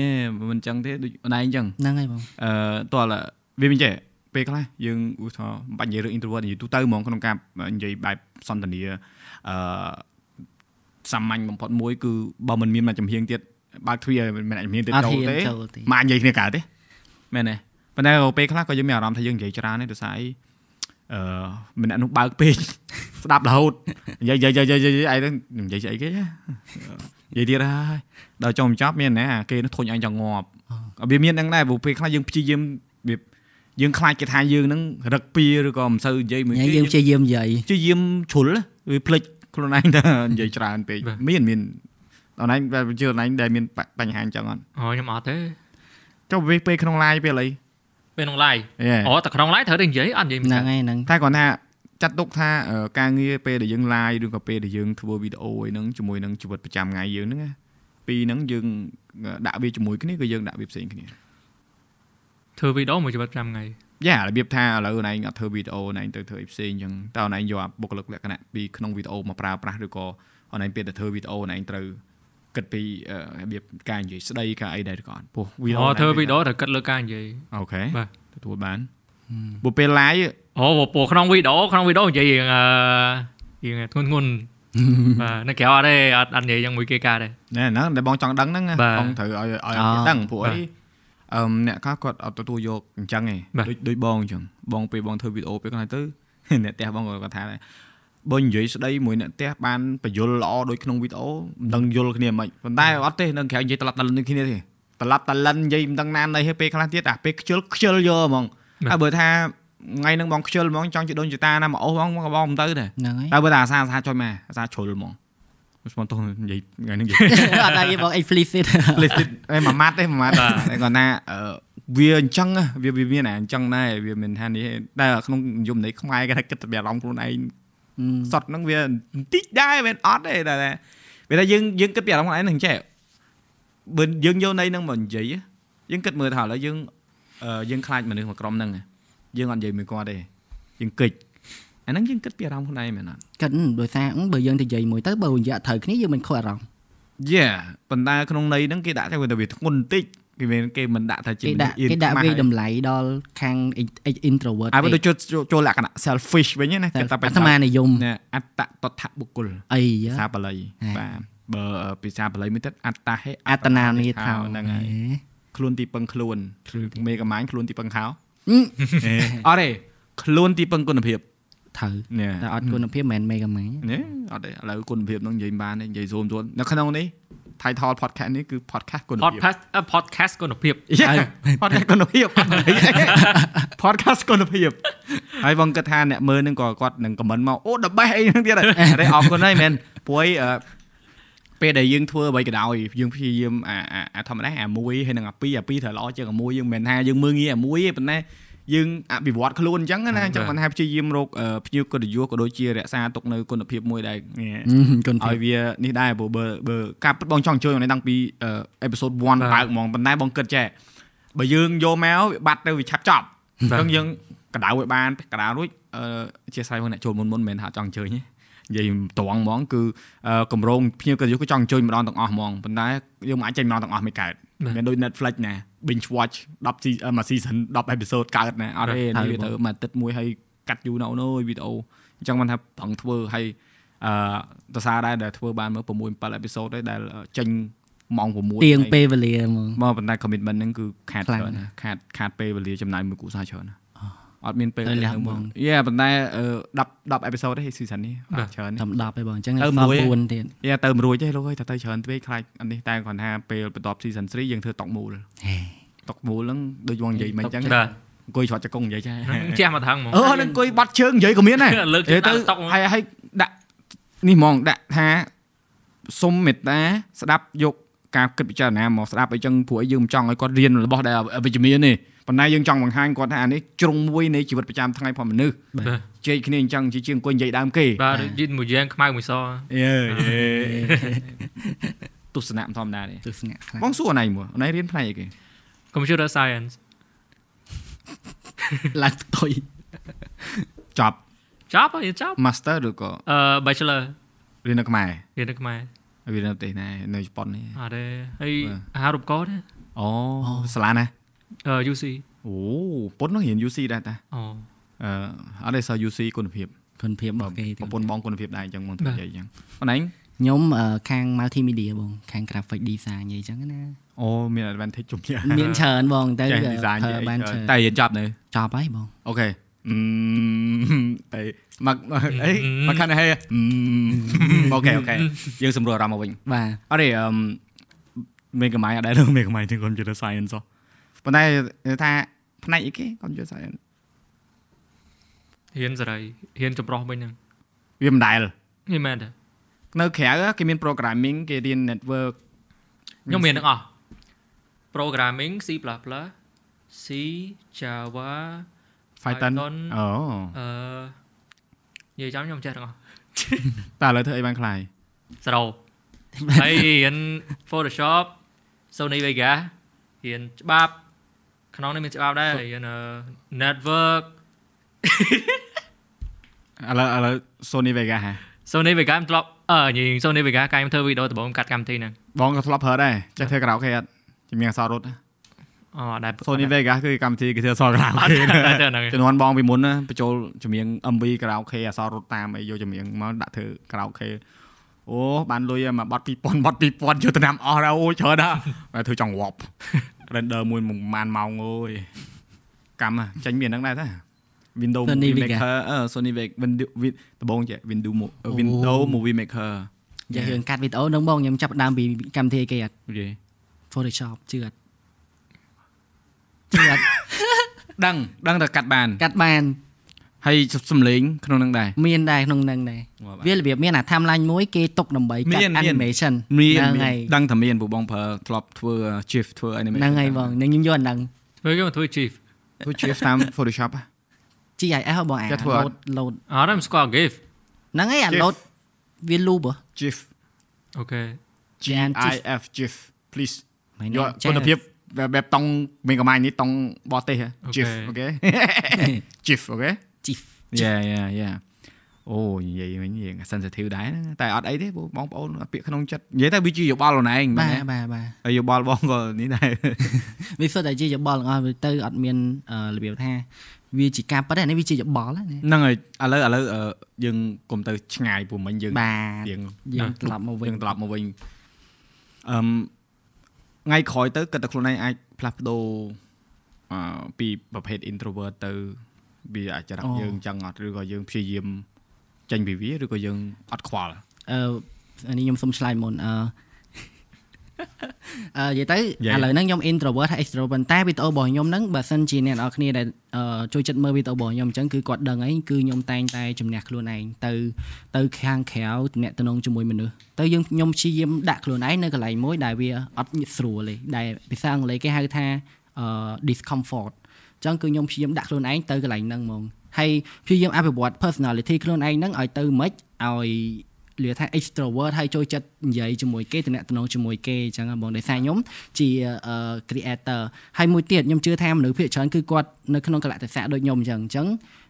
[SPEAKER 1] មិនចឹងទេដូចម្ដាយចឹង
[SPEAKER 2] ហ្នឹងហើយបង
[SPEAKER 1] អឺតើឡើយវាមិនចេះពេលខ្លះយើងឧទាហរណ៍មិនបាច់និយាយរឿង introvert និយាយទូទៅហ្មងក្នុងការនិយាយបែបសន្ទនាអឺសាមញ្ញបំផុតមួយគឺបើមិនមានមកចំហៀងទៀតបើកទ្វារមិនអាចចំហៀងទៀត
[SPEAKER 2] អត់
[SPEAKER 1] ចូល
[SPEAKER 2] ហ៊ាន
[SPEAKER 1] ទេ
[SPEAKER 2] ចូលទេ
[SPEAKER 1] ម៉ាក់និយាយគ្នាកើតទេមែនទេប៉ុន្តែពេលខ្លះក៏យើងមានអារម្មណ៍ថាយើងនិយាយច្រើនទេដោយសារអីអឺម្នាក់នោះបើក (laughs) ពេក ស្ដាប់រហូតនិយាយនិយាយនិយាយនិយាយនិយាយអីហ្នឹងនិយាយស្អីគេហ៎និយាយទៀតហើយដល់ចុងបញ្ចប់មានណាគេនោះធុញអញចង់ងាប់ក៏វាមានហ្នឹងដែរព្រោះពេលខ្លះយើងព្យាយាមវាយើងខ្លាចគេថាយើងហ្នឹងរឹកពីឬក៏មិនសូវនិយាយមួយ
[SPEAKER 2] ញ៉ៃ
[SPEAKER 1] គេ
[SPEAKER 2] យើងព្យាយាមនិយាយ
[SPEAKER 1] ព្យាយាមជ្រុលវាភ្លេចខ្លួនឯងថា (laughs) និយាយច្រើនពេកមានមានអនឡាញជឿអនឡាញដែលមានបញ្ហាអញ្ចឹងអត់
[SPEAKER 3] អូខ្ញុំអត់ទេ
[SPEAKER 1] ចុះវាពេលក្នុង live ពេលអី
[SPEAKER 3] ពេលក្នុងឡាយ
[SPEAKER 1] យេ
[SPEAKER 3] អូតែក្នុងឡាយត្រូវតែនិយាយអត់និយាយមិន
[SPEAKER 2] ហ្នឹង
[SPEAKER 3] ដឹង
[SPEAKER 2] ហើយហ្នឹង
[SPEAKER 1] តែគាត់ថាចាត់ទុកថាអឺការងារពេលដែលយើង live ឬក៏ពេលដែលយើងធ្វើវីដេអូអីហ្នឹងជាមួយនឹងជីវិតប្រចាំថ្ងៃយើងហ្នឹងណាពីរហ្នឹងយើងដាក់វាជាមួយគ្នាក៏យើងដាក់វាផ្សេងគ្នា
[SPEAKER 3] ធ្វើវីដេអូមួយជីវិត5ថ្ងៃ
[SPEAKER 1] យ៉ារបៀបថាឥឡូវណៃអត់ធ្វើវីដេអូណៃទៅធ្វើអីផ្សេងអញ្ចឹងតើណៃយកអាបុគ្គលិកលក្ខណៈពីក្នុងវីដេអូមកប្រើប្រាស់ឬក៏ណៃពេលដែលធ្វើវីដេអូណៃត្រូវគិតពីអឺរបៀបការនិយាយស្ដីការអីដែរឬក៏អត់ពោះវីដេអូ
[SPEAKER 3] អូ
[SPEAKER 1] ណៃ
[SPEAKER 3] ធ្វើវីដេអូត្រូវគិតលើការនិយាយ
[SPEAKER 1] អូខេ
[SPEAKER 3] បាទ
[SPEAKER 1] ទទួលបានព្រោះពេល live
[SPEAKER 3] អូពូក្នុងវីដេអូក្នុងវីដេអូនិយាយរៀងអឺរៀងធ្ងន់ធ្ងន់ បាទនៅក្រៅអត់ទេអត់អត់និយាយយ៉ាងមួយគេកើតទេ
[SPEAKER 1] ណែហ្នឹងដែលបងចង់ដឹងហ្នឹងណា
[SPEAKER 3] បាទ
[SPEAKER 1] បងត្រូវឲ្យឲ្យ
[SPEAKER 2] អ่า
[SPEAKER 1] គេដឹងព្រោះ
[SPEAKER 3] បាទ
[SPEAKER 1] អីអឺមអ្នកខ្លះគាត់អត់ទទួលយកអញ្ចឹងឯង
[SPEAKER 3] បាទ
[SPEAKER 1] ដូចដូចបងអញ្ចឹងបងពេលបងធ្វើវីដេអូពេលគាត់ទៅ (laughs) អ្នកផ្ទះបងក៏គាត់ថាដែរបើនិយាយស្ដីមួយអ្នកផ្ទះបានបញ្យលល្អដូចក្នុងវីដេអូមិនដឹងយល់គ្នាមិនប៉ុន្តែអត់ទេនៅក្រៅនិយាយត្រឡប់តលិនដូចគ្នាទេត្រឡប់តលិននិយាយមិនដឹងណានៃឲ្យពេលខ្លះទៀតអាពេលខ្ជិលខ្ជិលយកហ្មង
[SPEAKER 3] បាទ
[SPEAKER 1] ហើយបើថាថ្ងៃហ្នឹងបងខ្ជិលហ្មងចង់ជិះដូនជីតាណាមកអូសហ្មងបងក៏បងមិនទៅដែរ
[SPEAKER 2] ហ្នឹងហើយ
[SPEAKER 1] តែបើតាអាសាអាសាចុចមកអាសាជ្រុលហ្មងស្មោះទោះនិយាយថ្ងៃនេះនិយាយ
[SPEAKER 2] អត់ដែរគេបង explicit
[SPEAKER 1] explicit ឯមួយម៉ាត់ទេមួយម៉ាត់
[SPEAKER 3] បាទ
[SPEAKER 1] តែគាត់ថាអឺវាអញ្ចឹងហ៎វាវាមានអាអញ្ចឹងដែរវាមានថានេះតែក្នុងនិយមន័យខ្មែរគេថាគិតតែអារម្មណ៍ខ្លួនឯងសតហ្នឹងវាបន្តិចដែរមិនអត់ទេតែតែវាថាយើងយើងគិតពីអារម្មណ៍ខ្លួនឯងហ្នឹងចេះបើយើងយកន័យហ្នឹងមកនិយាយហ៎យើងគិតមើលថាឥឡូវយើងអឺយើងខ្លាចមនុស្សមួយក្រុមហ្នឹងហ៎យើងអត់និយាយមួយគាត់ទេយើងគិតអាហ្នឹងយើងគិតពីអារម្មណ៍ខ្លួនឯងមែនអត់
[SPEAKER 2] កិនដោយសារអឺបើយើងទៅនិយាយមួយទៅបើរយៈត្រូវគ្នាយើងមិនខុសអារម្មណ៍
[SPEAKER 1] យេប៉ុន្តែក្នុងន័យហ្នឹងគេដាក់តែថាវាធ្ងន់បន្តិចគេមានគេមិនដាក់ថាជា
[SPEAKER 2] គេដាក់
[SPEAKER 1] មនុស្ស
[SPEAKER 2] គេដាក់
[SPEAKER 1] intimate
[SPEAKER 2] វា
[SPEAKER 1] ហើយ
[SPEAKER 2] តម្លៃដល់ខាង introvert
[SPEAKER 1] អាវាដូចចូលចូលលក្ខណៈ selfish វិញណា
[SPEAKER 2] តែ
[SPEAKER 1] គេថា
[SPEAKER 2] អាត្មានិយម
[SPEAKER 1] ណាអត្តតថបុគ្គល
[SPEAKER 2] អីយ៉ា
[SPEAKER 1] ភាសាបាលី
[SPEAKER 2] ហេ
[SPEAKER 1] បាទបើភាសាបាលីមួយទៀតអត្តហេ
[SPEAKER 2] អត្តនានីថោ
[SPEAKER 1] ហ្នឹងហើយ
[SPEAKER 2] ហេ
[SPEAKER 1] ខ្លួនទីពឹងខ្លួនមេកម៉ាញ់ខ្លួនទីពឹងខោ
[SPEAKER 2] អឺ
[SPEAKER 1] ហេអត់ទេខ្លួនទីពឹងគុណភាព
[SPEAKER 2] ត្រូវ
[SPEAKER 1] នេះ
[SPEAKER 2] តែអត់គុណភាពមិនមែនមេកាម៉ាញ
[SPEAKER 1] នេះអត់ទេឥឡូវគុណភាពហ្នឹងនិយាយមិនបានទេនិយាយរួមទួលនៅក្នុងនេះ title podcast នេះគឺ podcast គុណភាព
[SPEAKER 3] podcast អឺ podcast គុណភាព
[SPEAKER 1] យេ podcast គុណភាព (laughs) podcast គុណភាពហើយបងគិតថាអ្នកមើលហ្នឹងក៏គាត់នឹង comment មកអូដបេះអីហ្នឹង (laughs) ទៀតហើយតែអរគុណហើយមែនព្រួយអឺពេលដែលយើងធ្វើអ្វីក៏ដោយយើងព្យាយាមអាអាអាធម្មតាអាមួយហើយនឹងអាពីរអាពីរត្រូវល្អជាងអាមួយយើងមិនមែនថាយើងមើលងាយអាមួយទេប៉ុន្តែយើងអភិវឌ្ឍខ្លួនអញ្ចឹងណាអញ្ចឹង
[SPEAKER 3] បា
[SPEAKER 1] មិន
[SPEAKER 3] ទ
[SPEAKER 1] ថាព្យាយាមរកអឺភ្ញៀវកិត្តិយសក៏ដូចជារក្សាទុកនៅគុណភាពមួយដែរនេះ (laughs)
[SPEAKER 2] គុណ
[SPEAKER 1] ឲ្យ
[SPEAKER 2] ភាព
[SPEAKER 1] វានេះដែរព្រោះបើបើការពិតបងចង់ជួយនៅតាំងពីអេពីសូត1បើកហ្មងប៉ុន្តែបងគិតចេះបើយើងយកមកវាបាត់ទៅវាឆាប់ចប់អ
[SPEAKER 3] បាទ
[SPEAKER 1] ញ្ចឹងយើងកដៅឲ្យបានកដៅរួចអឺអធិស្ឋានហ្នឹងអ្នកចូលមុនមុនមិនមែនថាចង់អញ្ជើញទេនិយាយត្រង់ហ្មងគឺអឺកម្រងភ្ញៀវកិត្តិយសក៏ចង់អញ្ជើញម្ដងទាំងអស់ហ្មងប៉ុន្តែយើងមិនអាចចេញម្ដងទាំងអស់មិនកើត
[SPEAKER 3] បាទ
[SPEAKER 1] មានដូច Netflix ណា binge watch 10ស៊ីមួយ season 10 episode កើតណាអត់ទេនេះវាទៅមួយអាទិត្យមួយហើយកាត់យូរណាស់អូនវីដេអូអញ្ចឹងមិនថាប្រឹងធ្វើហើយ អឺតសារដែរដែលធ្វើបានមើល6 7អេពីសូតដែរដែលចេញម៉ោង6
[SPEAKER 2] ទៀងពេលវេលាហ្មង
[SPEAKER 1] មកប៉ុន្តែ commitment ហ្នឹងគឺខាត
[SPEAKER 2] ខ្លាំង
[SPEAKER 1] ច្រើនណាស់ខាតខាតពេលវេលាចំណាយមួយគូសារច្រើនណាស់អត់មានពេល
[SPEAKER 2] ទៅលះបង់
[SPEAKER 1] យេប៉ុន្តែអឺ10 10អេពីសូតទេ season នេះ
[SPEAKER 3] បាទ
[SPEAKER 1] ច្រើនណាស់
[SPEAKER 2] តាម10ឯងបងអញ្ចឹង
[SPEAKER 1] ទៅ
[SPEAKER 2] សល់
[SPEAKER 1] មួយ
[SPEAKER 2] 9ទៀត
[SPEAKER 1] យេទៅមិនរួចទេលោកអើយតែទៅច្រើនពេកខ្លាចអានេះតែគ្រាន់ថាពេលបន្ទាប់ season 3យើងធ្វើតុកមូលតុកមូលហ្នឹងដូចយើងនិយាយមិនអញ្ចឹង
[SPEAKER 3] បាទ
[SPEAKER 1] អង្គុយច្រត់ចកងនិយាយចា
[SPEAKER 3] (laughs) ហ្នឹងជះមកថងហ្មង
[SPEAKER 1] អឺហ្នឹងអង្គុយបាត់ជើងនិយាយក៏មានដែរ
[SPEAKER 3] (laughs) លើកជើង
[SPEAKER 1] និ
[SPEAKER 3] ដាក់
[SPEAKER 1] យាយ
[SPEAKER 3] តុកហ្មង
[SPEAKER 1] ហើយហើយដាក់នេះហ្មងដាក់ថាសុំមេត្តាស្ដាប់យកការគិតពិចារណាមកស្ដាប់អីចឹងព្រោះអីយើងមិនចង់ឲ្យគាត់រៀនរបស់ដែលអវិជ្ជមានទេប៉ុន្តែយើងចង់បង្ហាញគាត់ថាអានេះជ្រុងមួយនៃជីវិតប្រចាំថ្ងៃផងមនុស្ស
[SPEAKER 3] បាទ
[SPEAKER 1] ជែកគ្នាអញ្ចឹងជាជាងអង្គុយនិយាយដើមគេ
[SPEAKER 3] បាទដូចយឺតមួយយ៉ាងខ្មៅមួយស
[SPEAKER 1] យេ
[SPEAKER 3] (laughs)
[SPEAKER 1] យេទស្សនៈមិនធម្មតាទេ
[SPEAKER 2] ទស្សនៈខ្លាំង
[SPEAKER 1] បងសួរអណៃមួយអណៃរៀនផ្នែកអីគេ
[SPEAKER 3] computer science
[SPEAKER 2] ឡើងផ្ទុយ
[SPEAKER 1] ចប់
[SPEAKER 3] ចប់ហើយចប់
[SPEAKER 1] master ឬក៏
[SPEAKER 3] អឺ bachelor
[SPEAKER 1] រៀននៅខ្មែរ
[SPEAKER 3] រៀននៅខ្មែរ
[SPEAKER 1] រៀននៅប្រទេសណានៅជប៉ុននេះ
[SPEAKER 3] អត់ទេហើយ
[SPEAKER 1] បាទ
[SPEAKER 3] អាហាររូបករណ៍ទេ
[SPEAKER 1] អូសាលាណា
[SPEAKER 3] អឺ UC
[SPEAKER 1] អូប៉ុននោះរៀន UC ដែរតា
[SPEAKER 3] អូ
[SPEAKER 1] អឺអត់ទេស UC គុណភាព
[SPEAKER 2] គុណភាព
[SPEAKER 1] ប
[SPEAKER 2] ប
[SPEAKER 1] ប
[SPEAKER 2] ស់គេទៀត
[SPEAKER 1] ប្រពន្ធបងគុណភាពដែរអញ្ចឹងមកនិយាយអញ្ចឹងអូនឯង
[SPEAKER 2] ខ្ញុំអឺខាង multimedia បងខាង graphic design និយាយអញ្ចឹងណា
[SPEAKER 1] អូមាន advantage ជំនាញ
[SPEAKER 2] មានច្រើនបងទៅ
[SPEAKER 1] ចេះ
[SPEAKER 2] អឺ
[SPEAKER 1] Dạ, design និ
[SPEAKER 2] ធ្វើបាន
[SPEAKER 1] យាយ
[SPEAKER 2] ច្រើន
[SPEAKER 1] តែរៀនចប់នៅ
[SPEAKER 2] ចប់ហើយបង
[SPEAKER 1] អូខេអឺតែមកមកអីមកខាងហេអូខេអូខេយើងសម្រួលអារម្មណ៍មកវិញ
[SPEAKER 2] បាទ
[SPEAKER 1] អរិយអឺមេកម៉ៃអត់ដែរមេកម៉ៃទាំង computer science ហ៎ប៉ុន្តែថាផ្នែកអីគេ computer science
[SPEAKER 3] រៀនសេរីរៀនចម្រោះវិញហ្នឹង
[SPEAKER 1] វាមិនដែល
[SPEAKER 3] នេះមែនទេ
[SPEAKER 1] នៅក្រៅគេមាន programming គេរៀន network
[SPEAKER 3] ខ្ញុំរៀនទាំងអស់ programming C++ C Java
[SPEAKER 1] Python
[SPEAKER 3] Python
[SPEAKER 1] អូ
[SPEAKER 3] អឺនិយាយចាំខ្ញុំចេះទាំងអស់
[SPEAKER 1] តែឥឡូវធ្វើអីបានខ្លាយ
[SPEAKER 3] សរោហើយរៀន Photoshop Sony Vegas រៀនច្បាប់ក្នុងនេះមានច្បាប់ដែររៀនអឺ network
[SPEAKER 1] ឥឡូវឥឡូវ Sony Vega ហ่ะ
[SPEAKER 3] Sony Vegas មិនធ្លាប់អឺនិយាយ Ờ, Sony Vegas កាយខ្ញុំធ្វើវីដេអូដំបូងកាត់កម្មវិធីហ្នឹង
[SPEAKER 1] បងក៏ធ្លាប់ប្រើដែរចេះធ្វើ karaoke អត់ជំនាញអក្សររត់ណា
[SPEAKER 3] អូអត់ដែរ
[SPEAKER 1] Sony
[SPEAKER 3] (laughs)
[SPEAKER 1] Vega គឺកម្មវិធីគេធ្វើអក្សរ karaoke
[SPEAKER 3] អត់ដែរហ្នឹង
[SPEAKER 1] ចំនួនបងពីមុនណាបញ្ចូលជំនាញ MV karaoke អក្សររត់តាមអីយកជំនាញមកដាក់ធ្វើ karaoke អូបានលុយមកបាត់2000បាត់2000យកតាមអស់ហើយអូយច្រើន (laughs) ណាស់តែធ្វើចង់ងាប់ render មួយប្រហែលម៉ោងអើយកម្មហ่ะចាញ់មានហ្នឹងដែរតា Windows
[SPEAKER 2] Sony
[SPEAKER 1] Movie
[SPEAKER 2] Vega
[SPEAKER 1] Maker អឺ Sony Vega Windows Win- ដំបូងចេះ Windows Mo- Windows Movie Maker
[SPEAKER 2] យ៉ាងយើងកាត់វីដេអូនឹងបងខ្ញុំចាប់ផ្ដើមពីកម្មវិធីគេអត់
[SPEAKER 1] និយាយ
[SPEAKER 2] Photoshop ជឿអត់ជឿអត់
[SPEAKER 1] ដឹងដឹងតែកាត់បាន
[SPEAKER 2] កាត់បាន
[SPEAKER 1] ហើយសំលេងក្នុងហ្នឹងដែរ
[SPEAKER 2] មានដែរក្នុងនឹងដែរ
[SPEAKER 1] ងាប់ហើយ
[SPEAKER 2] វារបៀបមានអា timeline មួយគេទុកដើម្បីកា
[SPEAKER 1] មាន
[SPEAKER 2] ត់
[SPEAKER 1] មាន
[SPEAKER 2] animation
[SPEAKER 1] មាន
[SPEAKER 2] ហ្នឹ
[SPEAKER 1] មាន
[SPEAKER 2] ហើយ
[SPEAKER 1] ដឹងតែមានពូបងប្រើធ្លាប់ធ្វើ GIF ធ្វើ animation
[SPEAKER 2] ហ្នឹងហើយបងនឹងខ្ញុំយល់អាហ្នឹង
[SPEAKER 3] ធ្វើគេមកធ្វើ chief
[SPEAKER 1] ធ្វើ GIF តាម Photoshop ហ៎
[SPEAKER 2] GIF ហ៎បងអា
[SPEAKER 1] គេធ្វើ
[SPEAKER 2] load load
[SPEAKER 3] អត់ខ្ញុំស្គាល់ GIF
[SPEAKER 2] ហ្នឹងហើយអា
[SPEAKER 1] GIF
[SPEAKER 2] load វា loop ហ៎
[SPEAKER 1] GIF
[SPEAKER 3] អូខេ
[SPEAKER 2] Giant GIF
[SPEAKER 1] IF GIF please
[SPEAKER 2] មិន
[SPEAKER 1] យក
[SPEAKER 2] ដឹងចេះ
[SPEAKER 1] គុណភាពបែបតង់មេកាម៉ាញនេះតង់បរទេសហ៎
[SPEAKER 3] Okay.
[SPEAKER 1] GIF អូ (laughs) ខេ GIF អូខេ
[SPEAKER 2] GIF
[SPEAKER 1] Yeah yeah yeah អូនិយាយវិញយើង sensitive ដែរហ្នឹងតែអត់អីទេពូបងប្អូនពាក្យក្នុងចិត្តនិយាយតែវាជាយោបល់ខ្លួនឯងមែន
[SPEAKER 2] បាទ
[SPEAKER 1] ទេ
[SPEAKER 2] បាទបាទ
[SPEAKER 1] ហើយយោបល់បងក៏នេះដែរ
[SPEAKER 2] វាសុទ្ធតែជាយបល់ទាំងអស់វាទៅអត់មានអឺរបៀបថាវាជាការប៉ិតអានេះវាជាយបល់ហ្នឹងណា
[SPEAKER 1] ហ្នឹងហើយឥឡូវឥឡូវអឺយើងកុំទៅឆ្ងាយពូមិញយើង
[SPEAKER 2] បាទ
[SPEAKER 1] យើង
[SPEAKER 2] យើងត្រឡប់មកវិញ
[SPEAKER 1] យើងត្រឡប់មកវិញអឹមថ្ងៃក្រោយទៅគិតតែខ្លួនឯងអាចផ្លាស់ប្ដូរអឺពីប្រភេទ introvert ទៅវាអាចរកយើងចឹងអត់ឬក៏យើងព្យាយាមចេញពីវាឬក៏យើងអត់ខ្វល់
[SPEAKER 2] អឺអានេះខ្ញុំសុំឆ្លើយមុនអឺ (laughs) អឺនិយាយទៅឥឡូវហ្នឹងខ្ញុំ introvert ហើយ extrovert ប៉ុន្តែវីដេអូរបស់ខ្ញុំហ្នឹងបើសិនជាអ្នកនរគ្នាដែលអឺចូលចិត្តមើលវីដេអូរបស់ខ្ញុំអញ្ចឹងគឺគាត់ដឹងហើយគឺខ្ញុំតែងតែជំនះខ្លួនឯងទៅទៅខាងក្រៅតំណែងជាមួយមនុស្សទៅយើងខ្ញុំព្យាយាមដាក់ខ្លួនឯងនៅកន្លែងមួយដែលវាអត់ស្រួលទេដែលភាសាអង់គ្លេសគេហៅថាអឺ discomfort អញ្ចឹងគឺខ្ញុំព្យាយាមដាក់ខ្លួនឯងទៅកន្លែងហ្នឹងហ្មងហើយព្យាយាមអភិវឌ្ឍ personality ខ្លួនឯងហ្នឹងឲ្យទៅຫມិច្ចឲ្យលឿថា extrovert ហើយចូលចិត្តនិយាយជាមួយគេតំណាក់តំណងជាមួយគេអញ្ចឹងហ៎បងដោយសារខ្ញុំជាអឺ creator ហើយមួយទៀតខ្ញុំជឿថាមនុស្សភាគច្រើនគឺគាត់នៅក្នុងកលៈទេសៈដូចខ្ញុំអញ្ចឹងអញ្ចឹង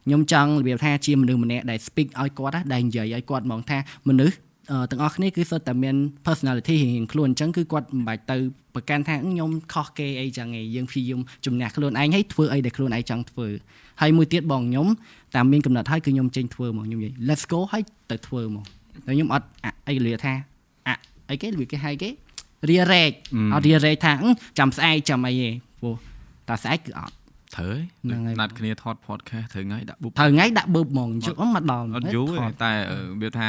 [SPEAKER 2] ខ្ញុំចង់របៀបថាជាមនុស្សម្នាក់ដែល speak ឲ្យគាត់ណាដែលនិយាយឲ្យគាត់ហ្មងថាមនុស្ស អឺទាំងអស់គ្នាគឺសុទ្ធតែមាន personality រៀងៗខ្លួនអញ្ចឹងគឺគាត់មិនបាច់ទៅប្រកាន់ថាខ្ញុំខុសគេអីចឹងឯងយើងព្យាយាមជំនះខ្លួនឯងហើយធ្វើអីដែលខ្លួនឯងចង់ធ្វើហើយមួយទៀតបងខ្ញុំតាមមានកំណត់ហើយគឺខ្ញុំចេញធ្វើហ្មងខ្ញុំនិយាយ let's go ហើយទៅធ្វើហ្មងតែខ្ញុំអត់អអីលាថាអអីគេវាគេហៅគេរារែកអត់រារែកថាអឺចាំស្អែកចាំអីឯងព្រោះតែស្អែកគឺអត់
[SPEAKER 1] ត្រូវ
[SPEAKER 2] ហ្នឹងហើយ
[SPEAKER 1] ណាត់គ្នាថត podcast ត្រូវថ្ងៃដាក់ book
[SPEAKER 2] ត្រូវថ្ងៃដាក់បឺបហ្មងជឹកមកដល់
[SPEAKER 1] អត់យូរ
[SPEAKER 2] ថ
[SPEAKER 1] ទេ
[SPEAKER 2] ត
[SPEAKER 1] តែអឺវាថា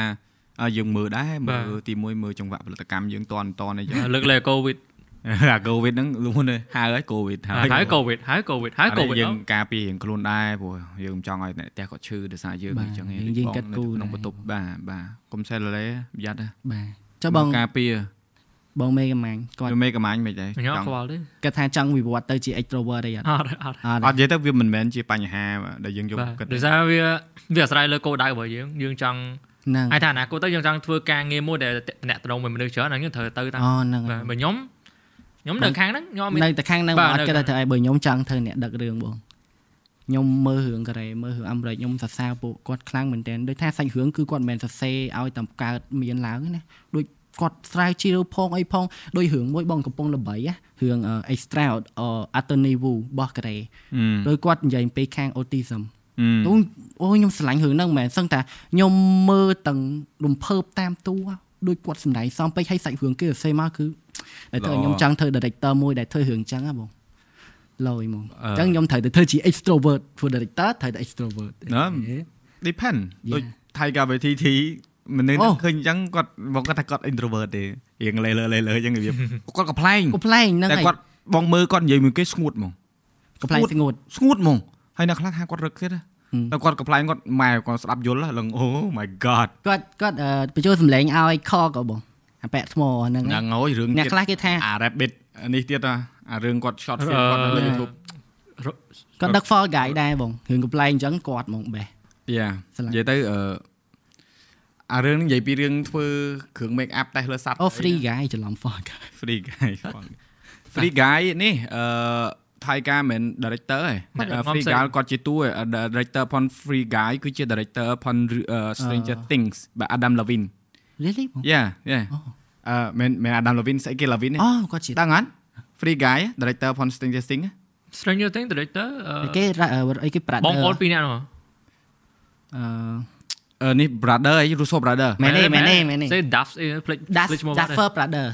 [SPEAKER 1] អ่าយើងមើលដែរ
[SPEAKER 3] បា
[SPEAKER 1] មើ
[SPEAKER 3] ទ
[SPEAKER 1] លទីមួយមើលចង្វាក់ផលិតកម្មយើងតន់តន់អីចឹង
[SPEAKER 3] លើកលែង Ờ, COVID
[SPEAKER 1] អា COVID ហ្នឹងលួនហើយហៅហើយ COVID
[SPEAKER 3] ហើយហើយ COVID ហើយ COVID ហើយ
[SPEAKER 1] អានេះ
[SPEAKER 3] COVID
[SPEAKER 1] យើងការពាររៀងខ្លួនដែរព្រោះយើងមិនចង់ឲ្យអ្នកផ្ទះគាត់ឈឺដោយសារយើងអញ្ចឹងឯងបងនៅក្នុងបន្ទប់បាទបាទកុំសេឡលេប្រយ័ត្នណា
[SPEAKER 2] បាទចុះបង
[SPEAKER 1] ការពារ
[SPEAKER 2] បងមេកំាញ់គាត់
[SPEAKER 1] វាមេកម៉ាញ់មិនដែរ
[SPEAKER 3] ខ្ញុំអត់ខ្វល់ទេ
[SPEAKER 2] គាត់ថាចង់វិវត្តទៅជា extrovert អីអត់
[SPEAKER 3] អត់ទេអត់
[SPEAKER 1] អត់និ
[SPEAKER 2] អត់
[SPEAKER 3] ទេ
[SPEAKER 1] យាយទៅវាមិនមែនជាបញ្ហាដែលយើងយក
[SPEAKER 3] បាទ
[SPEAKER 1] គិត
[SPEAKER 3] ដោយសារវាវាអាស្រ័យលើគោលដៅរបស់យើងយើងចង់
[SPEAKER 2] ហ្នឹង
[SPEAKER 3] ហៅថាអនាគតទៅយើងចង់ធ្វើការងារមួយដែលតំណាក់តំណងមួយមនុស្សច្រើនហ្នឹងយើងត្រូវទៅតាម
[SPEAKER 1] Ờ.
[SPEAKER 2] អូហ្នឹង
[SPEAKER 3] បាទបើខ្ញុំខ្ញុំនៅខាងហ្នឹងខ្ញុំអត់មាន
[SPEAKER 2] នៅតែខាងហ្នឹង
[SPEAKER 3] បាទ
[SPEAKER 2] មិនអត់
[SPEAKER 3] នៅ
[SPEAKER 2] គិតថា
[SPEAKER 3] ខាង
[SPEAKER 2] ធ្វើឲ្យបើខ្ញុំចង់ធ្វើអ្នកដឹករឿងបងខ្ញុំមើលរឿងកូរ៉េមើលរឿងអាមេរិកខ្ញុំសរសើរពួកគាត់ខ្លាំងមែនទែនដូចថាសាច់រឿងគឺគាត់មិនមែនសរសេរឲ្យតែកើតមានឡើងទេណាដូចគាត់ស្រាវជ្រាវផងអីផងដូចរឿងមួយបងកំពុងល្បីណារឿងអឺ Extra Attorney Wu របស់កូរ៉េដោយគាត់និយាយអំពីខាង autism អូអូខ្ញុំស្រឡាញ់រឿងហ្នឹងមែនសឹងតែខ្ញុំមើលទាំងរំភើបតាមតួដូចគាត់សម្ដែងសំពេចឲ្យសាច់រឿងគេសរសេរមកគឺតែធ្វើឲ្យខ្ញុំចង់ធ្វើ director មួយដែលធ្វើរឿងចឹងហ៎បងឡយហ្មងអញ្ចឹងខ្ញុំត្រូវទៅធ្វើជា extrovert ព្រោះ director ត្រូវតែ extrovert
[SPEAKER 1] ណា depend ដូច Tiger VTT មនុស្សឃើញអញ្ចឹងគាត់បងគាត់ថាគាត់ introvert ទេរៀងលេលើលេលើអញ្ចឹងវាគាត់កំ plaign
[SPEAKER 2] កំ pl ែងហ្នឹង
[SPEAKER 1] តែ
[SPEAKER 2] ហើយ
[SPEAKER 1] គាត់បងមើលគាត់និយាយមួយគេស្ងួតហ្មង
[SPEAKER 2] កំ pl ែងស្ងួត
[SPEAKER 1] ស្ងួតហ្មងហើយអ្នកខ្លះថាគាត់រឹកទៀតណា
[SPEAKER 2] ហឹម
[SPEAKER 1] តែគាត់កំ plaign គាត់ម៉ែគាត់ស្ដាប់យល់ឡឹងអូ my god
[SPEAKER 2] គាត់គាត់អឺបញ្ចូលសម្លេងឲ្យខកក៏បងអាប៉ែកថ្មហ្នឹង
[SPEAKER 1] ហ្នឹ
[SPEAKER 2] ហើយ
[SPEAKER 1] ងហើយរឿង
[SPEAKER 2] អ្នក
[SPEAKER 1] ទៀត
[SPEAKER 2] ខ្លះគេថា
[SPEAKER 1] អា rabbit នេះទៀតណាអារឿងគាត់ short film គាត់នៅលើ
[SPEAKER 3] Ờ,
[SPEAKER 1] YouTube
[SPEAKER 2] គាត់ដឹក fall guy ដែរបងរឿងកំ pl ែងអញ្ចឹងគាត់ហ្មងបេះ
[SPEAKER 1] យ៉ា
[SPEAKER 2] ស្រឡាញ់
[SPEAKER 1] និយាយទៅអឺអារឿងហ្នឹងនិយាយពីរឿងធ្វើគ្រឿង make up តែលើសัตว์
[SPEAKER 2] អូ free guy ច្រឡំ fall guy
[SPEAKER 1] free guy free guy នេះអឺ Tiger មិន director ឯ
[SPEAKER 3] មិន
[SPEAKER 1] ង Free Guy គាត់ជាតួឯង director ផន Free Guy គឺជា director ផន Stranger Things បាទ Adam Levine
[SPEAKER 2] really បង
[SPEAKER 1] យ៉ាយ៉ាអឺមែនមែន Adam Levine ស្អីគេ Levine ទេ
[SPEAKER 2] អូគាត់ជា
[SPEAKER 1] ដឹងអត់ Free Guy Director ផន Stranger Things
[SPEAKER 3] Stranger Things ờ, director អឺ
[SPEAKER 2] គេរ៉ាអឺអីគេប្រាក់
[SPEAKER 3] បងប្អូនពីរនាក់ហ្មង
[SPEAKER 2] អឺ
[SPEAKER 1] អ អឺនេះ brother អី Russo brother
[SPEAKER 2] មែនទេមែនទេមែនទេ
[SPEAKER 3] សេ Daf អីភ្លេច
[SPEAKER 2] Das
[SPEAKER 3] ភ្លេចឈ្មោះបាត់ហើយ
[SPEAKER 2] Duffer Brother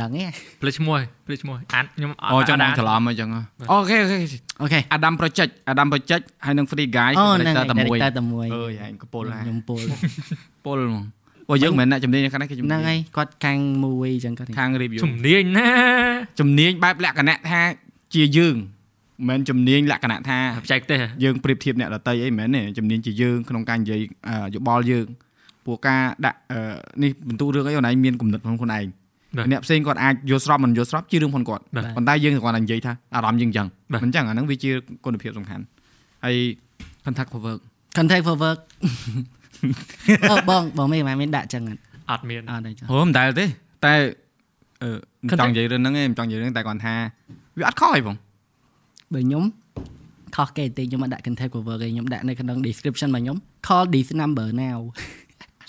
[SPEAKER 2] ដឹងទេ
[SPEAKER 3] ភ្លេចឈ្មោះហើយភ្លេចឈ្មោះហើយអាត់ខ្ញុំ
[SPEAKER 1] អូចង់
[SPEAKER 3] អ
[SPEAKER 1] នឹង
[SPEAKER 3] ត់
[SPEAKER 1] ច្រឡំអីចឹងអូខេអូខេ
[SPEAKER 2] អូខេ
[SPEAKER 1] Adam Project Adam Project ហើយនឹង Free Guy
[SPEAKER 2] អូ
[SPEAKER 1] តែ
[SPEAKER 2] ហ្នឹង
[SPEAKER 1] តែមួយ
[SPEAKER 2] តែតែមួយ
[SPEAKER 4] អើយហែងកពុលហ่า
[SPEAKER 2] ខ្ញុំពុល (laughs)
[SPEAKER 1] ពលហ្មងអូយើងមិនមែនអ្នកជំនាញខាងនេះគេជំ
[SPEAKER 2] ហ្នឹង
[SPEAKER 1] នាញ
[SPEAKER 2] ហើយគាត់កាំងមួយអញ្ចឹងគាត់
[SPEAKER 1] ខាង review
[SPEAKER 3] ជំនាញណា
[SPEAKER 1] ជំនាញបែបលក្ខណៈថាជាយើងមិនមែនជំនាញលក្ខណៈថា
[SPEAKER 3] បច្ចេកទេសហ៎
[SPEAKER 1] យើងប្រៀបធៀបអ្នកដតីអីមិនមែនទេជំនាញជាយើងក្នុងការនិយាយអឺយោបល់យើងពួកការដាក់អឺនេះបន្ទូរឿងអីខ្លួនឯងមានគំនិតក្នុងខ្លួនឯងអ្នកផ្សេងគាត់អាចយល់ស្របមិនយល់ស្របជារឿងផងគាត់
[SPEAKER 3] បាទ
[SPEAKER 1] ប៉ុន្តែយើងគ្រាន់តែនិយាយថាអារម្មណ៍យើងអញ្ចឹង
[SPEAKER 3] បាទ
[SPEAKER 1] មិនអញ្ចឹងអាហ្នឹងវាជាគុណភាពសំខាន់ហើយ contact for work
[SPEAKER 2] contact for (laughs) work អឺបងបងមិនមែនមានដាក់អញ្ចឹងអត់
[SPEAKER 3] អត់មាន
[SPEAKER 2] អត់ទេចឹង
[SPEAKER 1] ហូមិនដែលទេតែអឺមិនចង់និយាយរឿងហ្នឹងឯងមិនចង់និយាយរឿងតែគាត់ថាវាអត់ខុសអីបង
[SPEAKER 2] បើខ្ញុំខុសគេតិចខ្ញុំអត់ដាក់ contact for work ទេខ្ញុំដាក់នៅក្នុង description របស់ខ្ញុំ call this number now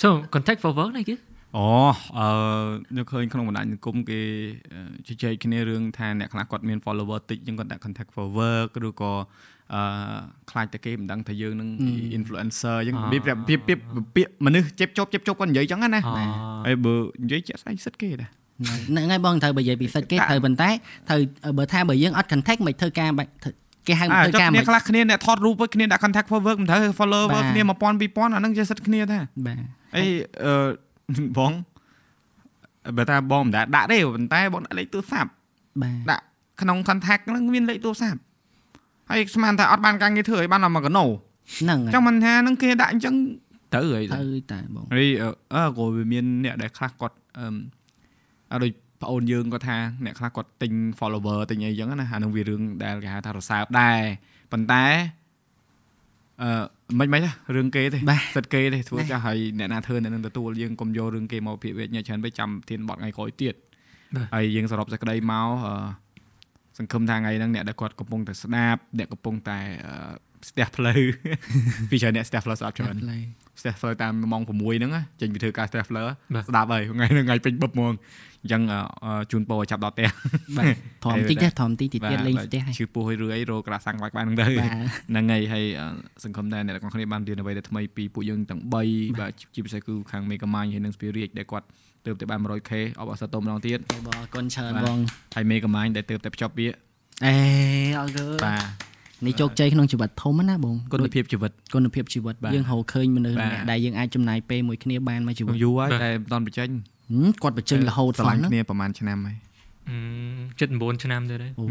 [SPEAKER 3] so contact for work នេះគេ
[SPEAKER 1] អូអឺនៅឃើញក្នុងបណ្ដាញសង្គមគេអឺជជែកគ្នារឿងថាអ្នកខ្លះគាត់មាន follower តិចអញ្ចឹងគាត់ដាក់ contact for work ឬក៏អឺខ្លាចតែគេមិនដឹងថាយើងនឹង influencer អញ្ចឹងវាប្រៀបធៀបពាក្យពាក្យមនុស្សចេបជប់ចេបជប់គាត់និយាយអញ្ចឹងណា
[SPEAKER 3] អូ
[SPEAKER 1] ហើយបើនិយាយជាក់ស្ដែងសិតគេដែរ
[SPEAKER 2] ហ្នឹងហើយបងត្រូវបើនិយាយពិសេសគេត្រូវប៉ុន្តែត្រូវបើថាបើយើងអត់ contact មិនធ្វើការបាច់ធ្វើគេហៅមិន
[SPEAKER 1] អា
[SPEAKER 2] ធ្វើ
[SPEAKER 1] ចុះគ្នា
[SPEAKER 2] ការមិន
[SPEAKER 1] ខ្លះគ្នាអ្នកថតរូបវិញគ្នាដាក់ contact for work មិនត្រូវ follower
[SPEAKER 2] បាទ
[SPEAKER 1] គ្នា1000 2000អាហ្នឹងចេះសិតគ្នាថា
[SPEAKER 2] បាទ
[SPEAKER 1] អីអឺបងបើថាបងមិនដែរដាក់ទេប៉ុន្តែបងដាក់លេខទូរស័ព្ទ
[SPEAKER 2] បាទ
[SPEAKER 1] ដាក់ក្នុង contact ហ្នឹងមានលេខទូរស័ព្ទហើយស្មានថាអត់បានការងារធ្វើឲ្យបានតែមកកណូ
[SPEAKER 2] ហ្នឹង
[SPEAKER 1] អញ្ចឹ
[SPEAKER 2] ហើ
[SPEAKER 1] ង
[SPEAKER 2] យ
[SPEAKER 1] មិនថាហ្នឹងគេដាក់អញ្ចឹងត្រូវហើយ
[SPEAKER 2] ទៅតែបង
[SPEAKER 1] ហើយអឺអើក៏វាមានអ្នកដែលខ្លះគាត់អឺមអ่าដូចប្អូនយើងគាត់ថាអ្នកខ្លះគាត់ទិញ follower ទិញអីចឹងណាអាហ្នឹងវារឿងដែលគេហៅថារសើបដែរប៉ុន្តែអឺមិនមិនទេរឿងគេទេ
[SPEAKER 2] បាទ
[SPEAKER 1] សិតគេទេធ្វើចាស់ហើយអ្នកណាធ្វើអ្នកនឹងទទួលយើងកុំយករឿងគេមកពិភាក្សាច្រើនពេកចាំធានបត់ថ្ងៃក្រោយទៀតហើយយើងសរុបសេចក្តីមកអឺសង្ឃឹមថាថ្ងៃហ្នឹងអ្នកដែលគាត់កំពុងតែស្ដាប់អ្នកកំពុងតែអឺស្ទះផ្លូវ ពីច្រើនអ្នកស្ទះផ្លូវស្ដាប់ច្រើន ស្ទះផ្លូវតាមម៉ោង6ហ្នឹងណាចេញពីធ្វើការស្ទះផ្លូវស្ដាប់ហើយថ្ងៃហ្នឹងថ្ងៃពេញបឹបហ្មងអញ្ចឹងអឺអឺជូនពរឲ្យចាប់ដ
[SPEAKER 2] (laughs)
[SPEAKER 1] ល់ផ្ទះ
[SPEAKER 2] បាទធំតិចទេធំតិចតិចទៀតលេង
[SPEAKER 1] បាទ
[SPEAKER 2] ស្ទះហើយ
[SPEAKER 1] ឈឺពោះឲ្យរឿយរោក្រាសាំងវាច់បាន (laughs) ហ្នឹងទៅ
[SPEAKER 2] បាទ
[SPEAKER 1] ហ្នឹងហើយហើយអឺសង្ឃឹមថាអ្នកទាំងអស់គ្នាបានរៀនអ្វីដែលថ្មីពីពួកយើងទាំង3បាទជាពិសេសគឺខាង Mega Mind ហើយនិង Spirit ដែលគាត់ទើបតែបាន 100k អបអរសាទរម្ដងទៀត
[SPEAKER 2] បងអរគុណច្រើនបង
[SPEAKER 1] ហើយ Mega Mind ដែលទើបតែភ្ជាប់វា
[SPEAKER 2] អេអរគុណ
[SPEAKER 1] បាទ
[SPEAKER 2] នេះជោគជ័យក្នុងជីវិតធំណាស់បង
[SPEAKER 1] គុណភាពជីវិត
[SPEAKER 2] គុណភាពជីវិត
[SPEAKER 1] បាទ
[SPEAKER 2] យើងហៅឃើញមនុស្ស
[SPEAKER 1] បាទ
[SPEAKER 2] ម្នាក់ដែលយើងអាចចំណាយពេលមួយគ្នាបានមួយជីវិត
[SPEAKER 1] ក្នុងយូរហើយតែមិនទាន់បញ្ចេញ
[SPEAKER 2] ហឹមគាត់បញ្ចេញរហូត
[SPEAKER 1] ស្រ
[SPEAKER 2] ហ្ម
[SPEAKER 1] ឡាញ់
[SPEAKER 2] ងហ្នឹង
[SPEAKER 1] គ្នាប្រហែលឆ្នាំហើយ
[SPEAKER 3] 79ឆ្នាំទៀតហើយ
[SPEAKER 2] អូ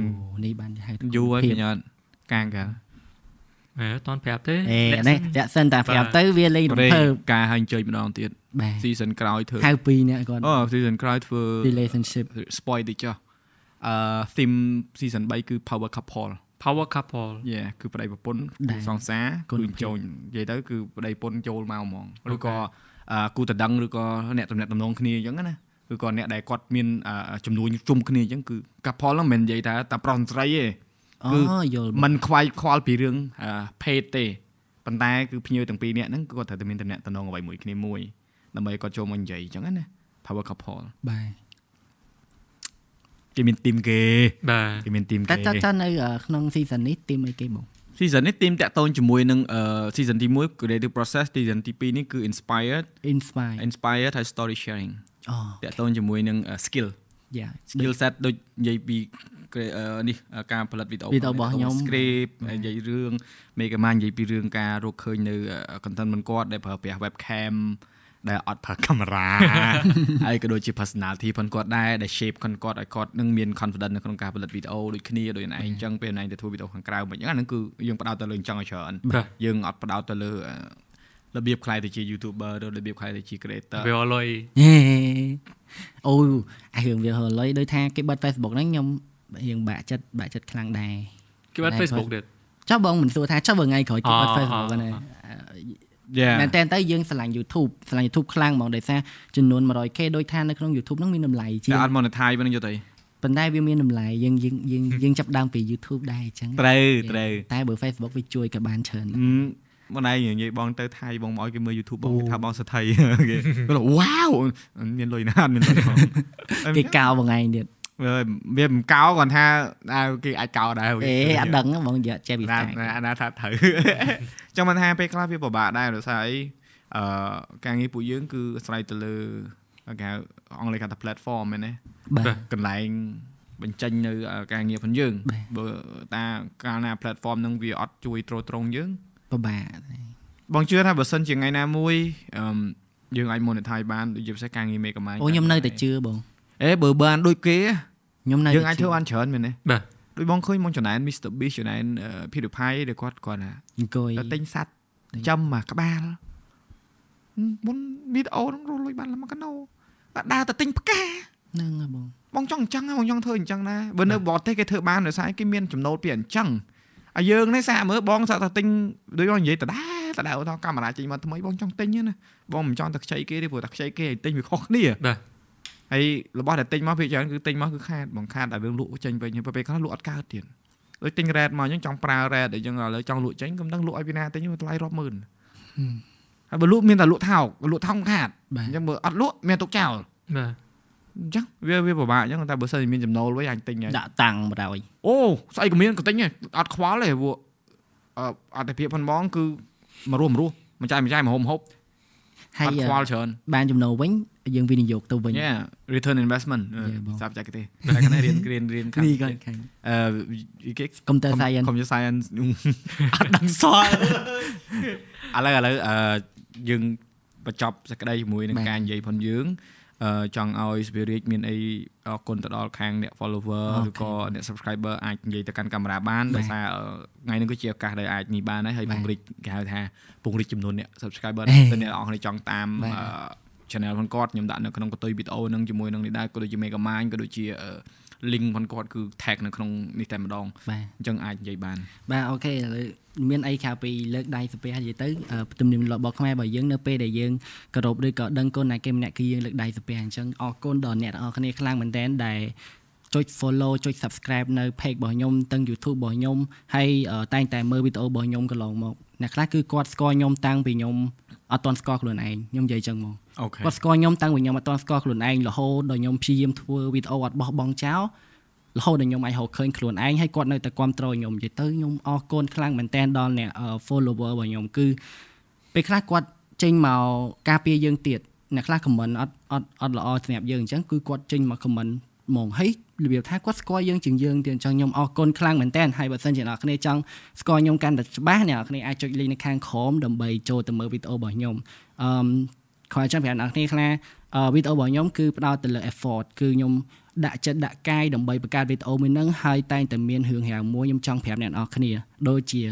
[SPEAKER 2] នេះបានហៅ
[SPEAKER 1] យូរហើយខ្ញុំអត់កាងកាល
[SPEAKER 3] អេអត់តន់ប្រាប់ទេ
[SPEAKER 2] អេនេះដាក់សិនតែប្រាប់ទៅវាលេងរំ
[SPEAKER 1] ប្រេ
[SPEAKER 2] ភើប
[SPEAKER 1] ការហើយអញ្ជើញម្ដងទៀត
[SPEAKER 2] បាទ
[SPEAKER 1] season ក្រោយធ្វើ
[SPEAKER 2] ហៅពីរអ្នកគាត់
[SPEAKER 1] អូ season ក្រោយធ្វើ
[SPEAKER 2] relationship
[SPEAKER 1] spoil តិចចុះអឺ theme season 3គឺ power couple
[SPEAKER 3] power couple
[SPEAKER 1] យេគឺប្តីប្រពន្ធ
[SPEAKER 2] ដែ
[SPEAKER 1] គូ
[SPEAKER 2] រ
[SPEAKER 1] សង្សារ
[SPEAKER 2] គុណ
[SPEAKER 1] គឺ
[SPEAKER 2] ភាព
[SPEAKER 1] ចូលនិយាយទៅគឺប្តីប្រពន្ធចូលមកហ្មងឬក៏អឺគូតដឹងឬក៏អ្នកតំណាក់តំណងគ្នាអញ្ចឹងណាឬក៏អ្នកដែលគាត់មានអឺចំនួនជុំគ្នាអញ្ចឹងគឺ couple ហ្នឹងមិនមែននិយាយថាតែប្រុសស្រីទេ គឺ
[SPEAKER 2] អូយល់
[SPEAKER 1] មិនខ្វាយខ្វល់ពីរឿងអឺភេទទេប៉ុន្តែគឺភ្ញៀវទាំងពីរនាក់ហ្នឹងគឺគាត់ត្រូវតែមានតំណែងតំណងអ្វីមួយគ្នាមួយដើម្បីគាត់ចូលមកនិយាយអញ្ចឹងណា power couple
[SPEAKER 2] បាទ
[SPEAKER 1] គេមានទីមគេ
[SPEAKER 3] បាទ
[SPEAKER 1] គេមានទីម
[SPEAKER 2] តែ
[SPEAKER 1] គេ
[SPEAKER 2] តើតើនៅអឺក្នុង season នេះទីមអីគេបង
[SPEAKER 1] season នេះទីមតាក់ទងជាមួយនឹងអឺ season ទី1 creative process season ទី2នេះគឺ inspired
[SPEAKER 2] inspire
[SPEAKER 1] inspired ហើយ story sharing
[SPEAKER 2] អូ
[SPEAKER 1] តាក់ទងជាមួយនឹងអឺ skill
[SPEAKER 2] យ៉ា
[SPEAKER 1] skill set ដូចនិយាយពី cre- អឺនេះអឺការផលិតវីដេអូ
[SPEAKER 2] Video របស់ខ្ញុំ
[SPEAKER 1] script ហើយនិយាយរឿង Mega Man និយាយពីរឿងការរកឃើញនៅអឺ content មិនគាត់ដែលប្រើប្រាស់ webcam ដែលអត់ប្រើកាមេរ៉ា (laughs) ហើយក៏ដូចជា personality ផងគាត់ដែរដែល shape ផងគាត់ឲ្យគាត់នឹងមាន confidence នៅក្នុងការផលិតវីដេអូដូចគ្នាដូចនឯងអញ្ចឹងពេលនឯងទៅធ្វើវីដេអូខាងក្រៅមិនអញ្ចឹងអាហ្នឹងគឺយើងផ្ដោតទៅលើអញ្ចឹងឲ្យច្រើន
[SPEAKER 3] បាទ
[SPEAKER 1] យើងអត់ផ្ដោតទៅលើអឺរបៀបខ្លាយទៅជា YouTuber ឬរបៀបខ្លាយទៅជា creator
[SPEAKER 3] វាលុយ
[SPEAKER 2] ហេ (laughs) អូអារឿងវាហឺលុយដោយថាគេបិទ Facebook ហ្នឹងខ្ញុំរឿងបាក់ចិត្តបាក់ចិត្តខ្លាំងដែរ
[SPEAKER 3] គេបាត់ Facebook ទៀត
[SPEAKER 2] ចុះបងមិនសួរថាចុះបើថ្ងៃក្រោយគេបិទ
[SPEAKER 3] អ่า
[SPEAKER 2] Facebook ហ្នឹង
[SPEAKER 1] Yeah
[SPEAKER 2] មែនតែនទៅយើងស្រឡាញ់ YouTube ស្រឡាញ់ YouTube ខ្លាំងហ្មងដោយសារចំនួន 100k ដោយថានៅក្នុង YouTube ហ្នឹងមានតម្លៃជា
[SPEAKER 1] តែ
[SPEAKER 2] ង
[SPEAKER 1] អត់ monetize វិញយកទៅ
[SPEAKER 2] ប៉ុន្តែវាមានតម្លៃយើងយើងយើងយើងចាប់ផ្ដើមពី YouTube ដែរអញ្ចឹង
[SPEAKER 1] ត្រូវត្រូវ
[SPEAKER 2] តែបើ Facebook វាជួយក៏បានច្រើនដែរ
[SPEAKER 1] ហឹមបងឯងនិយាយបងទៅថៃបងមកឲ្យគេមើល YouTube បងគេថាបងសេដ្ឋី (laughs) គេគាត់ថាវ៉ាវមានលុយណាស់មានលុយផង
[SPEAKER 2] គេកោបងឯងទៀត
[SPEAKER 1] វាវាមិនកោគាត់ថាដៅគេអាចកោដែរ
[SPEAKER 2] អេអត់ដឹងហ៎បងនិយាយចេះពី
[SPEAKER 1] ណា
[SPEAKER 2] តែ
[SPEAKER 1] (laughs) ណាណាថាត្រូវ ចង់មិនថាពេលខ្លះវាពិបាកដែរដោយសារអី អឺការងារពួកយើងគឺអាស្រ័យទៅលើគេហៅអង់គ្លេសគេថា platform មែនទេ
[SPEAKER 2] បាទ
[SPEAKER 1] កន្លែងបញ្ចេញនៅការងារផងយើង
[SPEAKER 2] បាទ
[SPEAKER 1] បើតាកាលណា platform ហ្នឹងវាអត់ជួយទ្រទ្រង់យើង
[SPEAKER 2] ពិបាកហើយ
[SPEAKER 1] បងជឿថាបើសិនជាថ្ងៃណាមួយអឺមយើងអាច monetize បានដូចជាពិសេសការងារ mega mind
[SPEAKER 2] អូខ្ញុំនៅតែជឿបង
[SPEAKER 1] អេបើបានដូចគេ
[SPEAKER 2] ខ្ញុំនៅតែ
[SPEAKER 1] យើងអាច
[SPEAKER 2] ជឿ
[SPEAKER 1] ធ្វើបានច្រើនមែនទេ
[SPEAKER 3] បាទ
[SPEAKER 1] ដូចបងឃើញមកចំណែន Mr Beast ចំណែន PewDiePie ដែលគាត់គាត់ណា
[SPEAKER 2] អង្គុយ
[SPEAKER 1] ទៅទិញសัตว์ចំមកក្បាលមុនវីដេអូហ្នឹងរស់លុយបានលំកណោបាទដើរទៅទិញផ្កា
[SPEAKER 2] ហ្នឹងហើយបង
[SPEAKER 1] បងចង់អញ្ចឹងណាបងចង់ធ្វើអញ្ចឹងណាបើនៅបរទេសគេធ្វើបានដោយសារគេមានចំណូលពីអញ្ចឹងហើយយើងនេះសាកមើលបងសាកថាទិញដូចបងនិយាយតដាតដាអូថកាមេរ៉ាចេញមកថ្មីបងចង់ទិញហ្នឹងណាបងមិនចង់ទៅខ្ចីគេទេព្រោះតែខ្ចីគេឲ្យទិញវាខុសគ្នា
[SPEAKER 3] បាទ
[SPEAKER 1] ហើយរបស់ដែលទិញមកភាគច្រើនគឺទិញមកគឺខាតបងខាតតែយើងលក់ចេញវិញហើយពេលខ្លះលក់អត់កើតទៀតដូចទិញ red មកអញ្ចឹងចង់ប្រើ red អញ្ចឹងឥឡូវចង់លក់ចេញក៏មិនដឹងលក់ឲ្យពីណាទិញវាតម្លៃរាប់ម៉ឺនហើយបើលក់មានតែលក់ថោកលក់ថោកមិនខាត
[SPEAKER 2] បាទ
[SPEAKER 1] អញ្ចឹងបើអត់លក់មានទុកចោល
[SPEAKER 3] បាទ
[SPEAKER 1] អញ្ចឹងវាវាពិបាកអញ្ចឹងតែបើសិនជាមានចំណូលវិញអញទិញហើយ
[SPEAKER 2] ដាក់តាំងបណ្ដោយ
[SPEAKER 1] អូស្អីក៏មានក៏ទិញដែរអត់ខ្វល់ទេពួកអឺអត្ថភាពផងបងគឺមករស់មករស់មិនចាយមិនចាយមកហូបមហូប
[SPEAKER 2] ហើយ
[SPEAKER 1] អត់ខ្វល់ច្រើន
[SPEAKER 2] បានចំណូលវិញយើងវិនិយោគទៅវិញ
[SPEAKER 1] Yeah return investment
[SPEAKER 2] Yeah បង
[SPEAKER 1] សាប់ចាក់ទេ (laughs) តែកណ្ដាលរៀនរៀនរៀនខាង
[SPEAKER 2] (laughs) នេះក៏ខាង
[SPEAKER 1] អឺគេ
[SPEAKER 2] Computer Science
[SPEAKER 1] Computer
[SPEAKER 2] (laughs)
[SPEAKER 1] Science អត់ដឹងសល់ឥឡូវឥឡូវអឺយើងបញ្ចប់សក្តីជាមួយនឹង
[SPEAKER 2] បាទ
[SPEAKER 1] ការនិយាយផងយើងអឺចង់ឲ្យ Spirit មានអីអរគុណទៅដល់ខាងអ្នក follower
[SPEAKER 2] អូខេ
[SPEAKER 1] ឬក៏អ្នក subscriber អាចនិយាយទៅកាន់កាមេរ៉ាបានដោយសារអឺថ្ងៃនេះក៏ជាឱកាសដែលអាចនេះបានហើយហើយ
[SPEAKER 2] បាទ
[SPEAKER 1] ពង្រីកគេហៅថាពង្រីកចំនួនអ្នក subscriber
[SPEAKER 2] ហេ
[SPEAKER 1] ទៅអ្នកនរអស់គ្នាចង់តាម
[SPEAKER 2] បាទ
[SPEAKER 1] អឺ channel ផងគាត់ខ្ញុំដាក់នៅក្នុងកន្ទុយវីដេអូនឹងជាមួយនឹងនេះដែរក៏ដូចជា Mega Mind ក៏ដូចជាអឺ link ផងគាត់គឺ tag នៅក្នុងនេះតែម្ដង
[SPEAKER 2] បាទ
[SPEAKER 1] អញ្ចឹងអាចនិយាយបាន
[SPEAKER 2] បាទអូខេឥឡូវមានអីក្រៅពីលើកដៃសាពះនិយាយទៅអឺទំនៀមទម្លាប់របស់ខ្មែររបស់យើងនៅពេលដែលយើងគោរពឬក៏ដឹងគុណអ្នកគេម្នាក់គឺយើងលើកដៃសាពះអញ្ចឹងអរគុណដល់អ្នកទាំងអស់គ្នាខ្លាំងមែនទែនដែលចុច follow ចុច subscribe នៅ page របស់ខ្ញុំទាំង YouTube របស់ខ្ញុំហើយអឺតែងតែមើលវីដេអូរបស់ខ្ញុំកន្លងមកអ្នកខ្លះគឺគាត់ស្គាល់ខ្ញុំតាំងពីខ្ញុំអត់ទាន់ស្គាល់ខ្លួនឯងខ្ញុំនិយាយអញ្ចឹងមក
[SPEAKER 1] អូខេ
[SPEAKER 2] គាត់ស្គាល់ខ្ញុំតាំងពីខ្ញុំអត់ទាន់ស្គាល់ខ្លួនឯងរហូតដល់ខ្ញុំព្យាយាមធ្វើវីដេអូអត់បោះបង់ចោលរហូតដល់ខ្ញុំអាចរកឃើញខ្លួនឯងហើយគាត់នៅតែគ្រប់គ្រងខ្ញុំនិយាយទៅខ្ញុំអរគុណខ្លាំងមែនទែនដល់អ្នកអឺ follower របស់ខ្ញុំគឺពេលខ្លះគាត់ចេញមកការពារយើងទៀតអ្នកខ្លះ comment អត់អត់អត់ល្អស្រាប់យើងអញ្ចឹងគឺគាត់ចេញមក comment ហ្មងហើយរបៀបថាគាត់ស្គាល់យើងជាងយើងទៀតអញ្ចឹងខ្ញុំអរគុណខ្លាំងមែនទែនហើយបើសិនជាអ្នកនរគ្នាចង់ស្គាល់ខ្ញុំកាន់តែច្បាស់អ្នកនរគ្នាអាចចុច link នៅខាងក្រោមដើម្បីចូលទៅមើលវីដេអូរបស់ខ្ញុំអឺម គាត់ចង់ប្រាប់អ្នកនរគ្នាខ្លះអឺវីដេអូរបស់ខ្ញុំគឺផ្ដោតទៅលើ effort គឺខ្ញុំដាក់ចិត្តដាក់កាយដើម្បីបង្កើតវីដេអូមួយហ្នឹងហើយតែងតែមានរឿងរ៉ាវមួយខ្ញុំចង់ប្រាប់អ្នកនរគ្នាដូចជា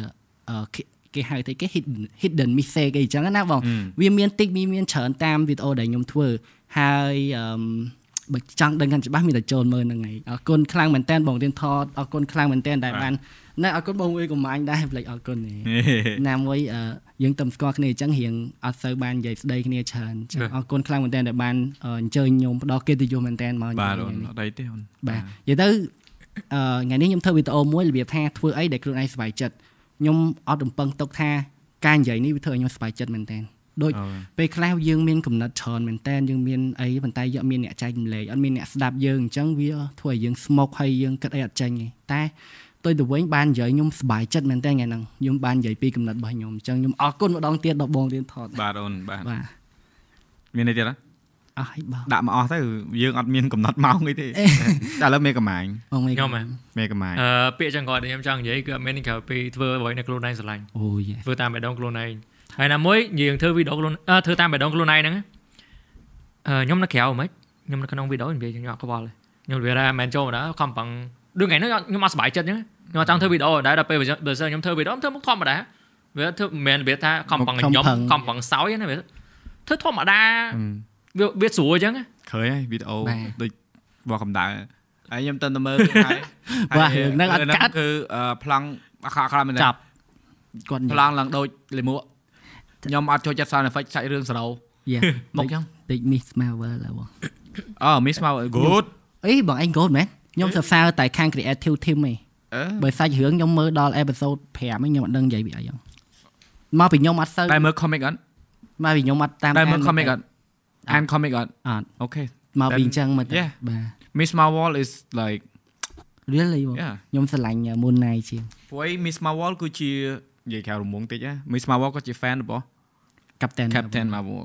[SPEAKER 2] អឺគេគេហៅថាគេ hidden hidden mistake អីចឹងណាបងវាមានតិចមានមានច្រើនតាមវីដេអូដែលខ្ញុំធ្វើហើយអឺម បើចង់ដឹងកាន់ច្បាស់មានតែចូលមើលហ្នឹងឯងអរគុណខ្លាំងមែនតើបងរៀនថតអរគុណខ្លាំងមែនតើដែលបានណែអរគុណបងមួយកំមាញ់ដែរផ្លេចអរគុណឯង ណាមួយអឺយើងទៅស្គាល់គ្នាអញ្ចឹងរៀងអត់សូវបាននិយាយស្ដីគ្នាច្រើនអញ្ចឹង
[SPEAKER 3] បាទ
[SPEAKER 2] អរគុណខ្លាំងមែនតើដែលបានអឺអញ្ជើញខ្ញុំផ្ដល់កិត្តិយសមែនតើម
[SPEAKER 1] (laughs)
[SPEAKER 2] ក
[SPEAKER 1] បាទ
[SPEAKER 2] ថ្ងៃ
[SPEAKER 1] អូន
[SPEAKER 2] នេះ
[SPEAKER 1] អត់អីទេអូន
[SPEAKER 2] បាទនិយាយទៅអឺថ្ងៃនេះខ្ញុំធ្វើវីដេអូមួយរបៀបថាធ្វើអីដែលខ្លួនឯងសប្បាយចិត្តខ្ញុំអត់រំពឹងទុកថាការនិយាយនេះវាធ្វើឲ្យខ្ញុំសប្បាយចិត្តមែនតើដូច
[SPEAKER 1] អូន
[SPEAKER 2] ពេលខ្លះយើងមានកំណត់ច្រើនមែនតើយើងមានអីប៉ុន្តែយើងអត់មានអ្នកចែករំលែកអត់មានអ្នកស្ដាប់យើងអញ្ចឹងវាធ្វើឲ្យយើងស្មុកហើយយើងគិតអីអត់ចេញទេតែផ្ទុយទៅវិញបាននិយាយខ្ញុំសប្បាយចិត្តមែនតើថ្ងៃហ្នឹងខ្ញុំបាននិយាយពីកំណត់របស់ខ្ញុំអញ្ចឹងខ្ញុំអរគុណម្ដងទៀតដល់បងរៀនថត
[SPEAKER 1] បាទអូនបាទ
[SPEAKER 2] បាទ
[SPEAKER 1] មានអីទៀតអ่ะ
[SPEAKER 2] អស់ហើយបង
[SPEAKER 1] ដាក់មកអស់ទៅយើងអត់មាន (laughs) កំណត់ម៉ោងអីទេតែឥឡូវមេកម្មាញ
[SPEAKER 2] បងមិន
[SPEAKER 3] ខ្ញុំហ៎
[SPEAKER 1] មេកម្មាញ
[SPEAKER 3] អឺពាក្យចឹងគាត់ដែលខ្ញុំចង់និយាយគឺអត់មានក្រៅពីធ្វើអ្វីនៅខ្លួនឯងស្រឡាញ់
[SPEAKER 2] អូយេ
[SPEAKER 3] ធ្វើតាមបេះដូងខ្លួនឯងហើយណាមួយយើងធ្វើវីដេអូខ្លួនអឺធ្វើតាមបេះដូងខ្លួនឯងហ្នឹងអឺខ្ញុំនៅក្រៅហ្មងខ្ញុំនៅក្នុងវីដេអូនិយាយខ្ញុំអត់ខ្វល់ទេខ្ញុំនិយាយថាមិនចូលមកដល់ខំប្រឹងដូចថ្ងៃហ្នឹងខ្ញុំអត់សប្បាយចិត្តអញ្ចឹងខ្ញុំអត់ចង់ធ្វើវីដេអូដែរដល់ពេលបើសិនខ្ញុំធ្វើវីដេអូខ្ញុំធ្វើមកធម្មតាវាធ្វើមិនមែនវាថាខំប្រឹងខ្ញុំខំប្រឹងសោយណាវាធ្វើធម្មតាវាវាស្រួលអញ្ចឹង
[SPEAKER 1] ឃើញហើយវីដេអូដូចបោះកម្ដៅហើយខ្ញុំទៅទៅ (laughs) មើលគេហើយ
[SPEAKER 2] បាទរឿងហ្នឹងអត់កាត់
[SPEAKER 1] គឺប្លង់អាខអាខមែន
[SPEAKER 2] ចាប់គាត់និ
[SPEAKER 1] ប្ល
[SPEAKER 2] យាយ
[SPEAKER 1] ង់ឡើងដូចលេមួកខ្ញុំអត់ចូលចិត្តសារ effect សាច់រឿងសរោ
[SPEAKER 2] យេ
[SPEAKER 1] មកចឹង
[SPEAKER 2] តិច Miss Marvel ហើយបង
[SPEAKER 1] អឺ miss មក good
[SPEAKER 2] អីបងឯង gold មែនខ្ញុំសរសើរតែខាង creative team ឯង
[SPEAKER 1] អឺ
[SPEAKER 2] បើសាច់រឿងខ្ញុំមើលដល់ episode 5ហ្នឹងខ្ញុំអត់ដឹងនិយាយពីអីហ្នឹងមកពីខ្ញុំអត់សូវ
[SPEAKER 1] តែមើល comic អត់
[SPEAKER 2] មកពីខ្ញុំអត់តាម
[SPEAKER 1] តែមើល
[SPEAKER 2] អាន
[SPEAKER 1] comic អត់អាន comic អត់
[SPEAKER 2] អត់
[SPEAKER 1] អូខេ
[SPEAKER 2] មក
[SPEAKER 1] Then-
[SPEAKER 2] ពីអញ្ចឹងមកទៅ
[SPEAKER 1] Yeah.
[SPEAKER 2] បាទ
[SPEAKER 1] Miss Marvel is like
[SPEAKER 2] really បង
[SPEAKER 1] yeah
[SPEAKER 2] ខ្ញុំស្រឡាញ់ Moon Knight ជាង
[SPEAKER 1] ព្រោះឯង Miss Marvel គឺជានិយាយក្រៅរំងតិចណា Miss Marvel ក៏ជា fan របស់
[SPEAKER 2] Captain
[SPEAKER 1] Captain Marvel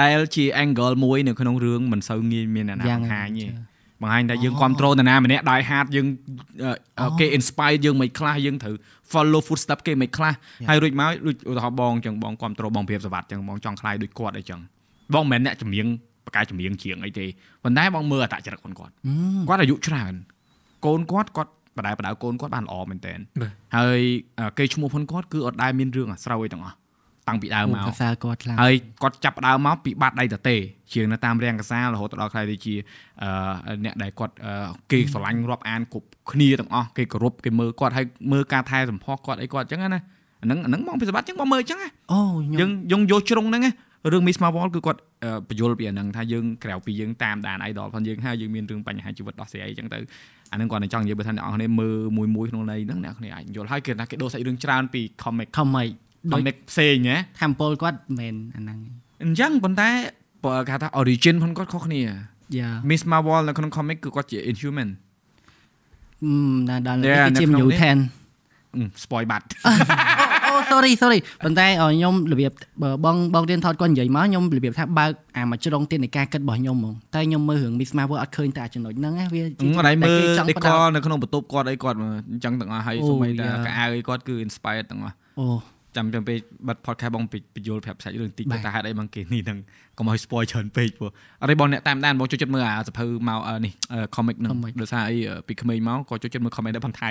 [SPEAKER 1] ដែលជា angle មួយនៅក្នុងរឿងមិនសូវងាយមានអ្នកណា
[SPEAKER 2] យ៉ាង
[SPEAKER 1] បង្ហាញទេ
[SPEAKER 2] ចា
[SPEAKER 1] បង្ហាញថាយើងគ្រប់គ្រងតាណាម្នាក់ដោយហាត់យើងអឺគេ inspire យើងមិនខ្លះយើងត្រូវ follow footstep គេមិនខ្លះហើយរួចមកដូចឧទាហរណ៍បងអញ្ចឹងបងគ្រប់គ្រងបងព្រាបសវត្តអញ្ចឹងបងចង់ខ្លាយដូចគាត់អីចឹងបងមិនមែនអ្នកចម្រៀងបកាយចម្រៀងជាងអីទេប៉ុន្តែបងមើលអត្តចរិតខ្លួនគាត់ គាត់អាយុច្រើនកូនគាត់គាត់បដៅបដៅកូនគាត់បានល្អមែនតើ
[SPEAKER 3] បាទ
[SPEAKER 1] ហើយអឺគេឈ្មោះផងគាត់គឺអត់ដែរមានរឿងអាស្រូវអីទាំងអស់តាំងពីដើម
[SPEAKER 2] មុខ
[SPEAKER 1] មក
[SPEAKER 2] ភាសាគាត់ខ្លាំង
[SPEAKER 1] ហើយគាត់ចាប់ផ្ដើមមកពីបាត់ដៃតទេជាងនៅតាមរាំងកាសារហូតទៅដល់ខ្លះទៅជាអឺអ្នកដែលគាត់អឺគេស្រឡាញ់រាប់អានគ្រប់គ្នាទាំងអស់គេគោរពគេមើលគាត់ហើយមើលការថែសម្ផស្សគាត់អីគាត់អញ្ចឹងណាអាហ្នឹងអាហ្នឹងមកពីសវត្តអញ្ចឹងមកមើលអញ្ចឹងណា
[SPEAKER 2] អូញ
[SPEAKER 1] យើ
[SPEAKER 2] ញុំ
[SPEAKER 1] ងយើងយកជ្រុងហ្នឹងណារឿង Miss Marvel គឺគាត់អឺបញ្យលពីអាហ្នឹងថាយើងក្រៅពីយើងតាមដាន idol ផងយើងហើយយើងមានរឿងបញ្ហាជីវិតដោះស្រាយអីចឹងទៅអាហ្នឹងគាត់តែចង់និយាយបើថាអ្នកនរគ្នាមើលមួយមួយក្នុងន័យហ្នឹងអ្នកនរគ្នាអាចយល់ហើយគេថាគេដូរសាច់រឿងច្រើនពី comic
[SPEAKER 2] comic ដូច
[SPEAKER 1] comic ផ្សេងណា
[SPEAKER 2] តាមពលគាត់មិនអាហ្នឹង
[SPEAKER 1] អញ្ចឹងប៉ុន្តែបើគេហៅថា origin ផងគាត់ខុសគ្នា
[SPEAKER 2] យ៉ា
[SPEAKER 1] Miss Marvel នៅក្នុង comic គឺគាត់ជា inhuman
[SPEAKER 2] អឺដល់
[SPEAKER 1] Yeah,
[SPEAKER 2] គេ
[SPEAKER 1] នៅ
[SPEAKER 2] ជា
[SPEAKER 1] ក្នុង
[SPEAKER 2] មនុស្ស
[SPEAKER 1] នេះ
[SPEAKER 2] 10
[SPEAKER 1] អឺ spoil បាត់
[SPEAKER 2] អូ sorry sorry ប៉ុន្តែឲ្យខ្ញុំរបៀបបើបងបងរៀនថតគាត់និយាយមកខ្ញុំរបៀបថាបើកអាមួយជ្រុងទៀតនៃការគិតរបស់ខ្ញុំហ្មងតែខ្ញុំមើលរឿង Miss Marvel អត់ឃើញតែអាចំណុចហ្នឹងណាវា
[SPEAKER 1] អឺអត់ឲ្យ
[SPEAKER 2] តែ
[SPEAKER 1] មើល
[SPEAKER 2] គេចង់
[SPEAKER 1] ដេក
[SPEAKER 2] ផ្ដោត
[SPEAKER 1] នៅក្នុងបន្ទប់គាត់អីគាត់មើលអញ្ចឹងទាំងអស់ហើយ
[SPEAKER 2] អូ
[SPEAKER 1] សូម្បីតែ
[SPEAKER 2] យ៉ា
[SPEAKER 1] កៅអៅគាត់គឺ inspired ទាំងអស់
[SPEAKER 2] អូ
[SPEAKER 1] ចាំចាំពេលបិទ podcast បងពេចបញ្យល់ប្រាប់សាច់រឿងតិច
[SPEAKER 2] បាទ
[SPEAKER 1] តែហេតុអីបងគេនេះហ្នឹងកុំឲ្យ spoil ច្រើនពេកព្រោះអរិបងអ្នកតាមដានបងចូលចិត្តមើលអាសភៅមកអឺនេះអឺ comic ហ្នឹង
[SPEAKER 2] comic
[SPEAKER 1] ដោយសារអីអឺពីក្មេងមកក៏ចូលចិត្តមើល comic ដែរបន្ថៃ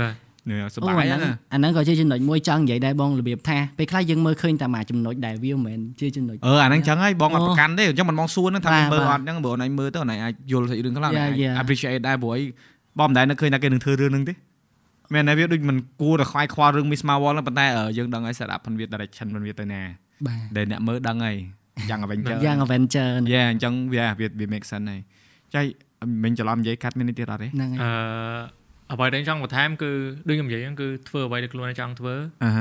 [SPEAKER 3] បាទ
[SPEAKER 1] នេះស
[SPEAKER 2] អូ
[SPEAKER 1] ប្បាយ
[SPEAKER 2] អាហ្នឹង
[SPEAKER 1] ណាស់
[SPEAKER 2] អាហ្នឹងក៏ជាចំណុចមួយចង់និយាយដែរបងរបៀបថាពេលខ្លះយើងមើលឃើញតែមួយចំណុចដែលវាមិនមែនជាចំណុច
[SPEAKER 1] អឺអាហ្នឹងចឹងហើយបងអត់
[SPEAKER 2] អូ
[SPEAKER 1] ប្រកាន់ទេអញ្ចឹងមិនមកសួរហ្នឹងថា
[SPEAKER 2] បាទ
[SPEAKER 1] មើល
[SPEAKER 2] បាទ
[SPEAKER 1] អត់ហ្នឹងបើអូនឯងមើលទៅអូនឯងអាចយល់សាច់រឿងខ្លះអូនឯង
[SPEAKER 2] Yeah, yeah.
[SPEAKER 1] appreciate ដែរព្រោះអីបងមិនដែលនឹកឃើញថាគេនឹងធ្វើរឿងហ្នឹងទេមែនតែវាដូចមិនគួរតែខ្វាយខ្វល់រឿង Miss Marvel ហ្នឹងប៉ុន្តែអឺយើងដឹងហើយ setup ផងវា direction ផងវាទៅណា
[SPEAKER 2] បា
[SPEAKER 1] ដែលអ្នកមើលដឹងហើយយ៉ាង Avenger
[SPEAKER 2] ទយ៉ាង Avenger ហ្ន
[SPEAKER 1] យ៉ាអញ្ចឹងវាវាវា make sense ហើយចៃមិញច្រឡំនិយាយកាត់មាននេះទៀតអត់ទេ
[SPEAKER 2] ្នឹង
[SPEAKER 3] អឺអ្វីដែលចង់បន្ថែមគឺដូចខ្ញុំនិយាយហ្នឹងគឺធ្វើអ្វីដែលខ្លួនឯងចង់ធ្វើ
[SPEAKER 1] អឺហ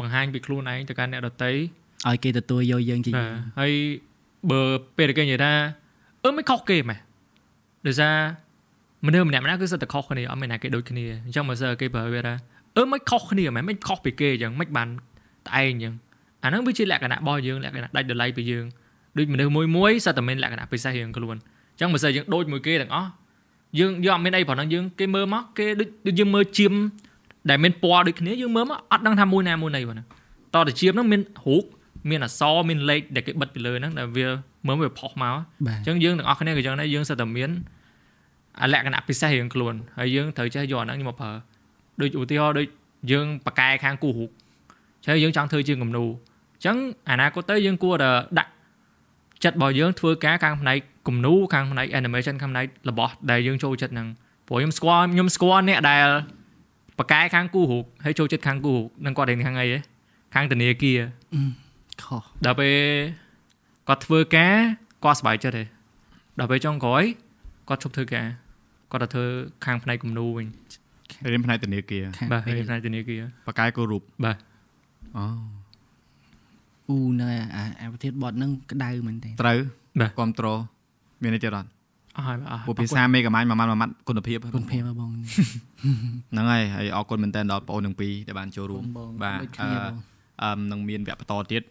[SPEAKER 3] បង្ហាញពីខ្លួនឯងទៅកាន់អ្នកដទៃ
[SPEAKER 2] ឲ្យគេទទួលយកយើងជា
[SPEAKER 3] បាទហើយបើពេលដែលគេនិយាយថាអឺមិនខុសគេម៉េះដោយសារមនុស្សម្នាក់ម្នាក់គឺសិតតែខុសគ្នាអត់មានណាគេដូចគ្នាអញ្ចឹងបើសិនគេប្រើវាថាអឺមិនខុសគ្នាម៉េះមិនខុសពីគេអញ្ចឹងមិនបានតែឯងអញ្ចឹងអាហ្នឹងវាជាលក្ខណៈរបស់យើងលក្ខណៈដាច់ដលៃពីយើងដូចមនុស្សមួយមួយសិតតែមានលក្ខណៈពិសេសរៀងខ្លួនអញ្ចឹងបើសិនយើងដូចមួយគេទាំងអស់យើងយើងអត់មានអីប៉ុណ្ណឹងយើងគេមើលមកគេដូចដូចយើងមើលជាមដែលមានពណ៌ដូចគ្នាយើងមើលមកអត់ដឹងថាមួយណាមួយណីប៉ុណ្ណឹងតោះតែជាមហ្នឹងមានរូប មានអក្សរមានលេខដែលគេបិទពីលើហ្នឹងដែលវាមើលវាផុសមក
[SPEAKER 2] បា
[SPEAKER 3] អ
[SPEAKER 2] ទ
[SPEAKER 3] ញ្ចឹងយើងទាំងអស់គ្នាក៏យ៉ាងដែរយើងសិតតែមានអាលក្ខណៈពិសេសរៀងខ្លួនហើយយើងត្រូវចេះយកអាហ្នឹងយកមកប្រើដូចឧទាហរណ៍ដូចយើងប៉ាកែខាងគូរូបអញ្ចឹងយើងចង់ធ្វើជាងគំនូរអញ្ចឹងអនាគតទៅយើងគួរតែដាក់ចិត្តរបស់យើងធ្វើការខាងផ្នែកគំនូរខាងផ្នែក animation ខាងផ្នែករបស់ដែលយើងចូលចិត្តហ្នឹងព្រោះខ្ញុំស្គាល់ខ្ញុំស្គាល់អ្នកដែលប៉ាកែខាងគូរូបហើយចូលចិត្តខាងគូរូបនឹងគាត់រៀនខាងអីហ៎ខាងធនាគារ
[SPEAKER 2] ខុស
[SPEAKER 3] ដល់ពេលគាត់ធ្វើការគាត់សប្បាយចិត្តទេដល់ពេលចុងក្រោយគាត់ឈប់ធ្វើការគាត់ទៅធ្វើខាងផ្នែកគំនូរវិញ
[SPEAKER 1] ឺរៀនផ្នែកធនាគារ
[SPEAKER 2] ខាង
[SPEAKER 3] បាទ
[SPEAKER 2] នេះ
[SPEAKER 3] ហើយផ្នែកធនាគារ
[SPEAKER 1] បកកាយគោរូប
[SPEAKER 3] បាទ
[SPEAKER 1] អូ
[SPEAKER 2] អ៊ូនៅអាអាប្រធានបតហ្នឹងក្តៅមែនទេ
[SPEAKER 1] ត្រូវ
[SPEAKER 3] បាទ
[SPEAKER 1] គ្រប់គ្រងមាននេះទៀតអត់
[SPEAKER 3] អស់ហើយបាទអស់
[SPEAKER 1] ពួកភាសាមេកាម៉ាញមួយម៉ាត់មួយម៉ាត់គុណភាព
[SPEAKER 2] គុណភាពហ៎បង
[SPEAKER 1] ហ្នឹងហើយហើយអរគុណមែនតើដល់បងអូនទាំងពីរដែលបានចូលរួម
[SPEAKER 2] បងៗ
[SPEAKER 1] បាទ
[SPEAKER 2] ដូចគ្នា
[SPEAKER 1] អឺ
[SPEAKER 2] បង
[SPEAKER 1] អឹមនឹងមានវគ្គបន្តទៀត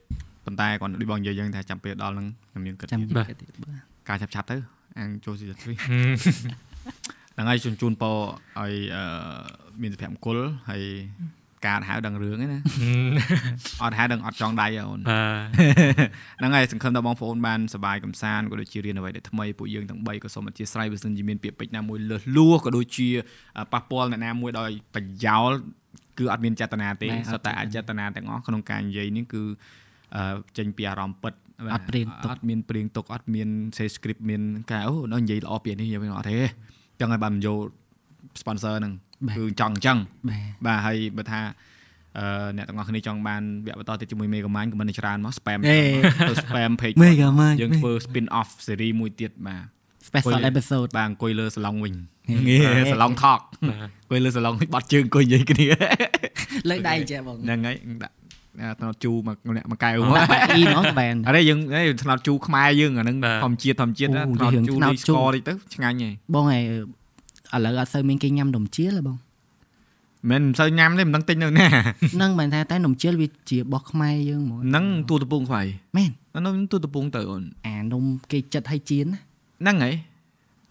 [SPEAKER 1] ប៉ុន្តែគាត់ដូចបងនិយាយយើងថាចាំពេលដល់ហ្នឹងខ្ញុំមានគិត
[SPEAKER 2] ចាំ
[SPEAKER 1] ទៀត
[SPEAKER 2] និយាយគេទៀតបាទ
[SPEAKER 1] ការឆាប់ឆាប់ទៅអាងចូលស៊ី
[SPEAKER 2] (laughs)
[SPEAKER 1] ទ្រី ហ្នឹងហើយជូនជូនពរឲ្យអឺមានសុភមង្គលហើយការអត់ហៅដឹងរឿងហ្នឹងណា
[SPEAKER 2] (laughs)
[SPEAKER 1] អត់ហៅដឹងអត់ចង់ដៃហ៎អូន
[SPEAKER 3] បា
[SPEAKER 1] (laughs)
[SPEAKER 3] ទ
[SPEAKER 1] ហ្នឹងហើយសង្ឃឹមថាបងប្អូនបានសប្បាយកំសាន្តក៏ដូចជារៀនអ្វីដែលថ្មីពួកយើងទាំង3ក៏សូមអធិស្ឋានបើសិនជាមានពាក្យពេចន៍ណាមួយលើសលួសក៏ដូចជាអ่าប៉ះពាល់អ្នកណាមួយដោយប្រយោលគឺអត់មានចេតនាទេ
[SPEAKER 2] បាទ
[SPEAKER 1] សុទ្ធតែអចេតនាទាំងអស់ក្នុងការនិយាយនេះគឺអឺចេញពីអារម្មណ៍ពិតបាទ
[SPEAKER 2] អត់ព្រាងទុក
[SPEAKER 1] អត់មានព្រៀងទុកអត់មានសេស្គ្រីបមានការអូដល់និយាយល្អពាក្យនេះនិយាយមិនអត់ទេចឹងហើយបានបញ្ចូល sponsor ហ្នឹង
[SPEAKER 2] បាទ
[SPEAKER 1] គឺចង់អញ្ចឹង
[SPEAKER 2] បាទ
[SPEAKER 1] បាទហើយបើថាអឺអ្នកទាំងអស់គ្នាចង់បានវគ្គបន្តទៀតជាមួយ Mega Mind ក៏មិនច្រើនមក spam
[SPEAKER 2] អេ
[SPEAKER 1] ទៅ spam page
[SPEAKER 2] Mega Mind
[SPEAKER 1] យើងធ្វើ spin off series មួយទៀតបាទ
[SPEAKER 2] special
[SPEAKER 1] អង្គុយ
[SPEAKER 2] episode
[SPEAKER 1] បាទអង្គុយលើសាឡុងវិញ
[SPEAKER 2] ហេ
[SPEAKER 1] ងាយសាឡុង talk អង្គុយលើសាឡុងបាត់ជើងអង្គុយនិយាយគ្នា
[SPEAKER 2] លើកដៃចេះបង
[SPEAKER 1] ហ្នឹងហើយដាក់អាត្នោតជូរមកម្នាក់មកកែវមក
[SPEAKER 2] ដាក់បាក់ (laughs) អ៊ីហ្មងក៏បាន
[SPEAKER 1] អរេយើងអេត្នោតជូរខ្មែរយើងអាហ្នឹងធម្មជាតិធម្មជាតិ
[SPEAKER 2] អូ
[SPEAKER 1] ណាត្នោត
[SPEAKER 2] យើង
[SPEAKER 1] ជូរ
[SPEAKER 2] ត្នោត
[SPEAKER 1] នេះ
[SPEAKER 2] ជូ
[SPEAKER 1] ស្ករ រតិចទៅឆ្ងាញ់ហី
[SPEAKER 2] (laughs) បងឯងឥឡូវអត់សូវមានគេញ៉ាំដុំជៀលហ៎បង
[SPEAKER 1] មិនសូវញ៉ាំទេមិនដឹង
[SPEAKER 2] (laughs)
[SPEAKER 1] ទិញនៅណា
[SPEAKER 2] ហ្នឹងមិនថាតែនំជិលវាជារបស់ខ្មែរយើងហ្មង
[SPEAKER 1] ហ្នឹងទូតពងខ្វៃ
[SPEAKER 2] មែន
[SPEAKER 1] អានោះទូតពងទៅអូន
[SPEAKER 2] អានំគេចិត្តឲ្យជៀនណា
[SPEAKER 1] ហ្នឹងហី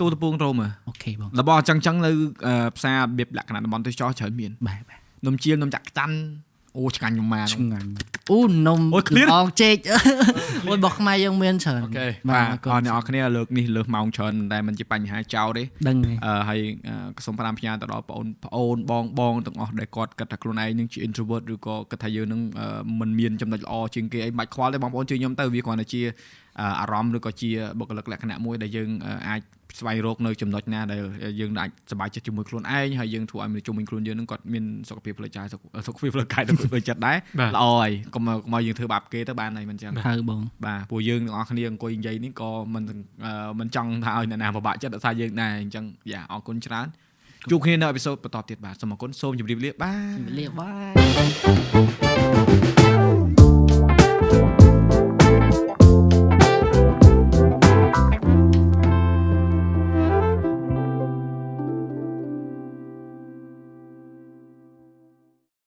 [SPEAKER 1] ទូតពងរោម
[SPEAKER 2] អូខេបង
[SPEAKER 1] របស់អញ្ចឹងចឹងនៅផ្សាររបៀបលក្ខណៈតំបន់ទេសចរច្រើនមាន
[SPEAKER 2] បាទបាទ
[SPEAKER 1] នំជៀលនំចាក់ខ្ចាន់អូឆ្កាញ់ខ្ញុំម៉ា
[SPEAKER 2] ឆ្ងាញ់អូនំ
[SPEAKER 1] អូឃ្លៀន
[SPEAKER 2] អងចេកអូរបស់ខ្មែរយើងមានច្រើន
[SPEAKER 3] អូខេ
[SPEAKER 1] បាទអ
[SPEAKER 2] អ
[SPEAKER 1] រ
[SPEAKER 2] រ
[SPEAKER 1] គុ
[SPEAKER 2] គុ
[SPEAKER 1] ណ
[SPEAKER 2] ណ
[SPEAKER 1] អ្នកគ្នាលើកនេះលើសម៉ោងច្រើនតែមិនជាបញ្ហាចោលទេ
[SPEAKER 2] ដឹងហើយ
[SPEAKER 1] អឺហើយអឺក៏សូមផ្ដាំផ្ញើទៅដល់បងប្អូនបងបងទាំងអស់ដែលគាត់គិតថាខ្លួនឯងនឹងជា introvert ឬក៏គិតថាយើងនឹងអឺមិនមានចំណុចល្អជាងគេអីមិនបាច់ខ្វល់ទេបងប្អូនជួយខ្ញុំទៅវាគ្រាន់តែជាអឺអារម្មណ៍ឬក៏ជាបុគ្គលិកលក្ខណៈមួយដែលយើងអឺអាចស្វែងរកនៅចំណុចណាដែលយើងអាចសប្បាយចិត្តជាមួយខ្លួនឯងហើយយើងធ្វើឲ្យមនុស្សជុំវិញខ្លួនយើងនឹងគាត់មានសុខភាពផ្លូវចិត្តសុខសុខភាពផ្លូវ (laughs) កាយទៅផ្លូវចិត្តដែរ
[SPEAKER 3] បាទ
[SPEAKER 1] ល្អហើយកុំកុំឲ្យយើងធ្វើបាបគេទៅបានហើយមិនចឹង
[SPEAKER 2] ហើយបង
[SPEAKER 1] បាទពួកយើងទាំងអស់គ្នាអង្គុយនិយាយនេះក៏មិនអឺមិនចង់ថាឲ្យអ្នកណាពិបាកចិត្តដោយសារយើងដែរអញ្ចឹងយ៉ាអរគុណច្រើនជួបគ្នានៅអេពីសូតបន្តទៀតបាទសូមអរគុណសូមជម្រាបលាបាទ
[SPEAKER 2] លាបាយ